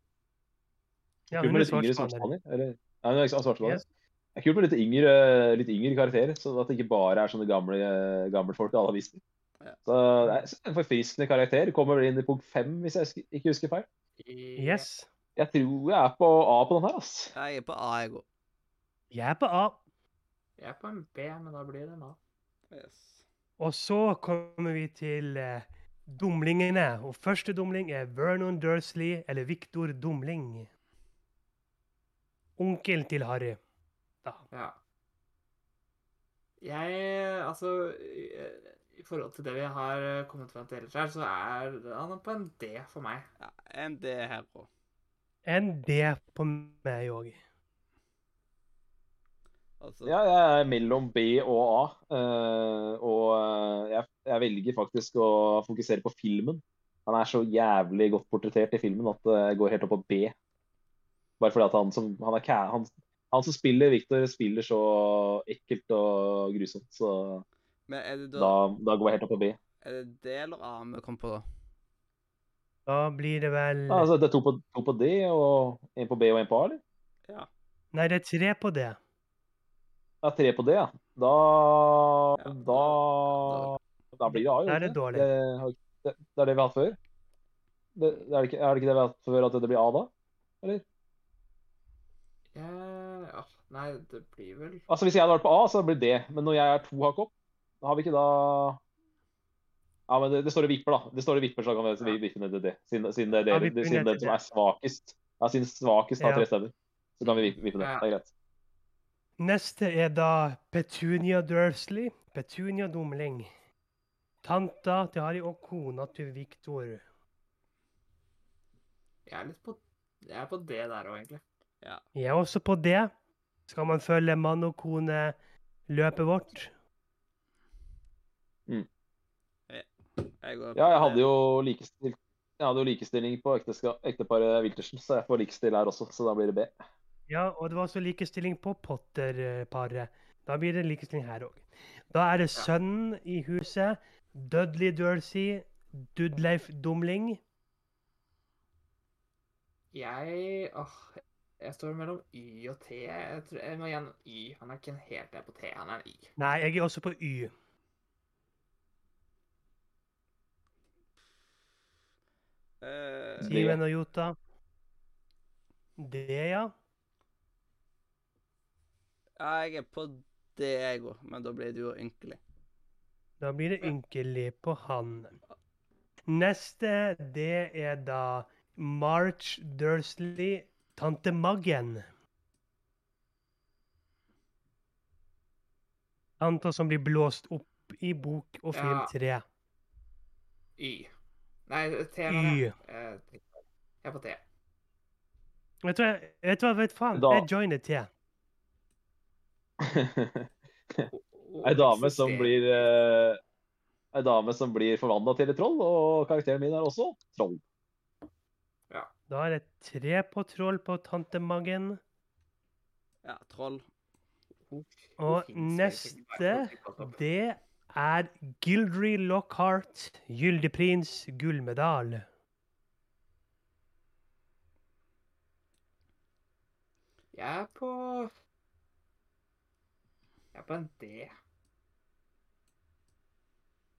Ja,
Kult
hun
med
er
litt yngre
svartspanner.
svartspanner. Eller, ja, hun er ikke svartspanner.
Yes.
Det er kult med litt yngre, litt yngre karakterer, så at det ikke bare er sånne gamle, gamle folk i alle aviser.
Ja.
Så det er en forfriskende karakter. Kommer vel inn i punkt fem, hvis jeg husker, ikke husker feil.
I-
Yes.
Jeg tror jeg er på A på den her, ass.
Jeg er på A, jeg òg.
Jeg er på A.
Jeg er på en B, men da blir det en A.
Yes.
Og så kommer vi til eh, dumlingene. Og første dumling er Vernon Dursley, eller Victor Dumling. Onkel til Harry. Da.
Ja. Jeg Altså i- I forhold til det vi har kommet frem til ellers her, så er han på en D for meg.
Ja, en D her òg.
En D på meg òg.
Altså,
Ja, jeg er mellom B og A. eh, og eh, jeg, jeg velger faktisk å fokusere på filmen. Han er så jævlig godt portrettert i filmen at eh, jeg går helt opp på B. Bare fordi at han som, han er, ca- han, han som spiller Victor, spiller så ekkelt og grusomt. Så
Men er det da
da, da går jeg helt opp på B.
Er det D eller A vi kom på, da?
Da blir det vel
Ja, altså, det er to på, to på D, og en på B og en på A, eller?
Nei, det er tre på det.
Ja, tre på D, ja. Da
Ja,
Da, da blir det A, jo.
Da er det
ikke
dårlig.
Det, har- det, det er det vi har hatt før? Det, det er, det ikke, er det ikke det vi har hatt før, at det blir A da?
Jeg, ja, nei, det blir vel
Altså Hvis jeg hadde vært på A, så blir det. Men når jeg er to hakk opp, da har vi ikke da Ja, men det, det står og vipper, da. Det står og vipper, så da kan vi vippe ned til D. Siden, siden det er
Ja,
dere,
vipper
siden
ned
den
til
som er svakest, ja, siden svakest har
Ja.
tre stemmer, så kan vi vippe, vippe ned.
Ja.
Det er greit.
Neste er da Petunia Dursley. Petunia Dumling. Tanta til Harry og kona til Victor.
Jeg er litt på Jeg er på D der òg, egentlig.
Jeg er også på det. Skal man følge mann og kone løpet vårt?
Jeg går
Ja, jeg
på D.
hadde jo likestil, jeg hadde jo likestilling på ekteska- ekteparet Wiltersen, så jeg får likestill her også, så da blir det B.
Ja, og det var også likestilling på Potter-paret. Da blir det likestilling her òg. Da er det sønnen i huset. Dudley Dursley. Dudleif Dumling.
Jeg åh, Jeg står mellom Y og T. Jeg tror jeg må igjen Y. Han er ikke en helt D på T, han er en Y.
Nei, jeg er også på Y.
Eh,
Det-
Simen og Jota. Det, ja.
ja, jeg er på D, jeg òg, men da blir det jo ynkelig.
Da blir det ynkelig på han. Neste, det er da March Dursley, tante Maggen. Tanta som blir blåst opp i bok og film
Ja.
tre.
Y. Nei, T mener jeg. Eh, Jeg er på T.
Vet du hva, vet du hva, vet faen,
Da-
jeg joiner til.
Ei dame som blir eh, Ei dame som blir forvandla til et troll, og karakteren min er også troll.
Da er det tre på troll på tante Maggen.
Ja, troll.
Hun- hun
Og
finnes egentlig bare
neste-
for å bli tatt opp.
Det er Gildry Lockhart, gyldig prins, gullmedal.
Jeg er på Jeg er på en D.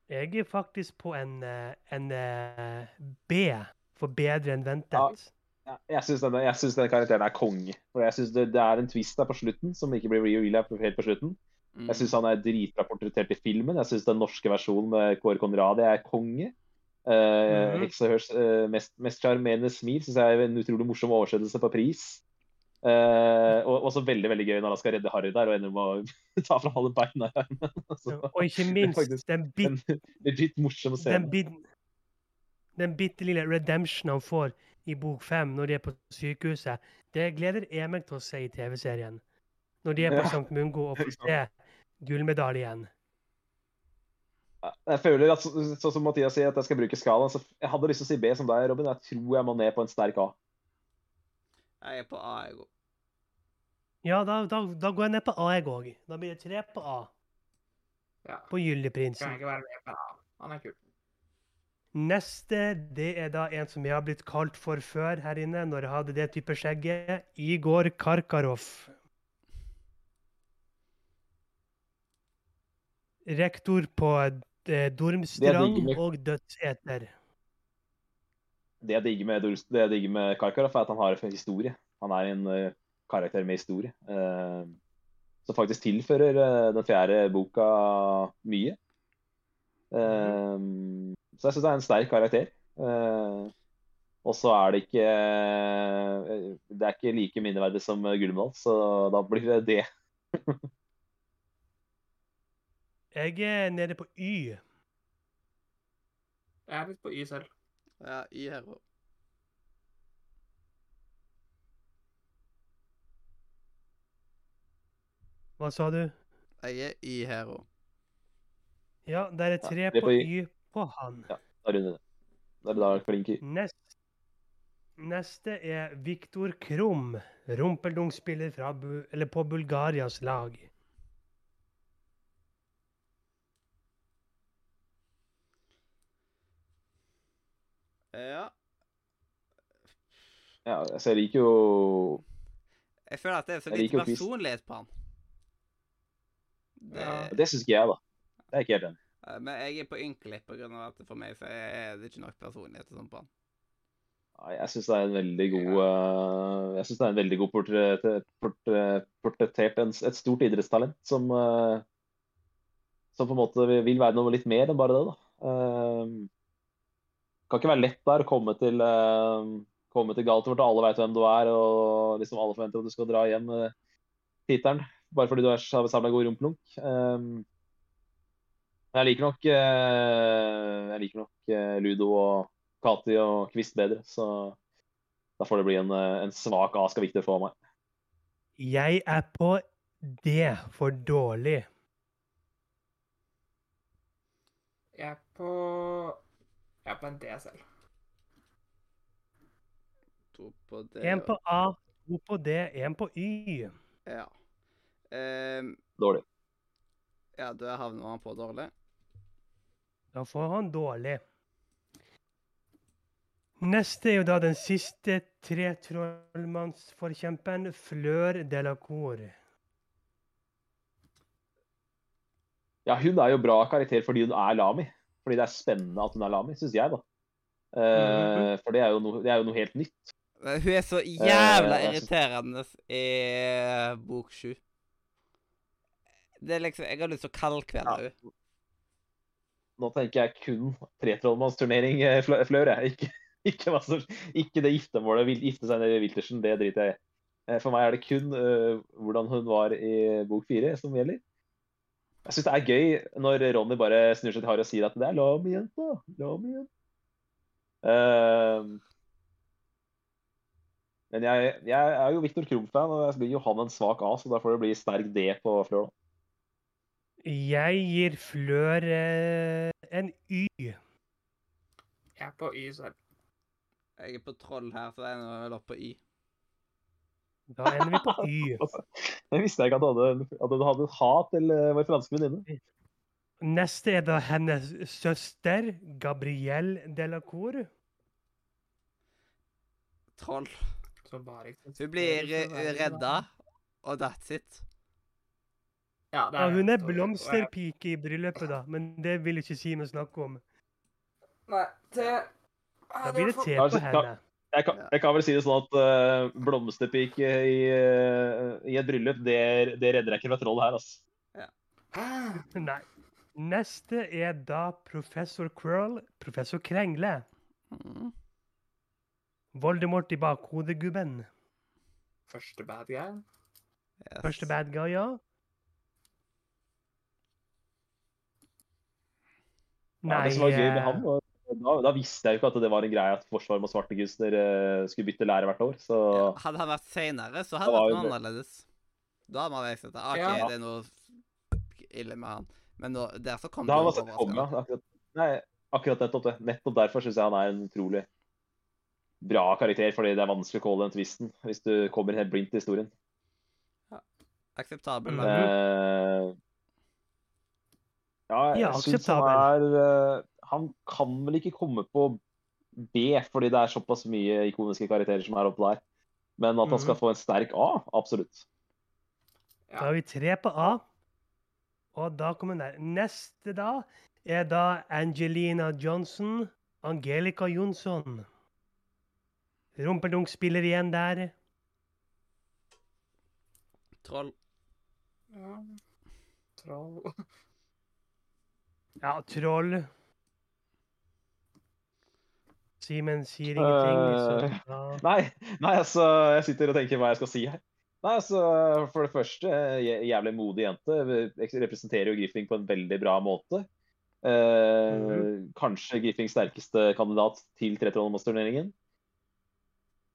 Jeg er faktisk på en, eh, en eh, B, for bedre enn ventet.
Ja, Jeg syns denne, jeg synes denne karakteren er konge. For jeg synes det, det er en twist der på slutten som ikke blir real helt på slutten.
Mm.
Jeg syns han er dritbra portrettert i filmen. Jeg syns den norske versjonen med Kåre Conradi er konge. Eh,
Mhm.
Heksehørs eh, mest- mest sjarmerende smil syns jeg er en utrolig morsom oversettelse på pris. Eh, og også veldig veldig gøy når han skal redde Harry der og ender med å ta fra alle beina. i armen. Så,
Og ikke minst
faktisk
den, bit,
en legit morsom
den,
scene.
bit, den bitte lille redemption han får i bok fem når de er på sykehuset, det gleder jeg meg til å se i TV-serien. Når de er på
Ja.
Sankt Mungo og får se gullmedaljen.
Jeg føler at, så- sånn som Mathias sier, at jeg skal bruke skalaen. Så jeg hadde lyst til å si B som deg, Robin. Jeg tror jeg må ned på en sterk A.
Jeg er på A, jeg òg.
Ja, da, da, da går jeg ned på A, jeg òg. Da blir det tre på A.
Ja.
På
Kan
Gyldigprinsen.
jeg ikke være med på det? Han er kul.
Neste det er da en som jeg har blitt kalt for før her inne, når jeg hadde det type skjegget. Igor Karkarov. Rektor på eh, Dormstrand
med-
og Dødseter.
Det jeg digger med, Dol- det jeg digger med Karkaroff, er at han har en historie. Han er en eh, karakter med historie. eh, som faktisk tilfører eh, den fjerde boka mye. Eh, Så jeg syns det er en sterk karakter. Eh, og så er det ikke eh, Det er ikke like minneverdig som eh, Gullmedalj, så da blir det det.
Jeg er nede på Y.
Jeg er litt på Y selv.
Ja, Y her òg.
Hva sa du?
Jeg er Y her òg.
Ja, der er tre
det er
på
på
Y på han.
Da runder det. Da er det da klink i.
Nest, neste er Viktor Krum, rumpeldungspiller fra, Bu- eller på Bulgarias lag.
Ja.
Ja, så jeg liker jo
Jeg føler at det er så
Jeg
lite
liker jo quiz.
personlighet på han. Det,
Ja.
Det syns ikke jeg, da. Det er ikke helt enig.
Eh, Men jeg er på ynkelig på grunn av at for meg så er det ikke nok personlighet og sånn på han.
Nei, Jeg syns det er en veldig god eh, Jeg synes det er en veldig god portrett, portrett, portrettert en, et stort idrettstalent som eh, som på en måte vil være noe litt mer enn bare det, da. Eh, kan ikke være lett der å komme til eh, komme til Galtvort, og alle veit hvem du er, og liksom alle forventer at du skal dra hjem eh, tittelen bare fordi du er samla god rumpelunk. Eh, men jeg liker nok eh, jeg liker nok eh, Ludo og Kati og Kvist bedre, så da får det bli en, eh, en svak A skal Viktor få av meg.
Jeg er på D for dårlig.
Jeg er på Jeg er på en D selv.
To på det.
Én
og-
på A, to på D, én på Y.
Ja. Ehm,
Dårlig.
ja, da havner han på dårlig.
Da får han dårlig. Neste er jo da den siste tre trollmannsforkjempen, Flør Delacour.
Ja, hun er jo bra karakter fordi hun er lami. Fordi det er spennende at hun er lami, syns jeg, da. Eh, For det er, jo noe, det er jo noe helt nytt.
Men Eh, Hun er så jævla
jeg synes-
irriterende i bok sju. Det er liksom Jeg har lyst til å kaldkvele henne.
Nå tenker jeg kun tretrollmannsturnering eh, Flø- Flør, jeg. Ikke, ikke, hva som, ikke det giftermålet, vil- gifte seg ned i Wiltersen, det driter jeg i. Eh, For meg er det kun eh, hvordan hun var i bok fire som gjelder. Jeg syns det er gøy når Ronny bare snur seg til Harry og sier at det er lam igjen, da. Lam igjen. Eh, men jeg, jeg er jo Viktor Krum-fan, og jeg blir jo han en svak A, så da får det bli sterk D på Flør. da.
Jeg gir Flør eh, en Y.
Jeg er på Y selv.
Jeg er på troll her, så jeg ender vel opp på Y.
Da ender vi på Y.
Altså, Jeg visste ikke at du hadde, at du hadde et hat til eh, vår franske venninne.
Neste er da hennes søster, Gabrielle Delacour.
Troll.
Som bare eksisterer
Hun blir eh,
for å være i
redda,
verden.
og that's it.
Ja, det
Ja, hun er
Og- og jeg-
blomsterpike i bryllupet, da, men det vil ikke Simen snakke om.
Nei, det
Da blir det T
Ja, altså,
på henne.
Jeg kan, jeg kan vel si det sånn at eh, blomsterpike i, eh, i et bryllup, det, det redder jeg ikke fra troll her, altså.
Hæ?
Nei. Neste er da professor Quirrell, professor Krengle.
Mm.
Voldemort i bakhodegubben.
Første bad guy?
Yes.
Første bad guy, ja.
Ja,
Nei,
det som var gøy med
eh,
han, var da, da visste jeg jo ikke at det var en greie at Forsvaret med svartekunstner eh, skulle bytte lærer hvert år. Så
Ja, hadde han vært seinere, så hadde det
Det var
vært
jo
noe annerledes. Da hadde man visst at ah, OK,
Ja.
det er noe ille med han. Men nå, der så kom
da
det
har
noe
man sett komme.
overraskende.
Akkurat, nei, akkurat nettopp det. Nettopp derfor syns jeg han er en utrolig bra karakter, fordi det er vanskelig å calle den twisten hvis du kommer helt blindt til historien.
Akseptabel.
Mm.
da.
Eh, ja, jeg
Ja,
synes han er
akseptabel.
eh, Han kan vel ikke komme på B, fordi det er såpass mye ikoniske karakterer som er oppe der. Men at han skal
Mhm.
få en sterk A, absolutt.
Da har vi tre på A. Og da kommer den der. Neste da er da Angelina Johnson. Angelica Jonsson. Rumpeldunk spiller igjen der.
Troll.
Ja. Troll
Ja, troll. Simen sier ingenting. Så da...
Nei, nei, altså, jeg sitter og tenker hva jeg skal si her. Nei, altså, For det første, jæ- jævlig modig jente. Representerer jo Griffing på en veldig bra måte. Eh, Kanskje Griffings sterkeste kandidat til Trettrollmannsturneringen.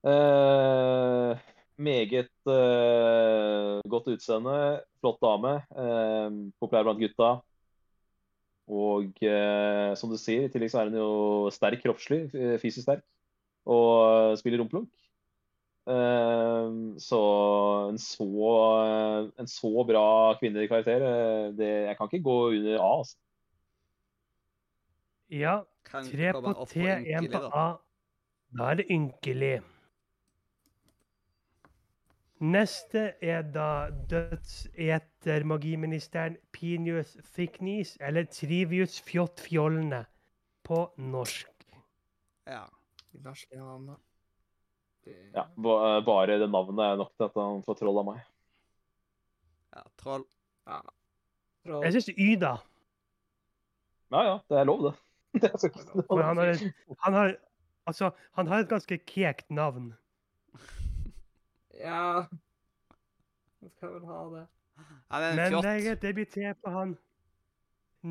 Eh, meget eh, godt utseende. Flott dame. Eh, populær blant gutta. Og eh, som du sier, i tillegg så er hun jo sterk kroppslig. eh, Fysisk sterk og eh, spiller rumplunk. Ehm, Så en så, en så bra kvinnelig karakter eh, det, Jeg kan ikke gå under A, altså.
Ja,
Kan
tre
komme
på
opp
T, én
ynkelig,
på
da.
A. Da er det ynkelig. Neste er da dødsetermagiministeren Pinius Thicknees, eller Trivius Fjottfjollene, på norsk.
Ja.
i norske navn, da. Det-
Ja, ba- bare det navnet er nok til at han får troll av meg.
ja. Troll.
Troll.
Jeg syns Y, da.
Ja ja, det er lov, det. det er så
For han har, et- han har, altså, han har et ganske kjekt navn.
Ja. Han skal vel ha det.
Han er en
Men det er
fjott.
greit, det blir tre på han.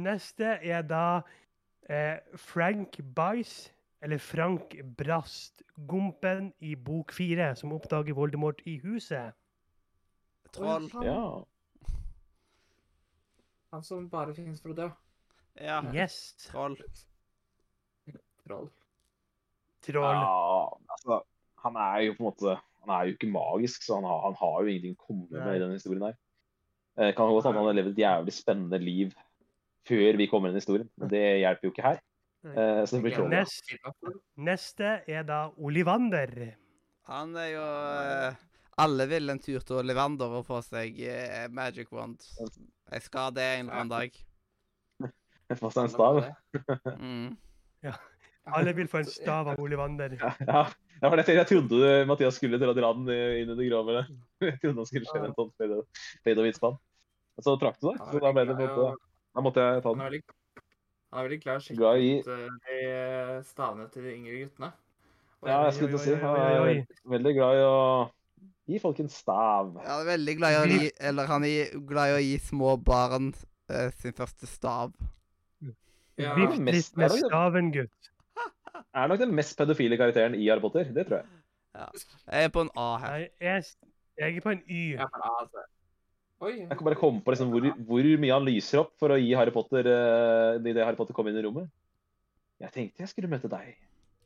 Neste er da eh, Frank Bice, eller Frank Brast, gompen i bok fire, som oppdager Voldemort i huset.
Troll.
Å,
Ja.
ja, han, han som bare finnes for å dø.
Ja.
Yes,
Troll.
Troll.
troll.
ja altså, han er jo på en måte Han er jo ikke magisk, så han har, han har jo ingenting å komme med
Nei.
i denne historien her. Eh, Kan godt hende han har levd et jævlig spennende liv før vi kommer inn i historien, men det hjelper jo ikke her. Eh, Så det blir troll.
Nest- Neste er da Olivander.
Han er jo eh, Alle vil en tur til Olivander og få seg eh, magic wand. Jeg skal det en eller annen dag.
Få seg en stav.
Mm.
Alle vil få en stav av Olivander.
Ja, det var det jeg tenkte. Jeg trodde du, Mathias skulle dra dra den inn i det grå. men Jeg trodde han skulle skjønne en sånn fade- fade og vitspann. Men Så trakk du deg, så da, ble det på en måte, da måtte jeg ta
Han
den.
er veldig, han er veldig glad i å sjekke
Glad i-
ut eh, de eh, stavene til de yngre guttene. Og
Ja, jeg
jeg-
skulle til å si.
Oi, oi,
Han
oi,
er
oi, oi.
veld- veldig glad i å gi folk en stav.
Jeg er veldig glad i å gi, eller han er glad i å gi små barn eh, sin første stav.
Ja.
Vift
mest-
litt med
det er jo-
staven, gutt.
Er nok den mest pedofile karakteren i Harry Potter, det tror jeg.
Jeg er på en A her.
Nei, jeg, jeg er på en Y.
Ja, men altså. Oi.
Jeg kan bare komme på liksom hvor, hvor mye han lyser opp for å gi Harry Potter eh, i det Harry Potter kom inn i rommet. Jeg tenkte jeg skulle møte deg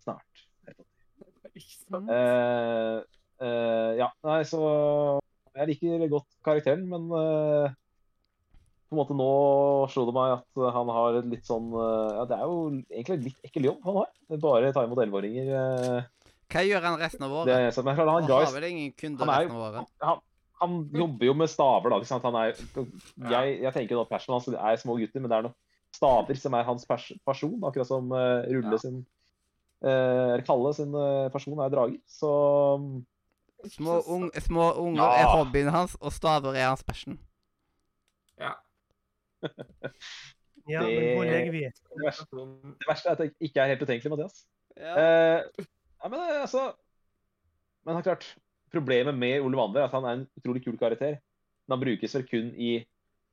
snart.
Ikke
Mm.
sant?
Eh, eh, ja, nei, så Jeg liker godt karakteren, men eh, på en måte nå slo det meg at han har et litt sånn eh, Ja, det er jo egentlig en litt ekkel jobb han har. Det er Bare ta imot elleveåringer. eh,
Hva gjør han resten av
det
året?
er eneste. Men han,
Han
ga
har
jo-
vel ingen kunder
han er jo-
resten av året?
han, han jobber jo med staver, da. Ikke sant? Han er, jeg, jeg tenker jo at passionen hans er små gutter, men det er noen staver som er hans pers person, akkurat som eh, Rulle
Ja.
sin eh, Eller Kalle sin eh, person er drager. Så Eh,
Små,
Så-
ung, små unger er
Ja.
hobbyen hans, og staver er hans passion.
Ja.
Ja, men hvor
det-
legger vi?
det verste Det verste er at det ikke er helt utenkelig, Mathias.
Ja.
Eh, ja, men eh, altså Men det er klart, problemet med Ole Wander er at han er en utrolig kul karakter. Men han brukes vel kun i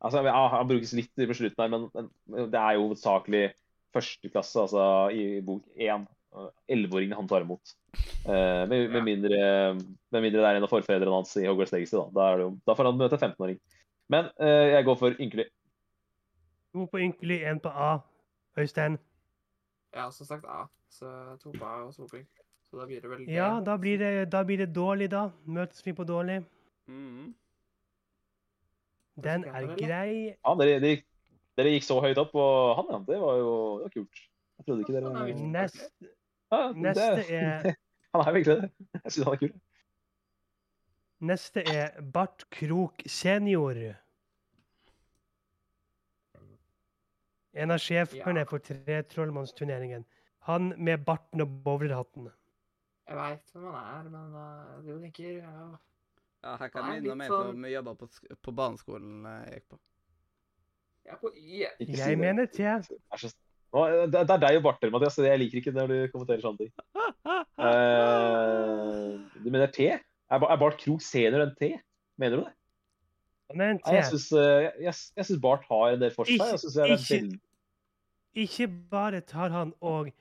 Altså, ja, han brukes litt på slutten her, men, men det er jo hovedsakelig første klasse, altså i, i bok én. eh, Elleveåringen han tar imot. Eh, med, med,
Ja.
mindre, med mindre det er en av forfedrene hans i Hogwarts Legacy, da. Da, er det jo, da får han møte en 15-åring. Men eh, jeg går for ynkelig.
To på ynkelig, én på A. Øystein.
Jeg har også sagt A, så to på A og to på Y. Så da blir det vel
Ja, da blir det, da blir det dårlig, da. Møtes vi på dårlig.
Mhm.
Den
Kanskje
er
Gabriel, da?
grei.
Ja, dere, dere, gikk- dere gikk så høyt opp, og han, ja. Det var jo det var kult. Jeg trodde ikke
Han er
dere
viktig.
Nest,
ja, det-
neste er
Han er jo egentlig det. Jeg syns han er kul.
Neste er Bart Krok senior. En av sjefene
Ja.
for tre trollmannsturneringen. Han med barten og bowlerhatten.
Jeg veit hvem han er, men eh, det jeg tenker ja.
Ja, her kan
Nei,
minne
litt
meg
sånn-
på mye jobber på, sk- på barneskolen eh, jeg gikk på.
Jeg er på Y. jeg.
Ikke si
Jeg
det.
mener T.
Det er så- Nå, det- det er deg og barter, Mathias. så Jeg liker ikke når du kommenterer sånne ting.
Ah.
Eh, du mener T? Er, Ba- er Bart Krog senior en T? Mener du det?
Han er en
Nei, jeg
T.
syns, eh, jeg, jeg, jeg syns Bart har en del for seg. Jeg synes det er
Ikke-
veldig-
Ikke bare tar han og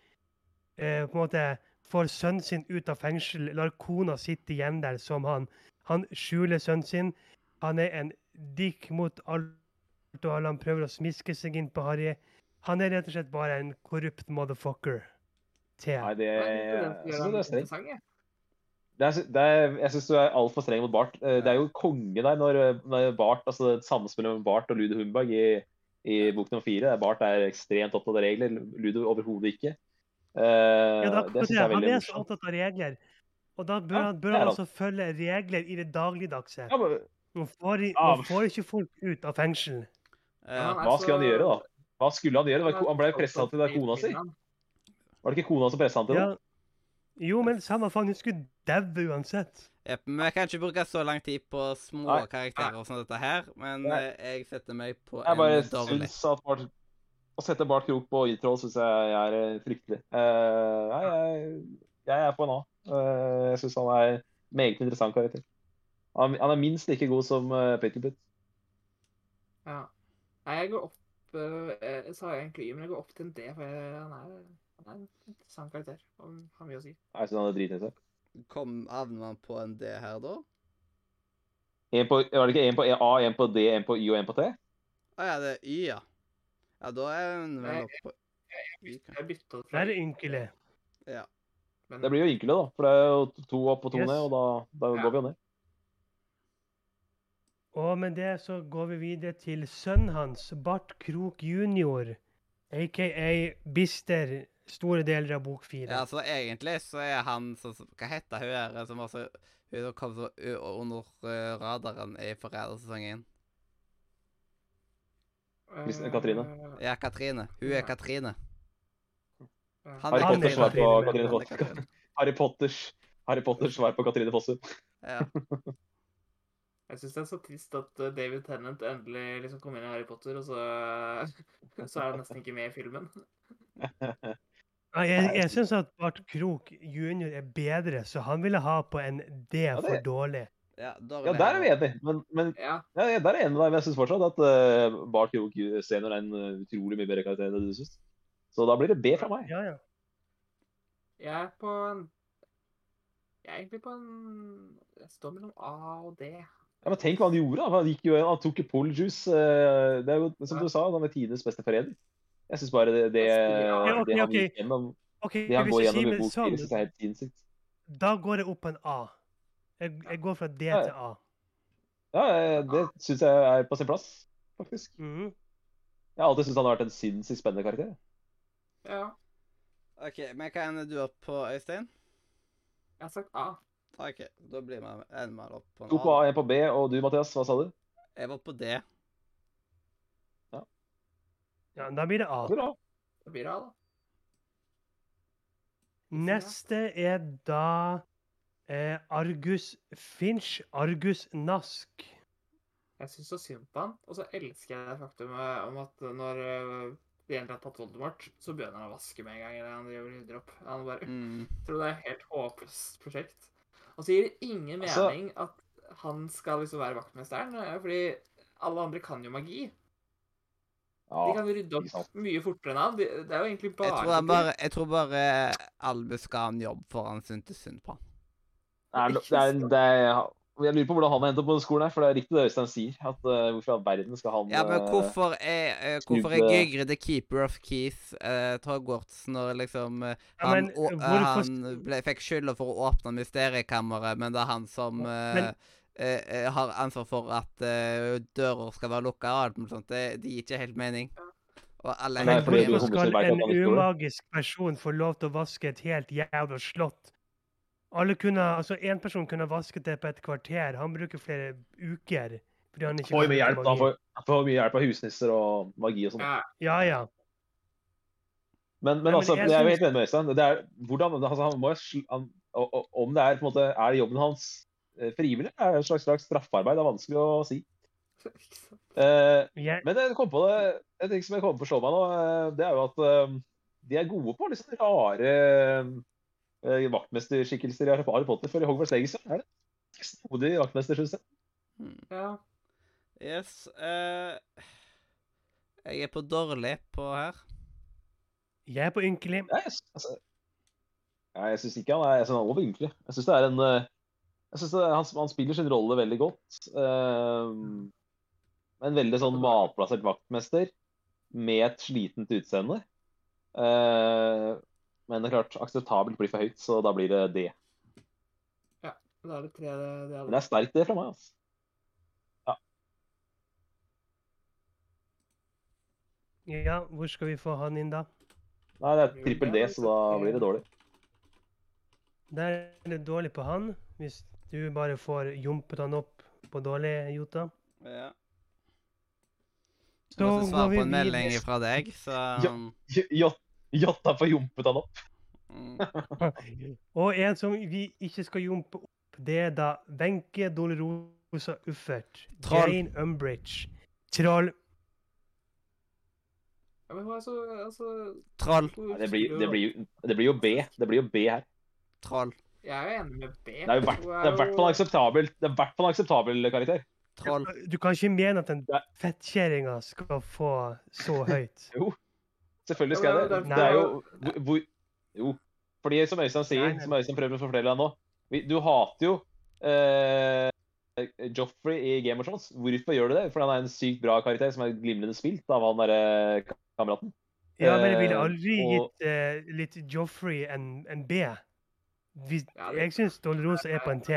eh, på en måte får sønnen sin ut av fengsel, lar kona sitte igjen der som han. Han skjuler sønnen sin. Han er en dikk mot alt og alle. Han prøver å smiske seg inn på Harry. Han er rett og slett bare en korrupt motherfucker. T.
Nei, det,
Jeg synes
Eh, jeg
det
synes
er
du er streng.
interessant, jeg.
Det er, det er, jeg syns du er altfor streng mot Bart. Eh, Det er jo konge der når, når Bart, altså det samspillet mellom Bart og Ludo Humberg i, i bok nummer fire. der Bart er ekstremt opptatt av regler, Ludo overhodet ikke. Eh,
Ja, det er akkurat
det
det.
syns jeg er
Han
veldig
er så
morsomt.
opptatt av regler. Og da bør
Ja,
han, bør
det er
han
han.
også følge regler i det dagligdagse.
Ja, men,
Man får, i-
Ja,
man
men-
får ikke folk ut av fengsel.
Ja.
Han er
hva skulle han
så-
gjøre, da? hva skulle han gjøre? Det var- Han ble jo
så
pressa til det av kona si.
opptatt av
Var det ikke kona som pressa han til det?
Ja. Jo, men samme faen, hun skulle daue uansett.
Jep, men jeg kan ikke bruke så lang tid på små
Nei.
karakterer og sånn dette her, men
Nei.
eh, jeg setter meg på
Jeg
en
bare
dårlig.
syns at Bart, å sette Bart Krok på Y-troll syns jeg er eh, fryktelig. Eh, nei, jeg, jeg er på en A. Eh, jeg syns han er meget interessant karakter. Han, han er minst like god som uh, Pitterpit.
Ja. Nei, jeg går opp eh, Jeg sa egentlig Y, men jeg går opp til en D, for jeg, han, er, han er en interessant karakter. Og har mye å si.
Jeg syns han er driting seg.
Kom, Havner man på en D her, da?
En på, var det ikke én på E, A, én på D, én på Y og én på T?
Å ja, det er Y, ja. Ja, da er hun vel oppe på Y, kanskje.
Jeg bytta det
Det er ynkelig.
men
Det blir jo ynkelig, da. For det er jo to opp og to
Yes.
ned, og da, da
Ja.
går vi jo ned.
Og med det så går vi videre til sønnen hans, Bart Krok jr., aka Bister, store deler av bok fire.
Ja, så egentlig så er han sånn som Hva heter hun her som var så Hun som kom så u- under eh, radaren i forrædersesongen?
Hvis- Katrine.
eh,
Ja, Katrine. Hun er
Ja.
Katrine.
ja.
Han
Harry
er
Potter
Katrine.
svar
Katrine,
på Katrine
Han er
Foss.
Katrine.
Harry Potters Harry Potters svar på Katrine Fossum.
Ja.
Jeg syns det er så trist at eh, David Tennant endelig liksom kom inn i Harry Potter, og så, eh, så er han nesten ikke med i filmen.
Ja, Ah, Jeg, jeg syns at Bart Krok jr. er bedre, så han ville ha på en D for
det-
dårlig.
Ja,
Ja, der er vi enige. Men, men
Ja,
Ja, jeg, der er jeg enig med deg, men jeg syns fortsatt at eh, Bart Krok senior er en eh, utrolig mye bedre karakter enn det du syns. Så da blir det B fra meg.
Ja, ja.
jeg er på en Jeg er egentlig på en Jeg står mellom A og D.
Ja, men tenk hva han gjorde. da. Han, gikk jo, han tok jo Poljuice. eh, det er jo, som
Ja.
du sa, han er tidenes beste forræder. Jeg syns bare det, det,
Ja,
ok,
det han
ok.
gikk gjennom,
OK,
det han
hvis
går
du sier
gjennom i
det
bok fire, syns jeg er
sånn,
helt sinnssykt.
da går jeg opp på en A. Jeg, jeg går fra D til A.
Ja, eh, det syns jeg er på sin plass, faktisk.
Mhm.
Jeg har alltid syntes han har vært en sinnssykt spennende karakter.
Ja,
OK, men hva ender du opp på, Øystein?
jeg har sagt A.
OK, da blir man ender man opp på en
To på
A.
A, én på B, og du, Mathias, hva sa du?
Jeg var på D.
Ja, da blir det A.
Det er bra.
Det blir A, da.
Neste er da eh, Argus Finch, Argus Nask.
Jeg syns så synd på han, og så elsker jeg det faktumet om at når øh, de endelig har tatt Voldemort, så begynner han å vaske med en gang. Eller han driver og rydder opp. Han bare
Mm.
tror det er et helt håpløst prosjekt. Og så gir det ingen
Altså-
mening at han skal liksom være vaktmesteren, øh, fordi alle andre kan jo magi. De
Ja,
kan rydde
ikke
opp
sant.
mye fortere enn han. De, det er jo egentlig
Jeg
bare
tror, han
til-
bare, jeg tror bare Albus skal ha en jobb for han syntes synd på han.
det er, det er, det er, jeg lurer på hvordan han har endt opp på den skolen her, for det er riktig det Øystein sier. At eh, hvorfor i all verden skal han
Ja, men
eh,
hvorfor er, eh, hvorfor er
Snuble.
Gygre the keeper of keys eh, til Hogwarts når liksom eh,
Ja,
han,
men
å, eh,
hvorfor
han ble, fikk skylda for å åpne mysteriekammeret, men det er han som eh,
Men-
eh, eh, har ansvar for at eh, dører skal være lukka og alt mulig sånt. Det, det gir ikke helt mening. Og alle
Men
Men
Nei, fordi
hvorfor
enige.
vi
skal
kommer til å merke at
en
han ikke gjorde det.
umagisk person få lov til å vaske et helt jævla slott? Alle kunne, altså Én person kunne vasket det på et kvarter. Han bruker flere uker. fordi han ikke
Får
kan
mye hjelp,
bruke
da.
magi.
Får, får mye hjelp av husnisser og magi og sånn.
Ja,
Ja, ja.
Men, men,
men
altså,
jeg
jeg er
synes-
jo helt enig med Øystein. Det er, hvordan, altså, han må, jo sl- han, og, og, om det er, på en måte, er jobben hans eh, frivillig, er det et slags, slags straffarbeid. Det er vanskelig å si.
ikke sant.
Eh,
Jeg,
men jeg kom på det, en ting som jeg kommer på å slå meg nå, eh, det er jo at eh, de er gode på litt sånn rare eh, vaktmesterskikkelser i Harry Potter. For i Hogwarts Legacy er det snodig vaktmester, syns jeg.
Ja.
Yes. eh, jeg er på dårlig på her.
jeg er på ynkelig.
Nei, jeg, sy- altså, nei, jeg syns ikke han er, jeg synes han er overynkelig. Jeg syns det er en eh, jeg synes det, er- han, han spiller sin rolle veldig godt. eh, en veldig sånn malplassert vaktmester med et slitent utseende. Eh, men det er klart, akseptabelt blir for høyt, så da blir det det.
Da er det tre det, det er
Men det er sterkt, det, fra meg. altså.
Ja, hvor skal vi få han inn, da?
Nei, det er trippel D, så da blir det dårlig.
Der er det dårlig på han. Hvis du bare får jumpet han opp på dårlig, Jota.
Ja.
Så
Jeg måtte
går
svare
vi
på en melding
videre.
fra deg, så
Jotta får jumpet han opp.
mm.
Og en som vi ikke skal jumpe opp, det er da Wenche Dolorosa Uffert.
Troll.
Jane Umbridge. Troll.
Ja, men hva er så, altså,
Troll.
Nei, Det blir, det, blir, jo- det blir jo B. Det blir jo B her.
Troll.
Jeg er jo enig med B.
Det er jo hvert-
Hun
det er i hvert fall en akseptabel- det er i hvert fall en akseptabel eh, karakter.
Troll.
Du kan ikke mene at den
Nei.
fettkjerringa skal få så høyt.
Selvfølgelig skal jeg det.
Nei.
Det er jo hvor, hvor, Jo. Fordi som Øystein sier,
Nei, nei.
som Øystein prøver å fortelle deg nå vi- Du hater jo eh, Joffrey i Game of Thrones. Hvorfor gjør du det? Fordi han er en sykt bra karakter som er glimrende spilt av han derre kameraten.
Ja, men jeg ville
Eh,
aldri
og-
gitt eh, litt Joffrey en, en B. Hvis,
Ja, det-
jeg syns Dolorosa er på en T.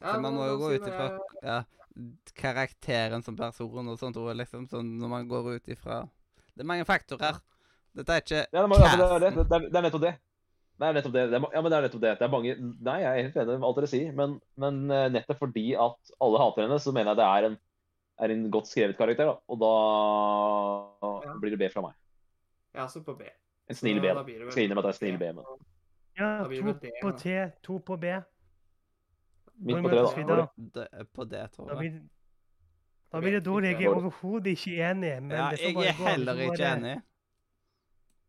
Ja,
Så man må jo
sånn
gå
sier
ut ifra
jeg-
ja, karakteren som person og sånt også, liksom. Sånn når man går ut ifra Det er mange faktorer. Dette er ikke
Ja, det, er mange- altså, det, er- det, er- det, er- det er nettopp det. Det er nettopp det. det er, ma- ja, men det er nettopp det. Det er mange Nei, jeg er helt enig med alt dere sier, men, men eh, nettopp fordi at alle hater henne, så mener jeg det er en, er en godt skrevet karakter, da. Og da
Ja.
blir det B fra meg.
Jeg er også på B.
En snill
Så
B. da.
da blir det vel
Skal innrømme at det er snill
B.
B, men
Ja,
Da blir
to
det D,
på
da.
T, to på B.
midt
Hvor
på tre,
møtes vi
da.
da?
det- på det,
Da
tror jeg.
blir, da blir det dårlig. Jeg er
Dårlig.
overhodet ikke enig. Men
Ja,
det får
jeg
bare
er
gå. Vi får
heller ikke
bare-
enig.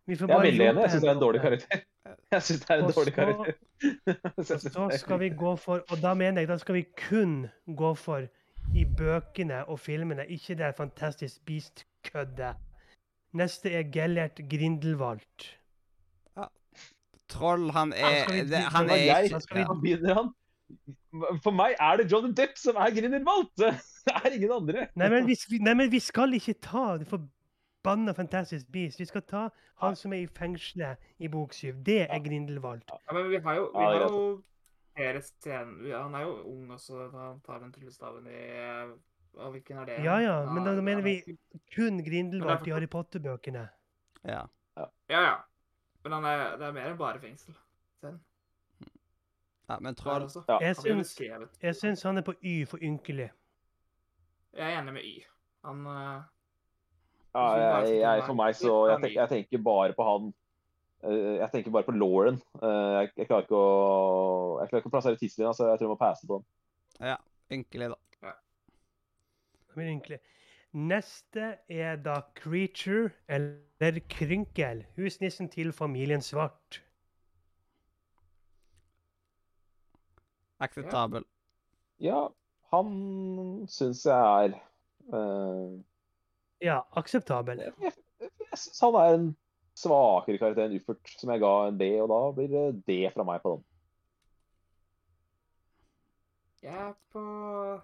vi får
Jeg er
bare
veldig enig.
jobbe
Jeg syns det er en
henne
dårlig
opp.
karakter. Jeg syns det er en
Og
dårlig
så-
karakter. Jeg
Og
synes det
så
er-
skal vi gå for Og da mener jeg da skal vi kun gå for i bøkene og filmene, ikke det Fantastisk Beast-køddet. Neste er Gellert Grindelwald.
Troll, han
Ja,
er
skal vi
det,
begynne
Han
med
er
deg?
ikke
Skal vi-
ja.
Han begynner han. For meg er det Johnny Depp som er Grindelwald! Det er ingen andre.
Nei, men vi, vi- nei, men vi skal ikke ta det forbanna Fantastic Beast. Vi skal ta han som er i fengselet i bok syv. Det er
Ja.
Grindelwald.
Ja, men vi har jo, vi
Ja, det er
har jo flere scener vi- Han er jo ung også da han tar den tryllestaven i eh, Og hvilken er det?
Ja, ja, men da
det er
mener vi-
han-
Kun Grindelwald i Harry Potter-bøkene.
ja.
Ja, ja. Men han er, det er mer enn bare fengsel. Sen.
ja, men
Troll.
troll
Også.
Ja.
Jeg
Han blir
syns,
beskrevet.
jeg syns han er på Y for ynkelig.
Jeg er enig med Y. Han eh,
Ja, jeg, jeg, for meg så jeg tenker, jeg tenker bare på han Eh, Jeg tenker bare på Lauren. Eh, Jeg, jeg klarer ikke å Jeg klarer ikke å plassere tidslinja, så jeg tror jeg må passe på den.
Ynkelig, da.
Han blir ynkelig. Neste er da Creature eller Krynkel. Husnissen til familien Svart.
Akseptabel.
Ja, han syns jeg er eh,
Ja, akseptabel.
Jeg, jeg, jeg syns han er en svakere karakter enn Uffert, som jeg ga en B, og da blir det D fra meg på den.
Jeg er på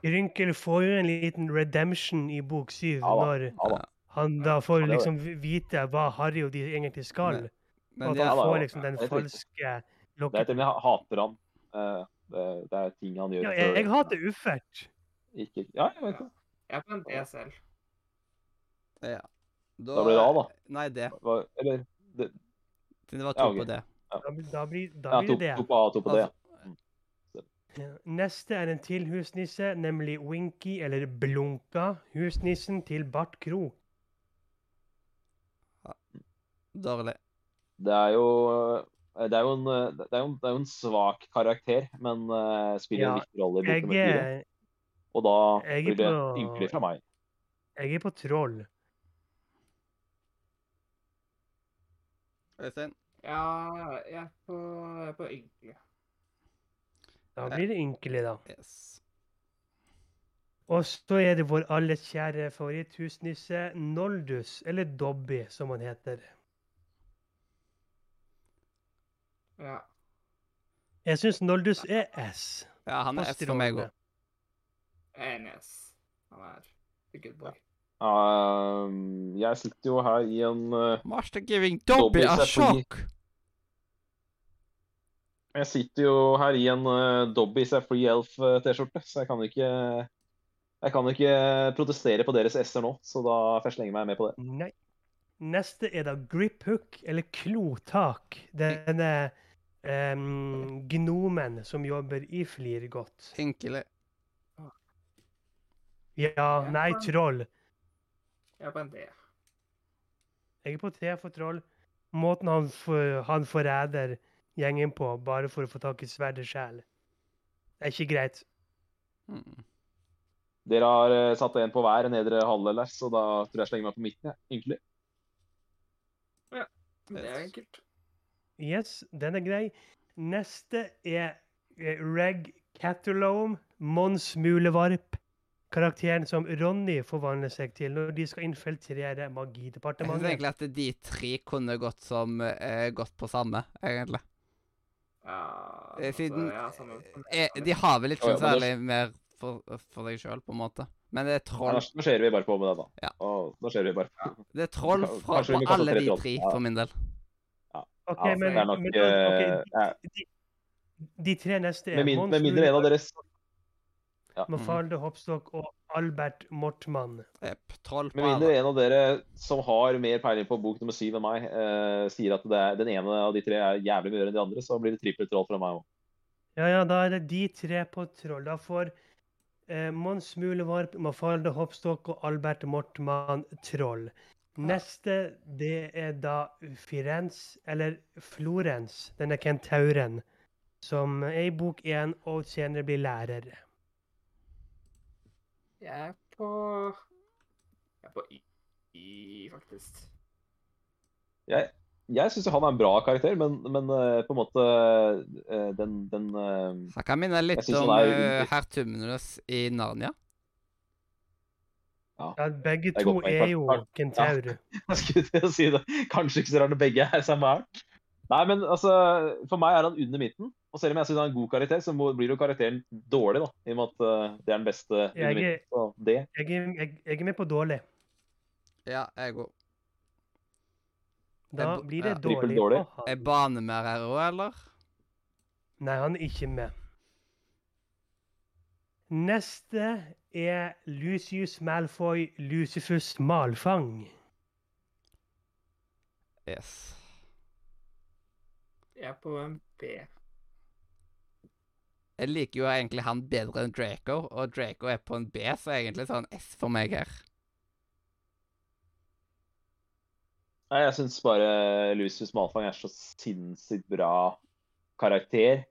Rynkel får jo en liten redemption i bok syv,
Ja da.
når
Ja da.
han da får
Ja, det er
liksom vite hva Harry og de egentlig skal. Og
Men
at
ja,
han
da,
får
ja.
liksom den
Det er riktig.
falske
Det er
lokket.
til og med jeg hater han. Eh, Det, det er ting han gjør
Ja, jeg, jeg
før-
hater Uffert.
Ikke, ja, jeg vet ikke.
Jeg er på en D selv.
Da blir det A, da.
Nei, det.
Hva, eller det,
Siden det var
Ja,
to
ok.
på det.
Da, blir- da blir, da
ja,
blir
to,
det
to
det.
på A, to på D. ja.
Ja. Neste er en til husnisse, nemlig Winky, eller Blunka, husnissen til Bart Krok.
Dårlig.
Det er jo det er jo, en, eh, det, er jo, det er jo en svak karakter, men eh, spiller en
Ja,
viktig rolle i bok
Jeg,
nummer fire.
er-
Og da
jeg er
blir det
på-
ynkelig fra meg.
jeg er på troll.
Øystein?
Ja, jeg er på, jeg er på ynkelig.
Da blir det ynkelig, da.
Yes.
Og så er det vår alles kjære favoritthusnisse, Noldus, eller Dobby, som han heter.
Ja.
Jeg syns Noldus er S.
Ja, han er
på
S for meg
strålene.
òg.
Jeg er enig, ass. Han er the good boy.
Ehm, jeg sitter jo her i en eh,
Master giving Dobby
Dobby
a
seg fri.
shock!
Jeg sitter jo her i en eh, Dobby is a free elf-T-skjorte, så jeg kan jo ikke jeg kan jo ikke protestere på deres S-er nå, så da får jeg slenge meg med på det.
Nei. Neste er da grip hook, eller klotak. Denne em, gnomen som jobber i Flirgodt.
Ynkelig.
Ja, nei, troll.
Jeg er på en D.
Jeg er på tre for troll. Måten han, for, han forræder gjengen på, bare for å få tak i sverdet sjæl. Det er ikke greit.
Mm.
Dere har eh, satt en på hver nedre halvdel der, så da tror jeg jeg slenger meg på midten. jeg. Ynkelig.
Det er enkelt.
Yes, den er grei. Neste er eh, Reg Catterlome, Mons Mulevarp. Karakteren som Ronny forvandler seg til når de skal infiltrere
Jeg syns
Magidepartementet.
egentlig at de tre kunne gått som eh, gått på samme, egentlig.
Ja, altså,
Eh, siden-
ja, samme- samme-
Eh, de har vel ikke
Ja,
noe
ja, men det-
særlig mer for, for seg sjøl, på en måte. Men det er
Nei,
troll,
da- Nå ser vi bare på med det, da.
Ja.
Å, nå ser vi bare på.
det er troll
Kanskje
fra,
vi
på
kan få
alle
tre
de
troll.
tre,
Ja.
for min del.
Ok,
Ja,
men,
det er nok
men
eh,
ok,
ja,
de, de tre neste er
med, min,
Mons
med mindre en av deres
Mafalde Hoppstokk og Albert Mortmann.
Jepp. Troll på
Med mindre
alle.
en av dere som har mer peiling på bok nummer syv enn meg, eh, sier at det er, den ene av de tre er jævlig mye bedre enn de andre, så blir det trippelt troll fra meg òg.
Ja, ja, da er det de tre på troll. Da får eh, Mons Mulevarp, Mafalde Hoppstokk og Albert Mortmann troll. Neste, det er da Firenze, eller Florens, denne kentauren, som er i bok én og senere blir lærer.
Jeg er på Jeg er på Y, y faktisk.
Jeg syns han er en bra karakter, men, men eh, på en måte eh, den, den eh,
Han kan minne litt
synes han
om
er
eh,
ulykkelig.
herr Tumnus i Narnia.
Ja, begge
er
to
godt poeng,
er
takk,
jo
takk.
kentaurer.
Jeg skulle til å si det. Kanskje ikke så rart når begge er samme art. Nei, men altså, for meg er han under midten. Og selv om jeg syns han er en god karakter, så må, blir jo karakteren dårlig, da. I og med at eh, det er den beste under
Jeg,
midten.
er-
Så det
jeg, er- jeg, jeg er med på dårlig.
Ja, jeg òg.
Da
Jeg bo-
blir
ja,
det
trippel
dårlig.
dårlig.
på han.
Er Banemer her òg, eller?
Nei, han er ikke med. Neste er Lucius Malfoy Lucifus Malfang.
Yes.
Jeg er på en B.
Jeg liker jo egentlig han bedre enn Draco, og Draco er på en B, så egentlig så er han S for meg her.
Nei, jeg syns bare Lucius Malfang er så sinnssykt bra karakter.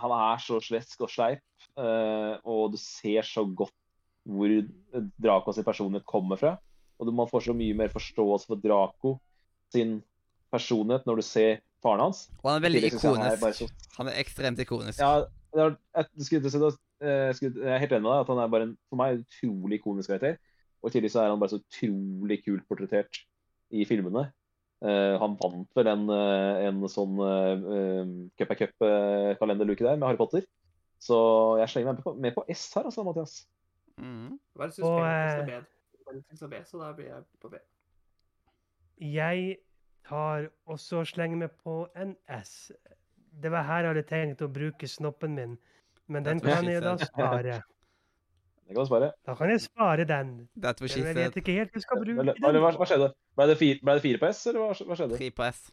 Han er så slesk og sleip, eh, og du ser så godt hvor Draco sin personlighet kommer fra. Og du- man får så mye mer forståelse for Draco sin personlighet når du ser faren hans.
Og han er veldig
Tidligere synes jeg han er bare
ikonisk.
så-
Han er ekstremt ikonisk.
Ja, det er, jeg, skulle, til å si det, eh, skulle, jeg er helt enig med deg at han er bare en, for meg en utrolig ikonisk karakter. Og i tillegg så er han bare så utrolig kult portrettert i filmene. Eh, han vant vel en, eh, en sånn uh, cup er cup-kalenderluke der med Harry Potter. Så jeg slenger meg med på, med på S her, altså, Mathias.
Mm.
Bare syns
Og,
Felix er
eh,
B. Felix er B, så da blir jeg på B.
Jeg tar også slenge meg på en S. Det var her jeg hadde tenkt å bruke snoppen min, men den
That's what
kan
she
jeg da
said.
spare.
Det kan du spare.
Da kan jeg spare den.
That's what she
Men jeg
said.
vet ikke helt hva jeg skal bruke
Eller,
den.
eller, hva, hva skjedde? Ble det, fire, ble det fire på S, eller hva, hva skjedde?
Tre på S.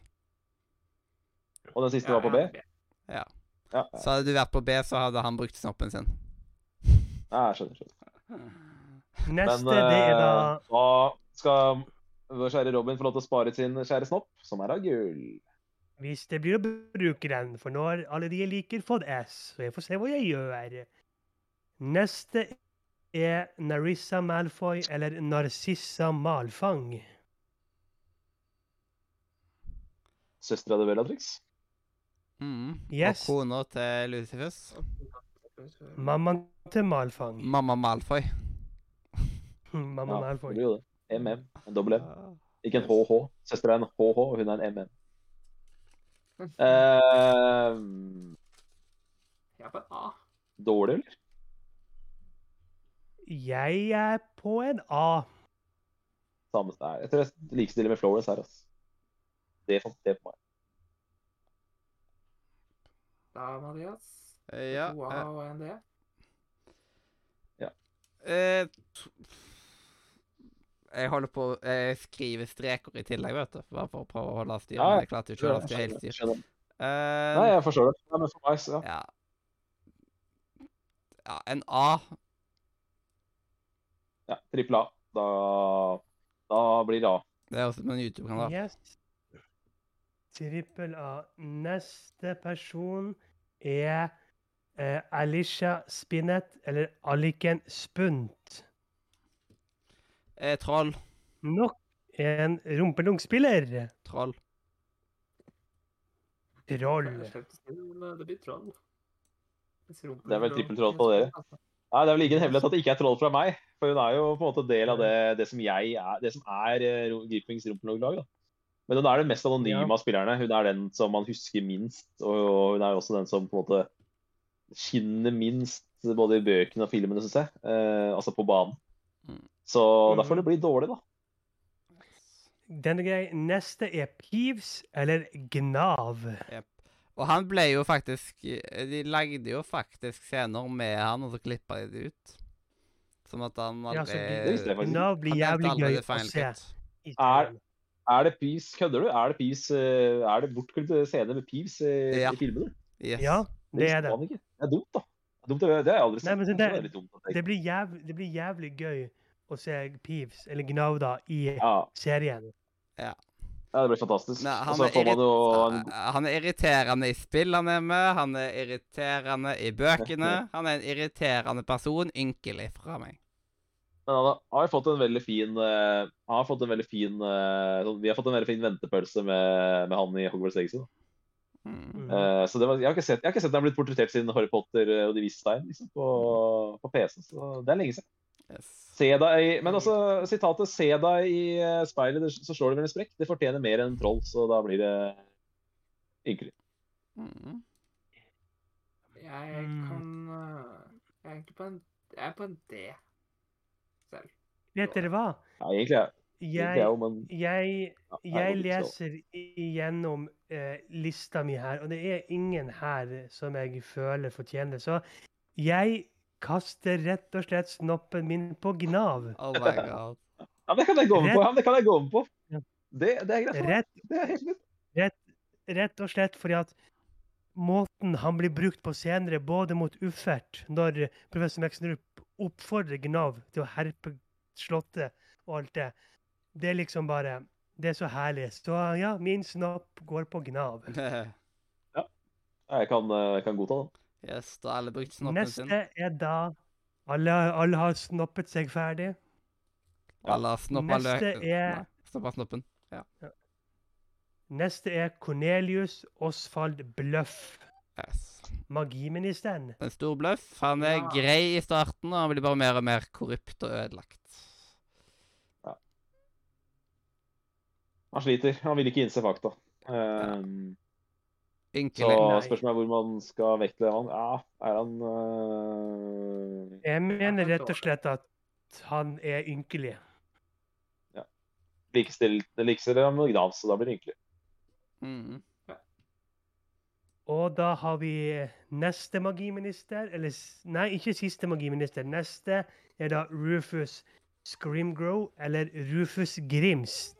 Og den siste
Ja,
var på B?
jeg er
Ja, ja.
Så hadde du vært på B, så hadde han brukt snoppen sin.
ja jeg skjønner. skjønner.
Neste,
Men
det er da
eh, da skal vår kjære Robin få lov til å spare sin kjære snopp, som er av gull.
Hvis det blir å bruke den, for nå har alle de jeg liker, fått S, så jeg får se hva jeg gjør. Neste er Narissa Malfoy, eller Narcissa Malfang.
Søstera til Bellatrix.
Mm.
Yes.
Og kona til Lucifus.
B.
Mammaen til Malfang. Hm,
Mamma Malfoy.
Mamma
Ja, det
Malfoy.
blir jo det. MM. En dobbel M.
Ah.
Ikke en HH. Søstera er en HH, og hun er en MM. Eh,
Jeg er på en A.
dårlig, eller?
Jeg er på en A.
Samme Nei, Jeg tror jeg likestiller med Florence her, altså. Det fant jeg på meg.
Da, Mathias.
Eh, Ja.
To A og en D.
eh, eh, t- jeg holder på Jeg skriver streker i tillegg, vet du. Bare for å prøve å holde styr.
Ja,
Men jeg klarte jo ikke å holde styr helt
Skjønner,
styr.
skjønner.
Eh,
Nei, jeg forstår det. Nei, men for meg, så ja.
Ja. ja. En A.
ja Trippel A. Da, da blir det A.
Det er også på en YouTube-kanal.
Yes. Trippel A. Neste person er eh, Alicia Spinnet, eller Aliken Spunt.
Eh, troll.
Nok en rumpelungspiller.
Troll.
Troll.
Jeg slipper å si det, men eh, Det blir troll. Hvis rumpen
Det er vel
blir
trippel
troll.
troll på dere. Nei, Det er vel ikke en hemmelighet at det ikke er troll fra meg. For hun er jo på en måte del av det, det som jeg er, det som er eh, Ro- Gripings rumpeloglag. da. Men hun er den mest anonyme av spillerne. Hun er den som man husker minst. Og hun er også den som på en måte skinner minst, både i bøkene og filmene, syns jeg. Eh, altså på banen.
Mm.
Så da
Mhm.
får det bli dårlig, da.
Den er grei. Neste er Peeves, eller Gnav.
Og han ble jo faktisk eh, De lagde jo faktisk scener med han, og så klippa de det ut. Som at han
Ja,
aldri
så de-
altså, Det visste jeg faktisk.
Gnav
eh,
blir
han nevnte
jævlig
aldri
gøy
det
å
Final
se.
Cut.
i
Er-
serien.
Er det Peeves? Kødder du? Er det Peeves, eh, er det bortglemte scener med Peeves eh,
Ja.
i filmene?
Yes.
Ja, det er
visste
det.
man ikke. Det er dumt, da. Det er, dumt, det har jeg aldri
Nei,
sett.
men så
det,
det-
er litt dumt. at jeg
Det blir, jæv, det blir jævlig gøy å se Peeves, eller Gnav, da, i
ikke- Ja,
serien.
Ja, det blir fantastisk.
Nei, han
og så
er
får man jo en...
Han er irriterende i spill han er med, han er irriterende i bøkene. Han er en irriterende person, ynkelig fra meg.
Men han har- har jo fått en veldig fin, eh, han har fått en veldig fin eh, sånn- Vi har fått en veldig fin ventepølse med, med han i Hogwarts Legacy. da.
Mm.
Mm.
Eh, så det var, jeg, har ikke sett, jeg har ikke sett han blitt portrettert siden Harry Potter eh, og De vise stein liksom, på, på PC. Så det er lenge siden.
Yes.
Se deg i, men altså, sitatet 'se deg i eh, speilet, det- så slår det vel en sprekk', det fortjener mer enn troll, så da blir det ynkelig.
Mm.
Jeg
Mm.
kan eh, Jeg er egentlig på en, jeg er på en D. Selv.
Vet dere hva?
Nei, egentlig er egentlig er
Jeg,
jo, men
jeg,
ja, det er
jeg
jo litt så.
leser igjennom eh, lista mi her, og det er ingen her som jeg føler fortjener det. Så jeg kaster rett og slett snoppen min på Gnav.
Oh my god.
Ja, men det kan jeg gå med på! Ja, men det kan jeg gå med på.
Ja.
Det, det er greit. for meg.
Rett,
Det er helt greit.
rett og slett fordi at måten han blir brukt på senere, både mot Uffert, når professor Mexnerup oppfordrer Gnav til å herpe slottet og alt det, det er liksom bare Det er så herlig. Så ja, min snopp går på Gnav.
Ja, Jeg kan, eh, kan godta den.
yes, da har alle brukt snoppen sin.
Neste er da alle, alle har snoppet seg ferdig.
Alle har snoppa
Neste
løken.
er-
Nei, Snoppa snoppen.
Neste er Cornelius Osvald Bløff,
Yes.
magiministeren.
En stor bløff. Han er
Ja.
grei i starten, og han blir bare mer og mer korrupt og ødelagt.
Han sliter. Han vil ikke innse fakta. Ehm, så
Ynkelig.
Nei.
spørsmålet er hvor man skal vektlegge han. Ja, er han øh,
Jeg
han
mener rett
dårlig.
og slett at han er ynkelig.
likestilt likestilt han med Gnavs, så da blir det ynkelig.
Mm.
Og da har vi eh, neste magiminister, eller s- Nei, ikke siste magiminister. Neste er da Rufus Scrimgrow, eller Rufus Grimst.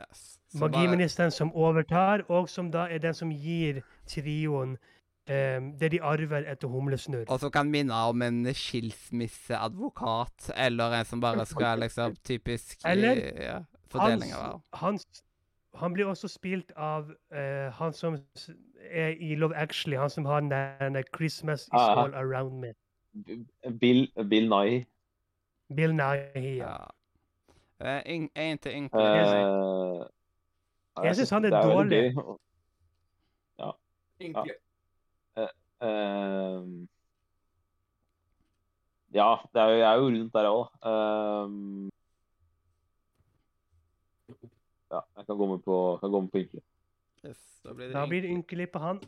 Yes. Så bare-
Magiministeren som overtar, og som da er den som gir trioen eh, det de arver etter humlesnurr.
Og som kan minne om en skilsmisseadvokat, eller en som bare skal liksom typisk
Eller
ja,
Han,
fordeling av arv.
han, han blir også spilt av eh, han som s- er i Love Actually, han som har den der Christmas is
Ah.
all around me.
Bill, Bill Nye.
Bill Nighy. Ja.
Ja. Eh, yng- En til
Eh,
ynkelig.
ja,
Jeg synes han er
det
dårlig.
veldig gøy.
Egentlig.
Ehm, ja, det er jo, jeg er jo rundt der òg, da. Ehm, ja, jeg kan gå med på, kan gå med på ynkelig.
Yes, da blir det
Da blir det ynkelig på han.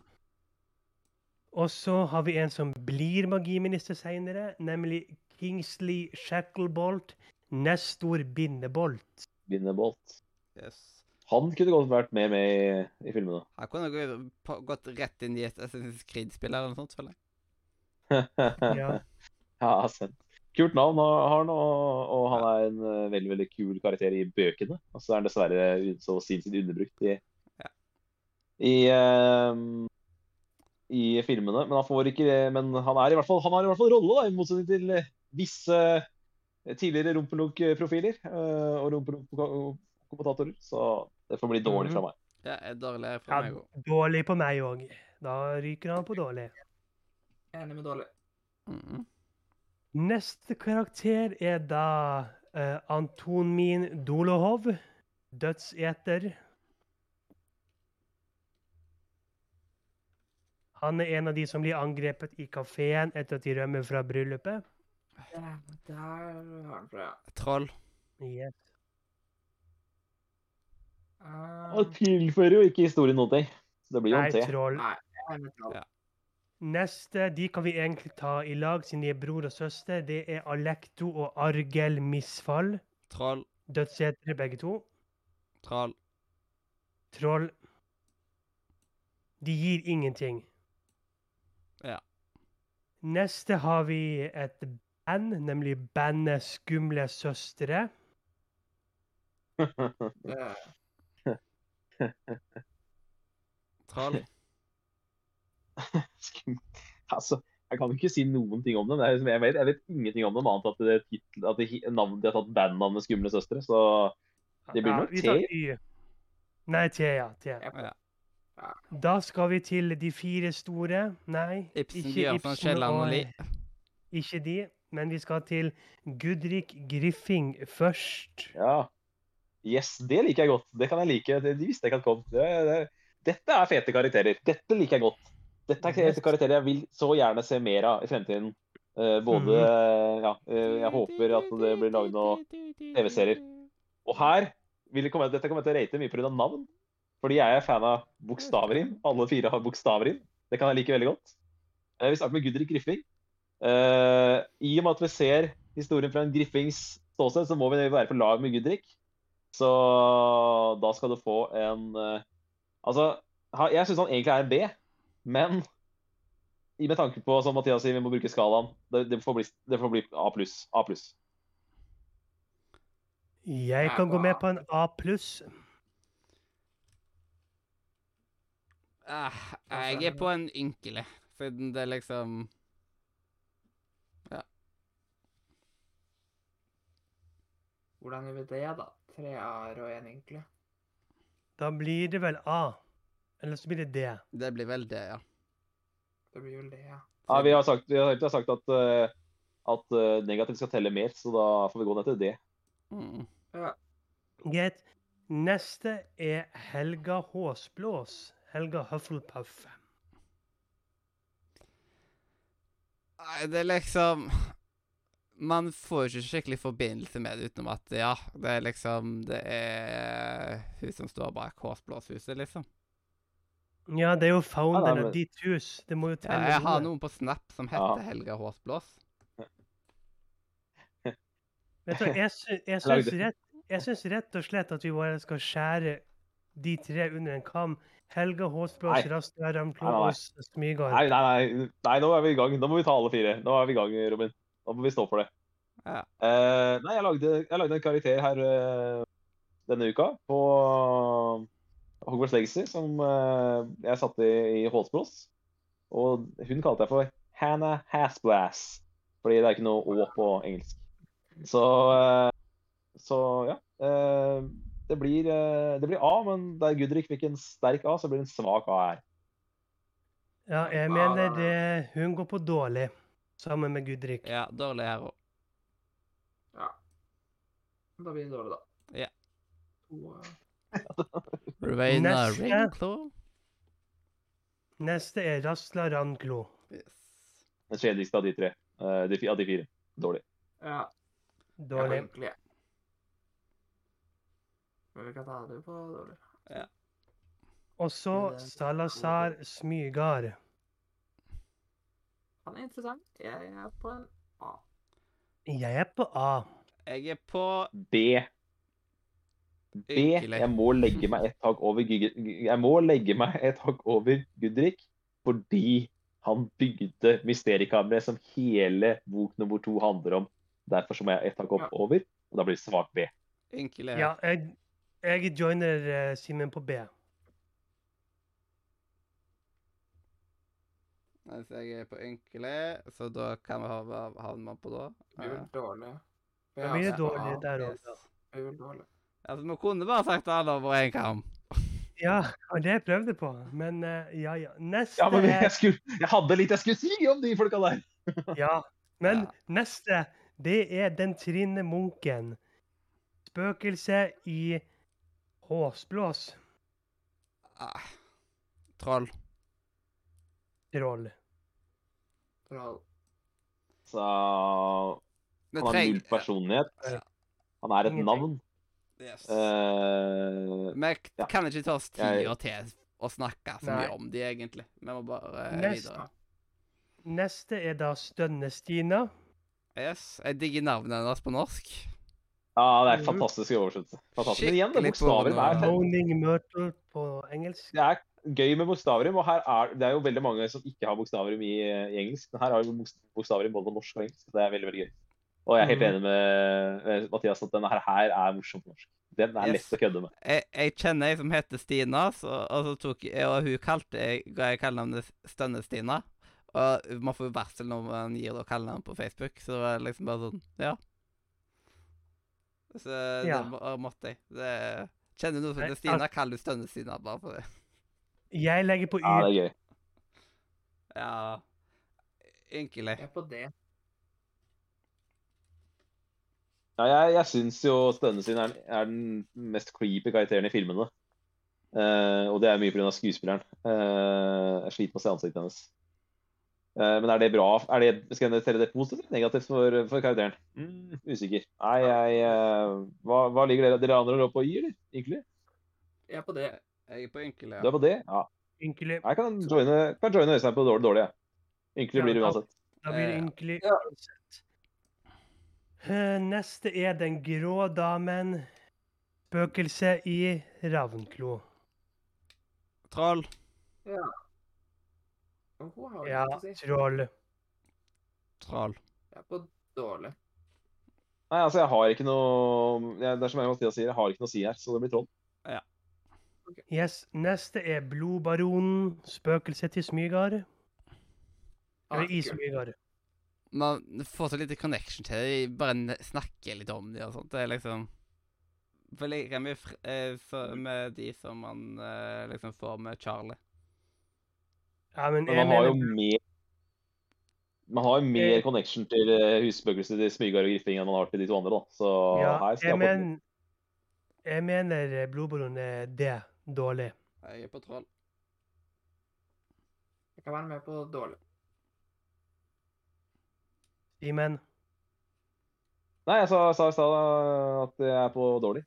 Og så har vi en som blir magiminister seinere, nemlig Kingsley Shacklebolt, nestor Bindebolt.
Bindebolt.
Yes.
Han kunne godt vært med med i, i filmene.
Han kunne gå- på- gått rett inn i et Assassin's Creed-spill eller noe sånt, føler jeg.
ja.
Ja.
sant. Kult navn har har han, og, og han er en eh, veldig veldig kul karakter i bøkene. Og så er han dessverre un- så sinnssykt underbrukt i i, ehm, i filmene. Men han får ikke det, men han, er i hvert fall, han har i hvert fall rolle, da, i motsetning til eh, visse tidligere Rumpelunk-profiler eh, og Rumpelunk-kommentatorer. Så det får bli dårlig
Mm.
fra meg.
Ja, er dårlig
Ja,
fra meg òg.
dårlig på meg òg. Da ryker han på dårlig.
Enig med dårlig.
Mm.
Neste karakter er da eh, Antonmin Dolohov, dødseter. Han er en av de som blir angrepet i kafeen etter at de rømmer fra bryllupet.
Ja, Der har han fra.
Troll.
Yes.
Uh,
Han tilfører jo ikke historien noen ting. Så det blir jo
Nei,
en T.
troll.
Nei. jeg er med troll.
Neste de kan vi egentlig ta i lag, siden de er bror og søster. Det er Alekto og Argel Misfall.
Troll.
Dødsetere begge to.
Troll.
Troll. De gir ingenting.
Ja.
Neste har vi et band, nemlig bandet Skumle søstre.
Det,
Troll.
Skum- altså, jeg kan jo ikke si noen ting om dem. Det er, liksom- jeg, vet, jeg vet ingenting om dem annet enn at, det er titel, at det, hi- navn, de har tatt bandnavnet Skumle søstre. Så Det blir nok
vi
T.
tar Y. Nei, T, ja. T.
jeg,
Ja.
Da skal vi til de fire store. Nei,
Ibsen,
ikke
Bjørnson,
Ibsen
Kielland og
og
Lie.
Ikke de, men vi skal til Gudrik Griffing først.
ja. Yes, det liker jeg godt. Det kan jeg like. Det, de visste jeg ikke hadde kommet. Det, det, dette er fete karakterer. Dette liker jeg godt. Dette er
Yes.
fete karakterer jeg vil så gjerne se mer av i fremtiden. Eh, både Ja, eh, jeg håper at det blir laget noe TV-serier. Og her vil det komme, Dette kommer jeg til å rate mye pga. navn. Fordi jeg er fan av bokstavrim. Alle fire har bokstavrim. Det kan jeg like veldig godt. Eh, Vi starter med Gudrik Griffing. Eh, I og med at vi ser historien fra en Griffings ståsted, så må vi være på lag med Gudrik. Så da skal du få en eh, Altså, ha- jeg syns han egentlig er en B, men i- med tanke på, som Mathias sier, vi må bruke skalaen. Det, det, får, bli, det får bli A pluss. A pluss.
Jeg kan gå med på en A pluss.
Eh,
Altså,
jeg er på en ynkelig, siden det liksom
hvordan gjør vi det, da? Tre A-er og én, egentlig.
Da blir det vel A. Eller så blir det D.
Det blir vel det, ja.
Det blir vel det, ja.
Ja, vi har sagt, vi har, vi har sagt at, eh, at eh, negativt skal telle mer, så da får vi gå ned til det.
Mm.
Greit. Neste er Helga Håsblås. Helga Hufflepuff.
Nei, det er liksom man får jo ikke skikkelig forbindelse med det utenom at ja, det er liksom Det er hun som står bak Hårsblåshuset, liksom.
Ja, det er jo
Ja,
founderen
da,
av
men-
ditt hus. Det må jo
Ja,
telle.
jeg har
noe.
noen på Snap som
Ja.
heter Helga Hårsblås.
Vet du, hva, jeg, sy jeg,
Lagde.
syns rett, jeg syns rett og slett at vi bare skal skjære de tre under en kam. Helga Håsblås,
Nei.
Rastra
Nei, nei, nei.
Ramklovås, Smygard.
Nei, nei, nei, nei, nå er vi i gang. Nå må vi ta alle fire. Nå er vi i gang, Robin. Nå må vi stå for det.
Ja.
Eh, nei, jeg lagde, jeg lagde en karakter her eh, denne uka på Hogwarts Legacy som eh, jeg satte i, i Hålsbros. Og hun kalte jeg for Hannah Hasblass, fordi det er ikke noe Å på engelsk. Så, eh, så ja. eh, det, blir, eh, det blir A, men der Gudrik fikk en sterk A, så blir det en svak A her.
Ja, jeg mener det Hun går på dårlig sammen med Gudrik.
Ja, dårlig her òg.
Da blir det dårlig, da.
Ja.
To, eh,
Raina
Neste.
Ringclaw.
Neste er Rasla Ranklo.
Yes.
Den kjedeligste av de tre. eh, de, fi- av de fire. Dårlig.
Ja, jeg var
Dårlig.
egentlig jeg. Men vi kan ta det på dårlig.
Og så Salazar Smygard.
Han er interessant. Jeg er på en
Jeg er på A.
Jeg er på
B. B.
Ynkelig.
Jeg må legge meg et tak over Gug- Jeg må legge meg et tak over Gudrik fordi han bygde mysteriekammeret som hele bok nummer to handler om. Derfor så må jeg et tak opp
Ja.
over, og da blir det svak B.
Ynkelig.
Ja, jeg, jeg joiner eh, Simen på B.
Mens jeg er på ynkelig, så da kan vi ha havne på da.
Det blir vel dårlig.
Da blir det
Ja, altså,
dårlig
ja,
der
Yes.
òg.
det blir vel dårlig.
Altså, vi kunne bare sagt alle over én kam.
Ja, og det jeg prøvde på. Men eh, ja, ja. Neste
Ja, men
er
jeg, skulle, jeg hadde litt jeg skulle si om de folka der.
Ja. Men
Ja.
neste, det er Den trinne munken. Spøkelse i håsblås.
Ah. Troll.
Troll.
Troll.
Så han
Vi
har
treng-
null personlighet.
Ja.
Han er et
Ingenting.
navn.
Yes.
Eh,
Vi k-
ja.
kan ikke ta oss
Jeg-
tid og til å snakke så
Nei.
mye om de, egentlig. Vi må bare eh,
Neste.
videre.
Neste er da Stønne-Stina.
Yes. Jeg digger navnet hennes på norsk.
ja, det er fantastisk oversettelse. Fantastisk. Men igjen, det er
Mm. Skikkelig
bokstaver hver.
porno.
Moaning Myrtle på engelsk.
det er gøy med bokstavrim, og her er, det er jo veldig mange som ikke har bokstavrim i, i engelsk. Men her har vi boks- bokstavrim både på norsk og engelsk, så det er veldig veldig gøy. Og jeg er helt
Mm.
Mhm.
enig med med Mathias at denne her, her er morsom på norsk. Den er
Yes.
lett å kødde med.
Jeg, jeg kjenner ei som heter Stina, så, og, så tok, jeg- og hun kalte jeg, ga jeg kallenavnet Stønne-Stina. Og man får jo varsel når man gir det kallenavn på Facebook, så det var liksom bare sånn Ja. Så
Ja.
det må, og måtte jeg. Det, kjenner du noen som
Nei, altså-
heter Stina, kall du Stønne-Stina bare for det.
Jeg legger på Y.
Ja, det er gøy.
Ja. Ynkelig.
Jeg er på det.
Ja, jeg jeg syns jo Stønne sin er, er den mest creepy karakteren i filmene. Eh, og det er mye pga. skuespilleren. Eh, jeg sliter med å se ansiktet hennes. Eh, men er det bra? Er det, skal jeg telle det positivt eller negativt for, for karakteren? Mm, usikker. Nei, jeg eh, hva, hva ligger dere Dere andre lå på Y, eller? Ynkelig?
Jeg er på det.
Jeg er på ynkelig.
Du
Ja.
er på D? Ja.
Ynkelig.
Jeg kan joine, kan joine Øystein på dårlig, dårlig jeg. Ynkelig blir det uansett.
Da blir det
Eh,
ynkelig
ja.
uansett. Eh, Neste er Den grå damen. Spøkelse i Ravnklo.
Troll.
Men Hun har jo
Ja,
litt å si.
troll.
Troll.
Jeg er på dårlig.
Nei, altså, jeg har ikke noe jeg, Det er som jeg Mathias sier, jeg har ikke noe å si her, så det blir troll.
Yes. Neste er Blodbaronen. Spøkelse til
Ah,
Smygard.
Han
Eller
er
i
kul.
Smygard.
Man får så lite connection til det. de Bare n- snakker litt om det og sånt. Det er liksom For like mye fr eh, så med de som man eh, liksom får med Charlie.
Ja, men
Men
jeg
man har jo
mener
mer Man har jo mer connection til eh, husspøkelset til Smygard og Griffing enn man har til de to andre, da. Så
ja,
her skal
jeg,
jeg fortsette.
men, jeg mener eh, Blodbaronen er det. Dårlig.
Jeg er på troll.
Jeg kan være med på dårlig.
Simen.
Nei, jeg sa sa i stad at jeg er på dårlig.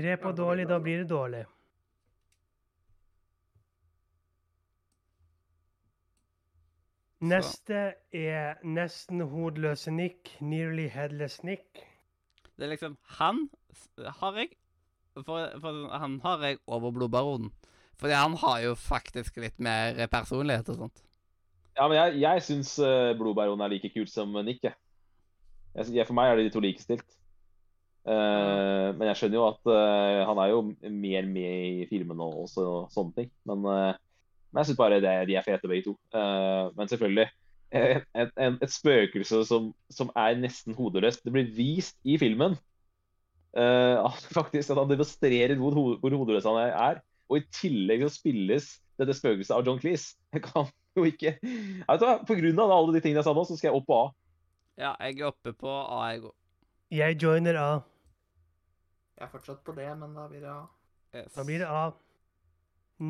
Tre på
Ja, det blir
dårlig,
bra,
da
da.
blir det dårlig. Neste er nesten hodeløse Nick, nearly headless Nick.
Det er liksom Han s- har jeg for, for, sånn, Han har jeg over blodbaronen. Fordi han har jo faktisk litt mer personlighet og sånt.
Ja, men jeg, jeg syns blodbaron er like kult som Nick, jeg. jeg. sy- jeg- For meg er de to likestilt. Eh, men jeg skjønner jo at eh, han er jo mer med i filmene og også, og sånne ting. Men, eh, men jeg syns bare det, de er fete, begge to. Eh, men selvfølgelig. eh, En, en, et spøkelse som, som er nesten hodeløst. Det blir vist i filmen eh, at, faktisk, at han demonstrerer hvor, ho- hvor hodeløs han er. Og i tillegg så spilles dette spøkelset av John Cleese. Jeg kan jo ikke Jeg vet du hva, På grunn av alle de tingene jeg sa nå, så skal jeg opp på A.
Ja, jeg er oppe på A, jeg òg.
Jeg joiner A.
Jeg er fortsatt på det, men da blir det ja.
Yes.
Da blir det A.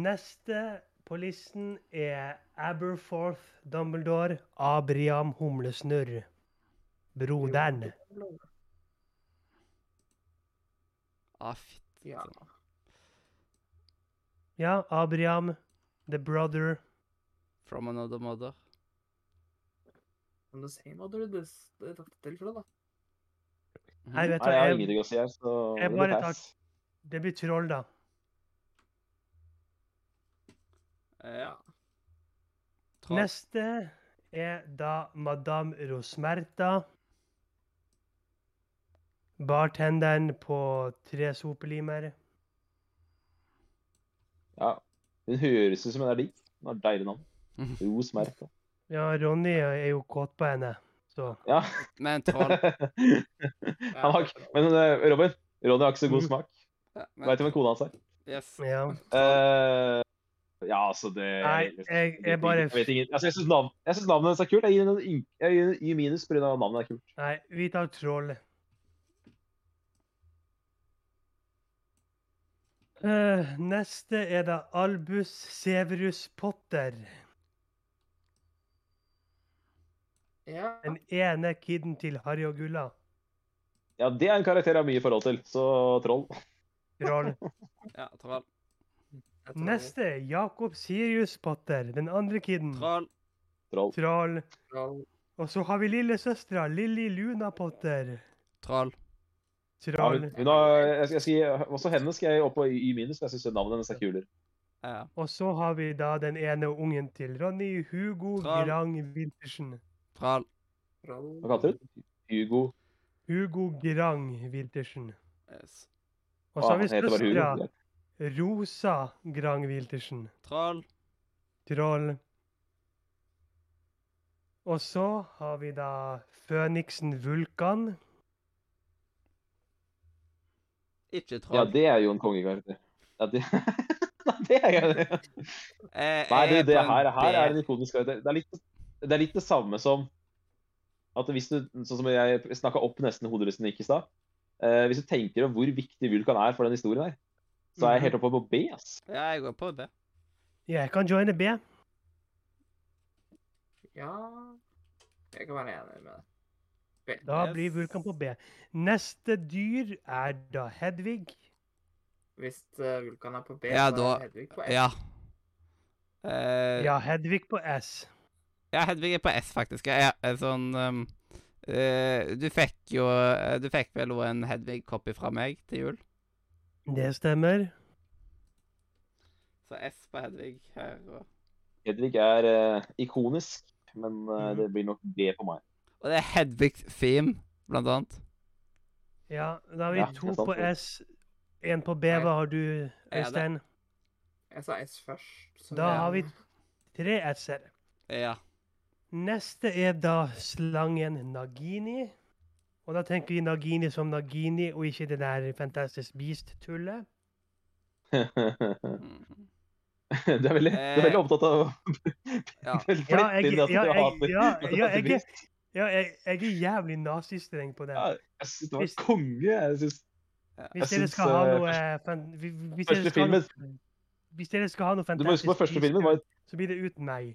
Neste på listen er Aberforth Dumbledore Abriam Humlesnurr. Broderen.
Ah, fitt.
Ja.
Ja, Abriam. The Brother.
From another mother.
Men du sier noe du det er dette tilfellet, da.
Mhm.
Nei, vet du
Nei, jeg har
hva, jeg,
ingenting å si her, så
jeg
det
bare
blir
tar-
pass.
det blir troll, da.
Eh, Ja. Troll.
Neste er da Madame Rosmerta. Bartenderen på tre sopelimer.
Ja. Hun høres ut som en er digg. Hun har deilig navn. Ros Merta.
Ja, Ronny er jo kåt på henne, så
Ja.
Men troll.
Han har, ikke- men eh, Robin, Ronny har ikke så
Mhm.
god smak.
Ja, men-
Veit du hvem kona hans er?
Yes.
ja.
Eh, ja, altså det
Nei, jeg, jeg bare
Jeg, vet ikke- altså, jeg syns navn, jeg synes navnet hennes er kult. Jeg gir henne en ink- jeg gir henne- gir minus pga. navnet er kult.
Nei, vi tar troll. Eh, neste er da Albus Severus Potter.
Ja.
Den ene kiden til Harry og Gulla.
Ja, Det er en karakter jeg har mye forhold til, så troll.
Troll.
Ja, troll.
jeg tror-
Neste er Jakob Sirius Potter. Den andre kiden.
Troll.
troll.
Troll.
Troll.
Og så har vi lillesøstera Lilly Luna Potter.
Troll.
Ja,
Troll.
hun, hun har, jeg, jeg skal, gi- også henne skal jeg opp på i minus, for jeg syns navnet hennes er kulere.
Ja.
Og så har vi da den ene ungen til Ronny, Hugo
Troll.
Grang Wiltersen.
Troll.
Troll.
Hva kalte du den? Hugo.
Hugo Grang Wiltersen.
Yes.
Og så har
Ah,
vi
han heter bare Hugo.
søstera Rosa Grang Wiltersen.
Troll.
Troll. Og så har vi da Føniksen Vulkan.
Ikke
Ja,
troll.
det er jo en kongekarakter. Ja, det... Nei, det er jo det.
Eh,
Nei,
jeg
det,
er
det
på en
her, her er
B.
en ikonisk karakter. Det er litt, det, er litt det samme som at hvis du, sånn som jeg snakka opp nesten hoderusten i stad eh, Hvis du tenker om hvor viktig Vulkan er for den historien her, så er jeg helt oppe på B. ass.
Ja, jeg går på B.
Jeg kan joine B.
Ja. Jeg kan være enig med det. Ok.
Da
Yes.
blir Vulkan på B. Neste dyr er da Hedvig.
Hvis eh, Vulkan er på B,
Ja,
så
da-
er Hedvig på S.
Ja. Eh, ja.
Ja, Hedvig på S.
Hedvig er på S, faktisk. Jeg er- er sånn um, eh, Du fikk jo eh, Du fikk vel også en Hedvig-copy fra meg til jul?
Det stemmer.
Så S på Hedvig her. Og,
Hedvig er eh, ikonisk, men eh,
Mhm.
det blir nok B på meg.
og det er Hedvigs theme, blant annet.
Ja, da har vi
Ja, det er
to
sant,
på
det.
S. Én på B. Hva har du,
det-
Øystein?
Jeg sa S først. så
Da
det-
har vi tre S-er.
Ja.
Neste er da slangen Nagini. Og da tenker vi Nagini som Nagini, og ikke det der Fantastisk Beast-tullet.
Mm.
Du er veldig, du er veldig opptatt av å
Ja.
flette
Ja, jeg,
inn
ja,
at
jeg,
du hater
ja, ja,
hater
jeg,
Beast.
ja, jeg, jeg er jævlig nazistreng på det.
Ja, Jeg syns det var
Hvis-
konge. Jeg synes,
Hvis
jeg
dere
syns,
skal ha
eh,
noe eh, fan- vi- vi- Hvis
første
dere skal ha noe- hvis dere skal ha noe
du må huske på
Fantastisk
første filmen var
Beast-tull, så blir det uten meg.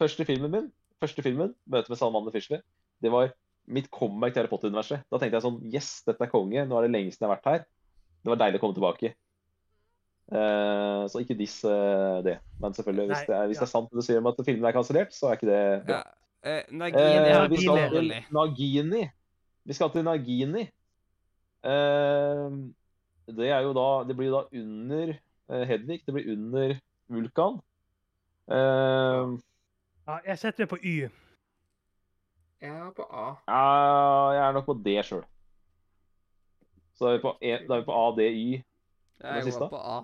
første filmen min. Første filmen, møtet med Salman Fishle, det var mitt comeback til Harry Potter-universet. Da tenkte jeg sånn Yes, dette er konge. Nå er det lenge siden jeg har vært her. Det var deilig å komme tilbake. Eh, så ikke diss eh, det. Men selvfølgelig, hvis,
Nei,
det er,
ja.
hvis det er sant det du sier om at filmen er kansellert, så er ikke det bra.
Ja. Eh, Nagini
Eh,
har
vi skal
gått
til
rolig.
Nagini. Vi skal til Nagini. Eh, det er jo da Det blir da under eh, Hedvig. Det blir under Vulkan. Eh,
Ja, jeg setter det på Y.
Jeg er på A.
ja, jeg er nok på D sjøl. Så da er vi på, e, da er vi på A, D, Y.
Jeg
siste?
går på A.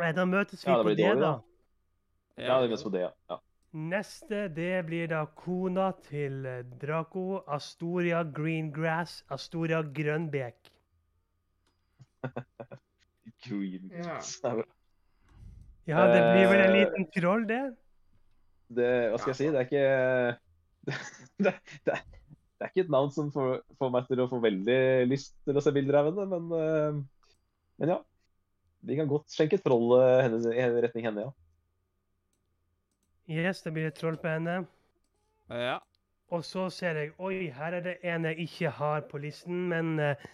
Nei, da møtes vi
Ja, det
på
blir
D,
dårlig,
da.
da. Ja, det er mest på D, ja. ja.
Neste, det blir da kona til eh, Draco, Astoria Greengrass, Astoria Grønbek.
Green.
Ja.
Ja, det blir vel en
Eh,
liten troll, det?
Det, hva skal jeg si? Det er ikke Det, det, det er ikke et navn som får, får meg til å få veldig lyst til å se bilder av henne, men, eh, men ja. Vi kan godt skjenke et troll eh, hennes, i retning henne, ja.
Yes, det blir et troll på henne.
Ja.
Og så ser jeg Oi, her er det en jeg ikke har på listen, men eh,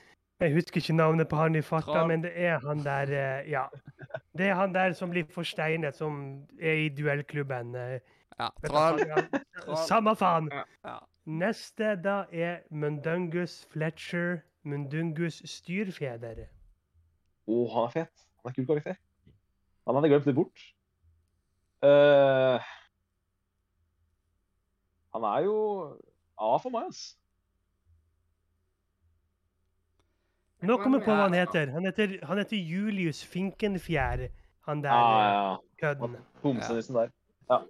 Jeg husker ikke navnet på han i farta,
Troll.
men det er han der eh, Ja. Det er han der som blir forsteinet, som er i duellklubben. eh,
ja.
vet da
Troll.
faen, ja.
Troll.
Samme faen!
Ja.
Neste da er Mundungus Fletcher, Mundungus styrfjeder.
Å, han er fet. Han er kul karakter. Han hadde jeg glemt litt bort. Eh, han er jo A for meg, ass.
Nå kommer jeg på hva han
Ja.
heter. Han heter, han heter Julius Finkenfjær, han der eh,
Ah, ja.
kødden.
Homsenissen der.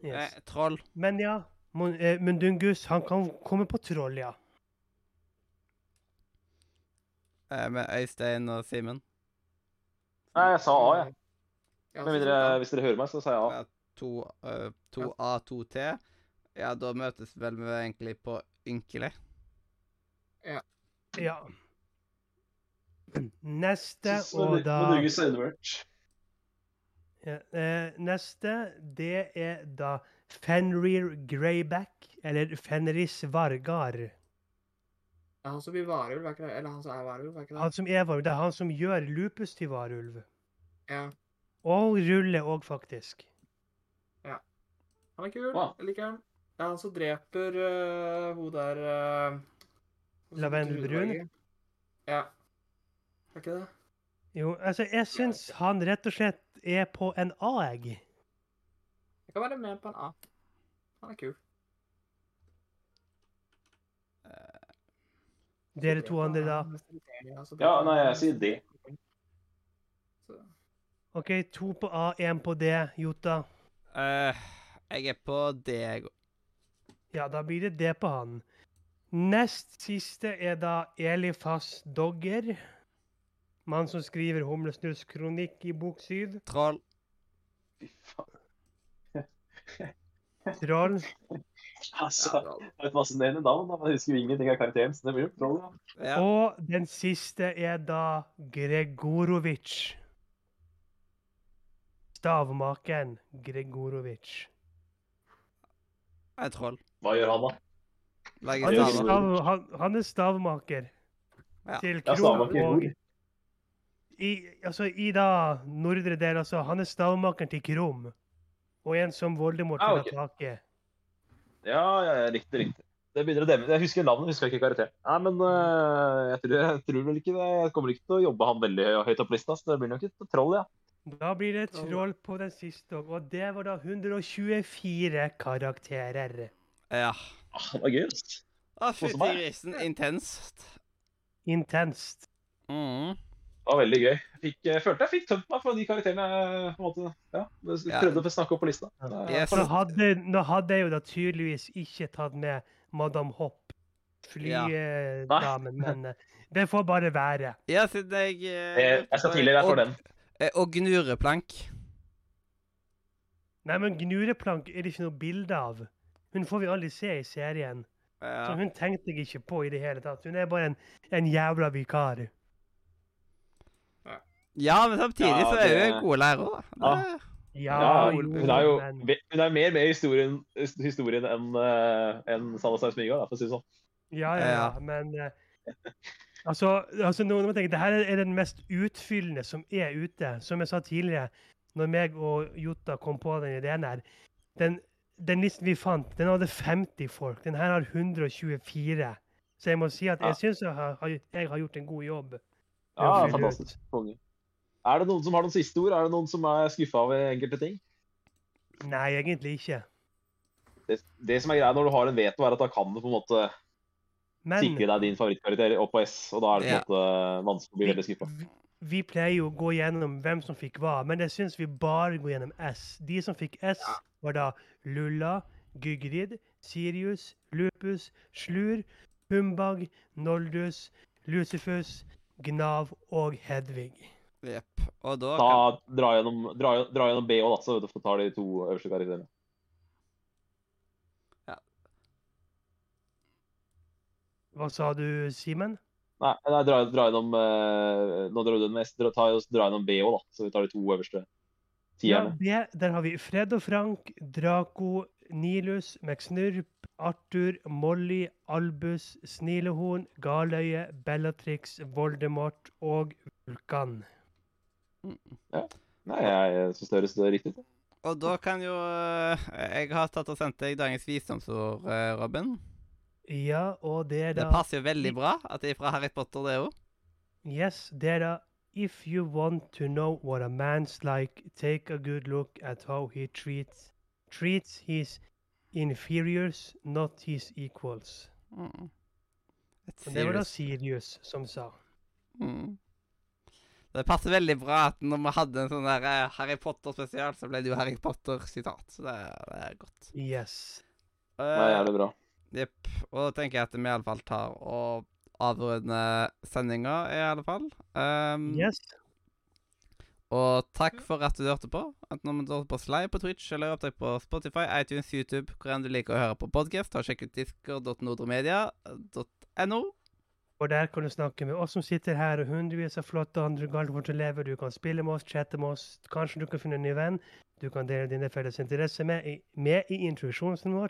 Yes.
Eh, troll.
Men ja, Mon- eh, Mundungus, han kan komme på troll, ja.
Eh, med Øystein og Simen.
Nei, jeg sa A, jeg.
Ja,
Med
så
mindre,
sant,
hvis dere hører meg, så sier jeg A.
Ja, 2A, 2T. Ja, da møtes vel vi egentlig på ynkelig.
Ja. Neste,
Synes
og
det-
da
Norges undervurdert.
ja, eh, Neste, det er da Fenrir Greyback, eller Fenris Vargar.
da. Han som blir varulv, er ikke det? Eller han som er varulv, er ikke det?
Han som er varulv. Det er han som gjør lupus til varulv.
Ja.
Og rulle òg, faktisk.
Han er kul.
Wow.
Jeg liker han. Det er han som dreper øh, hun der øh, hun som
Lavendelbrun?
drueberget. Ja. Er ikke det?
Jo, altså, jeg syns han rett og slett er på en A-egg.
Jeg kan være med på en A. Han er kul.
Dere to andre, da.
Ja, nei, jeg sier D.
OK, to på A, én på D. Jota.
Eh, jeg er på D, jeg òg.
Ja, da blir det det på han. Nest siste er da Elifas Dogger. Mann som skriver Humlesnurrs kronikk i bok syv.
Troll.
Fy faen.
Troll.
Altså,
Ja, da-
det er et fascinerende navn. da, men Jeg husker jo ingenting av karakteren, så det blir jo troll. da.
Ja.
Og den siste er da Gregorovic. Stavmakeren Gregorovic.
Jeg er troll.
Hva gjør han, da?
Lager
Han er,
staver.
stav, han, han er stavmaker
Ja.
til
Ja,
Krohn.
stavmaker,
Og
hvor?
i, altså, I da nordre del, altså. Han er stavmakeren til Krom. Og en som Voldemort
Ah,
vil
ok.
ha tak i.
Ja, ja, ja, riktig, riktig. Det begynner å demme. Jeg husker navnet, husker ikke karakteren. Nei, men øh, jeg, tror, jeg tror vel ikke det. Jeg kommer ikke til å jobbe han veldig høy- høyt opp på lista, så det blir nok et troll, ja.
Da blir det
Troll.
troll på den siste òg. Og det var da 124 karakterer.
Ja.
Ah, det var gøy. ass.
Å, fytti
Koser meg.
grisen. Intenst.
Intenst.
Mm.
Det var veldig gøy. Jeg Fikk, jeg følte jeg fikk tømt meg for de karakterene jeg eh, på en måte, ja,
Ja.
prøvde å snakke opp på lista.
Ja.
Det er-
Yes.
Nå hadde, nå hadde jeg jo da tydeligvis ikke tatt med Madam Hopp,
Ja.
flydamen, men eh, det får bare være.
Ja, siden jeg eh,
Jeg, jeg sa tidligere jeg får
og-
den.
eh, Og gnureplank.
Nei, men Gnureplank er det ikke noe bilde av. Hun får vi aldri se i serien. Så
Ja.
hun tenkte jeg ikke på i det hele tatt. Hun er bare en, en jævla vikar.
ja, men samtidig
Ja,
så er
det-
hun en god lærer. da.
Ja.
Det-
Ja,
jo,
hun er jo
men-
ve- hun er mer med i historien, historien enn uh, en Salazar Smyga, da, for å si det sånn.
Ja, ja,
Ja.
ja. Men eh, altså, altså nå, nå må jeg tenke, det her er den mest utfyllende som er ute. Som jeg sa tidligere, når meg og Jota kom på den ideen her Den, den listen vi fant, den hadde 50 folk. Den her har 124. Så jeg må si at
Ja.
jeg syns jeg, har- har- jeg har gjort en god jobb. med å
Ja,
fylle
fantastisk.
ut.
Konge. Er det noen som har noen siste ord? Er det noen som er skuffa over enkelte ting?
Nei, egentlig ikke.
Det, det som er greia når du har en veto, er at da kan du på en måte
Men
sikre deg din favorittkarakter opp på S, og da er det på en
Ja.
måte vanskelig å bli veldig skuffa.
Vi, vi pleier jo å gå gjennom hvem som fikk hva, men jeg syns vi bare går gjennom S. De som fikk S,
Ja.
var da Lulla, Gygrid, Sirius, Lupus, Slur, Humbag, Noldus, Lucifus, Gnav og Hedvig.
Jepp. Og da
Da dra gjennom, dra, dra gjennom BH, da, så vet du, får ta de to øverste karakterene.
Hva sa du, Simen?
Nei, nei dra, dra gjennom eh, Nå drar du den med S, dra, ta, dra gjennom BH, da, så vi tar de to øverste
Ja,
tierne.
det- der har vi Fred og Frank, Draco, Nilus, McSnurp, Arthur, Molly, Albus, Snilehorn, Galøye, Bellatrix, Voldemort og Vulkan.
Nei, jeg syns det høres riktig ut.
Og da kan jo eh, Jeg har tatt og sendt deg dagens visdomsord, eh, Robin.
Ja, og det er
Det
da
passer jo veldig bra at det er fra Harry Potter, det òg.
Yes, det er da If you want to know what a man's like, take a good look at how he treats treats his inferiors, not his equals.
Mm. Et
Og det var da
serious-
Sirius som sa.
Mm. Det passer veldig bra at når vi hadde en sånn der eh, Harry Potter-spesial, så ble det jo Harry Potter-sitat. Så det, det er godt.
Yes.
Nei,
Eh,
jævlig bra.
Jepp. Og da tenker jeg at vi iallfall tar og avrunder sendinga, i alle fall. Um,
Yes.
Og takk for at du hørte på. Enten om du hørte på oss live på Twitch eller opptak på Spotify, iTunes, YouTube, hvor enn du liker å høre på podkast, ta og sjekk ut discord.nordremedia.no.
Og der kan du snakke med oss som sitter her, og hundrevis av flotte andre galtvort elever. Du kan spille med oss, chatte med oss. Kanskje du kan finne en ny venn du kan dele dine felles interesser med, i- med i introduksjonen vår.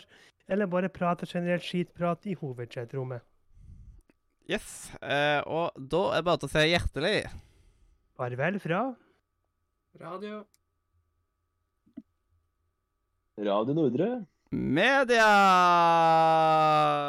Eller bare prate generelt skitprat i hovedchatrommet.
Yes. Eh, og da er det bare til å si hjertelig
Farvel fra
Radio.
Radio Nordre.
media!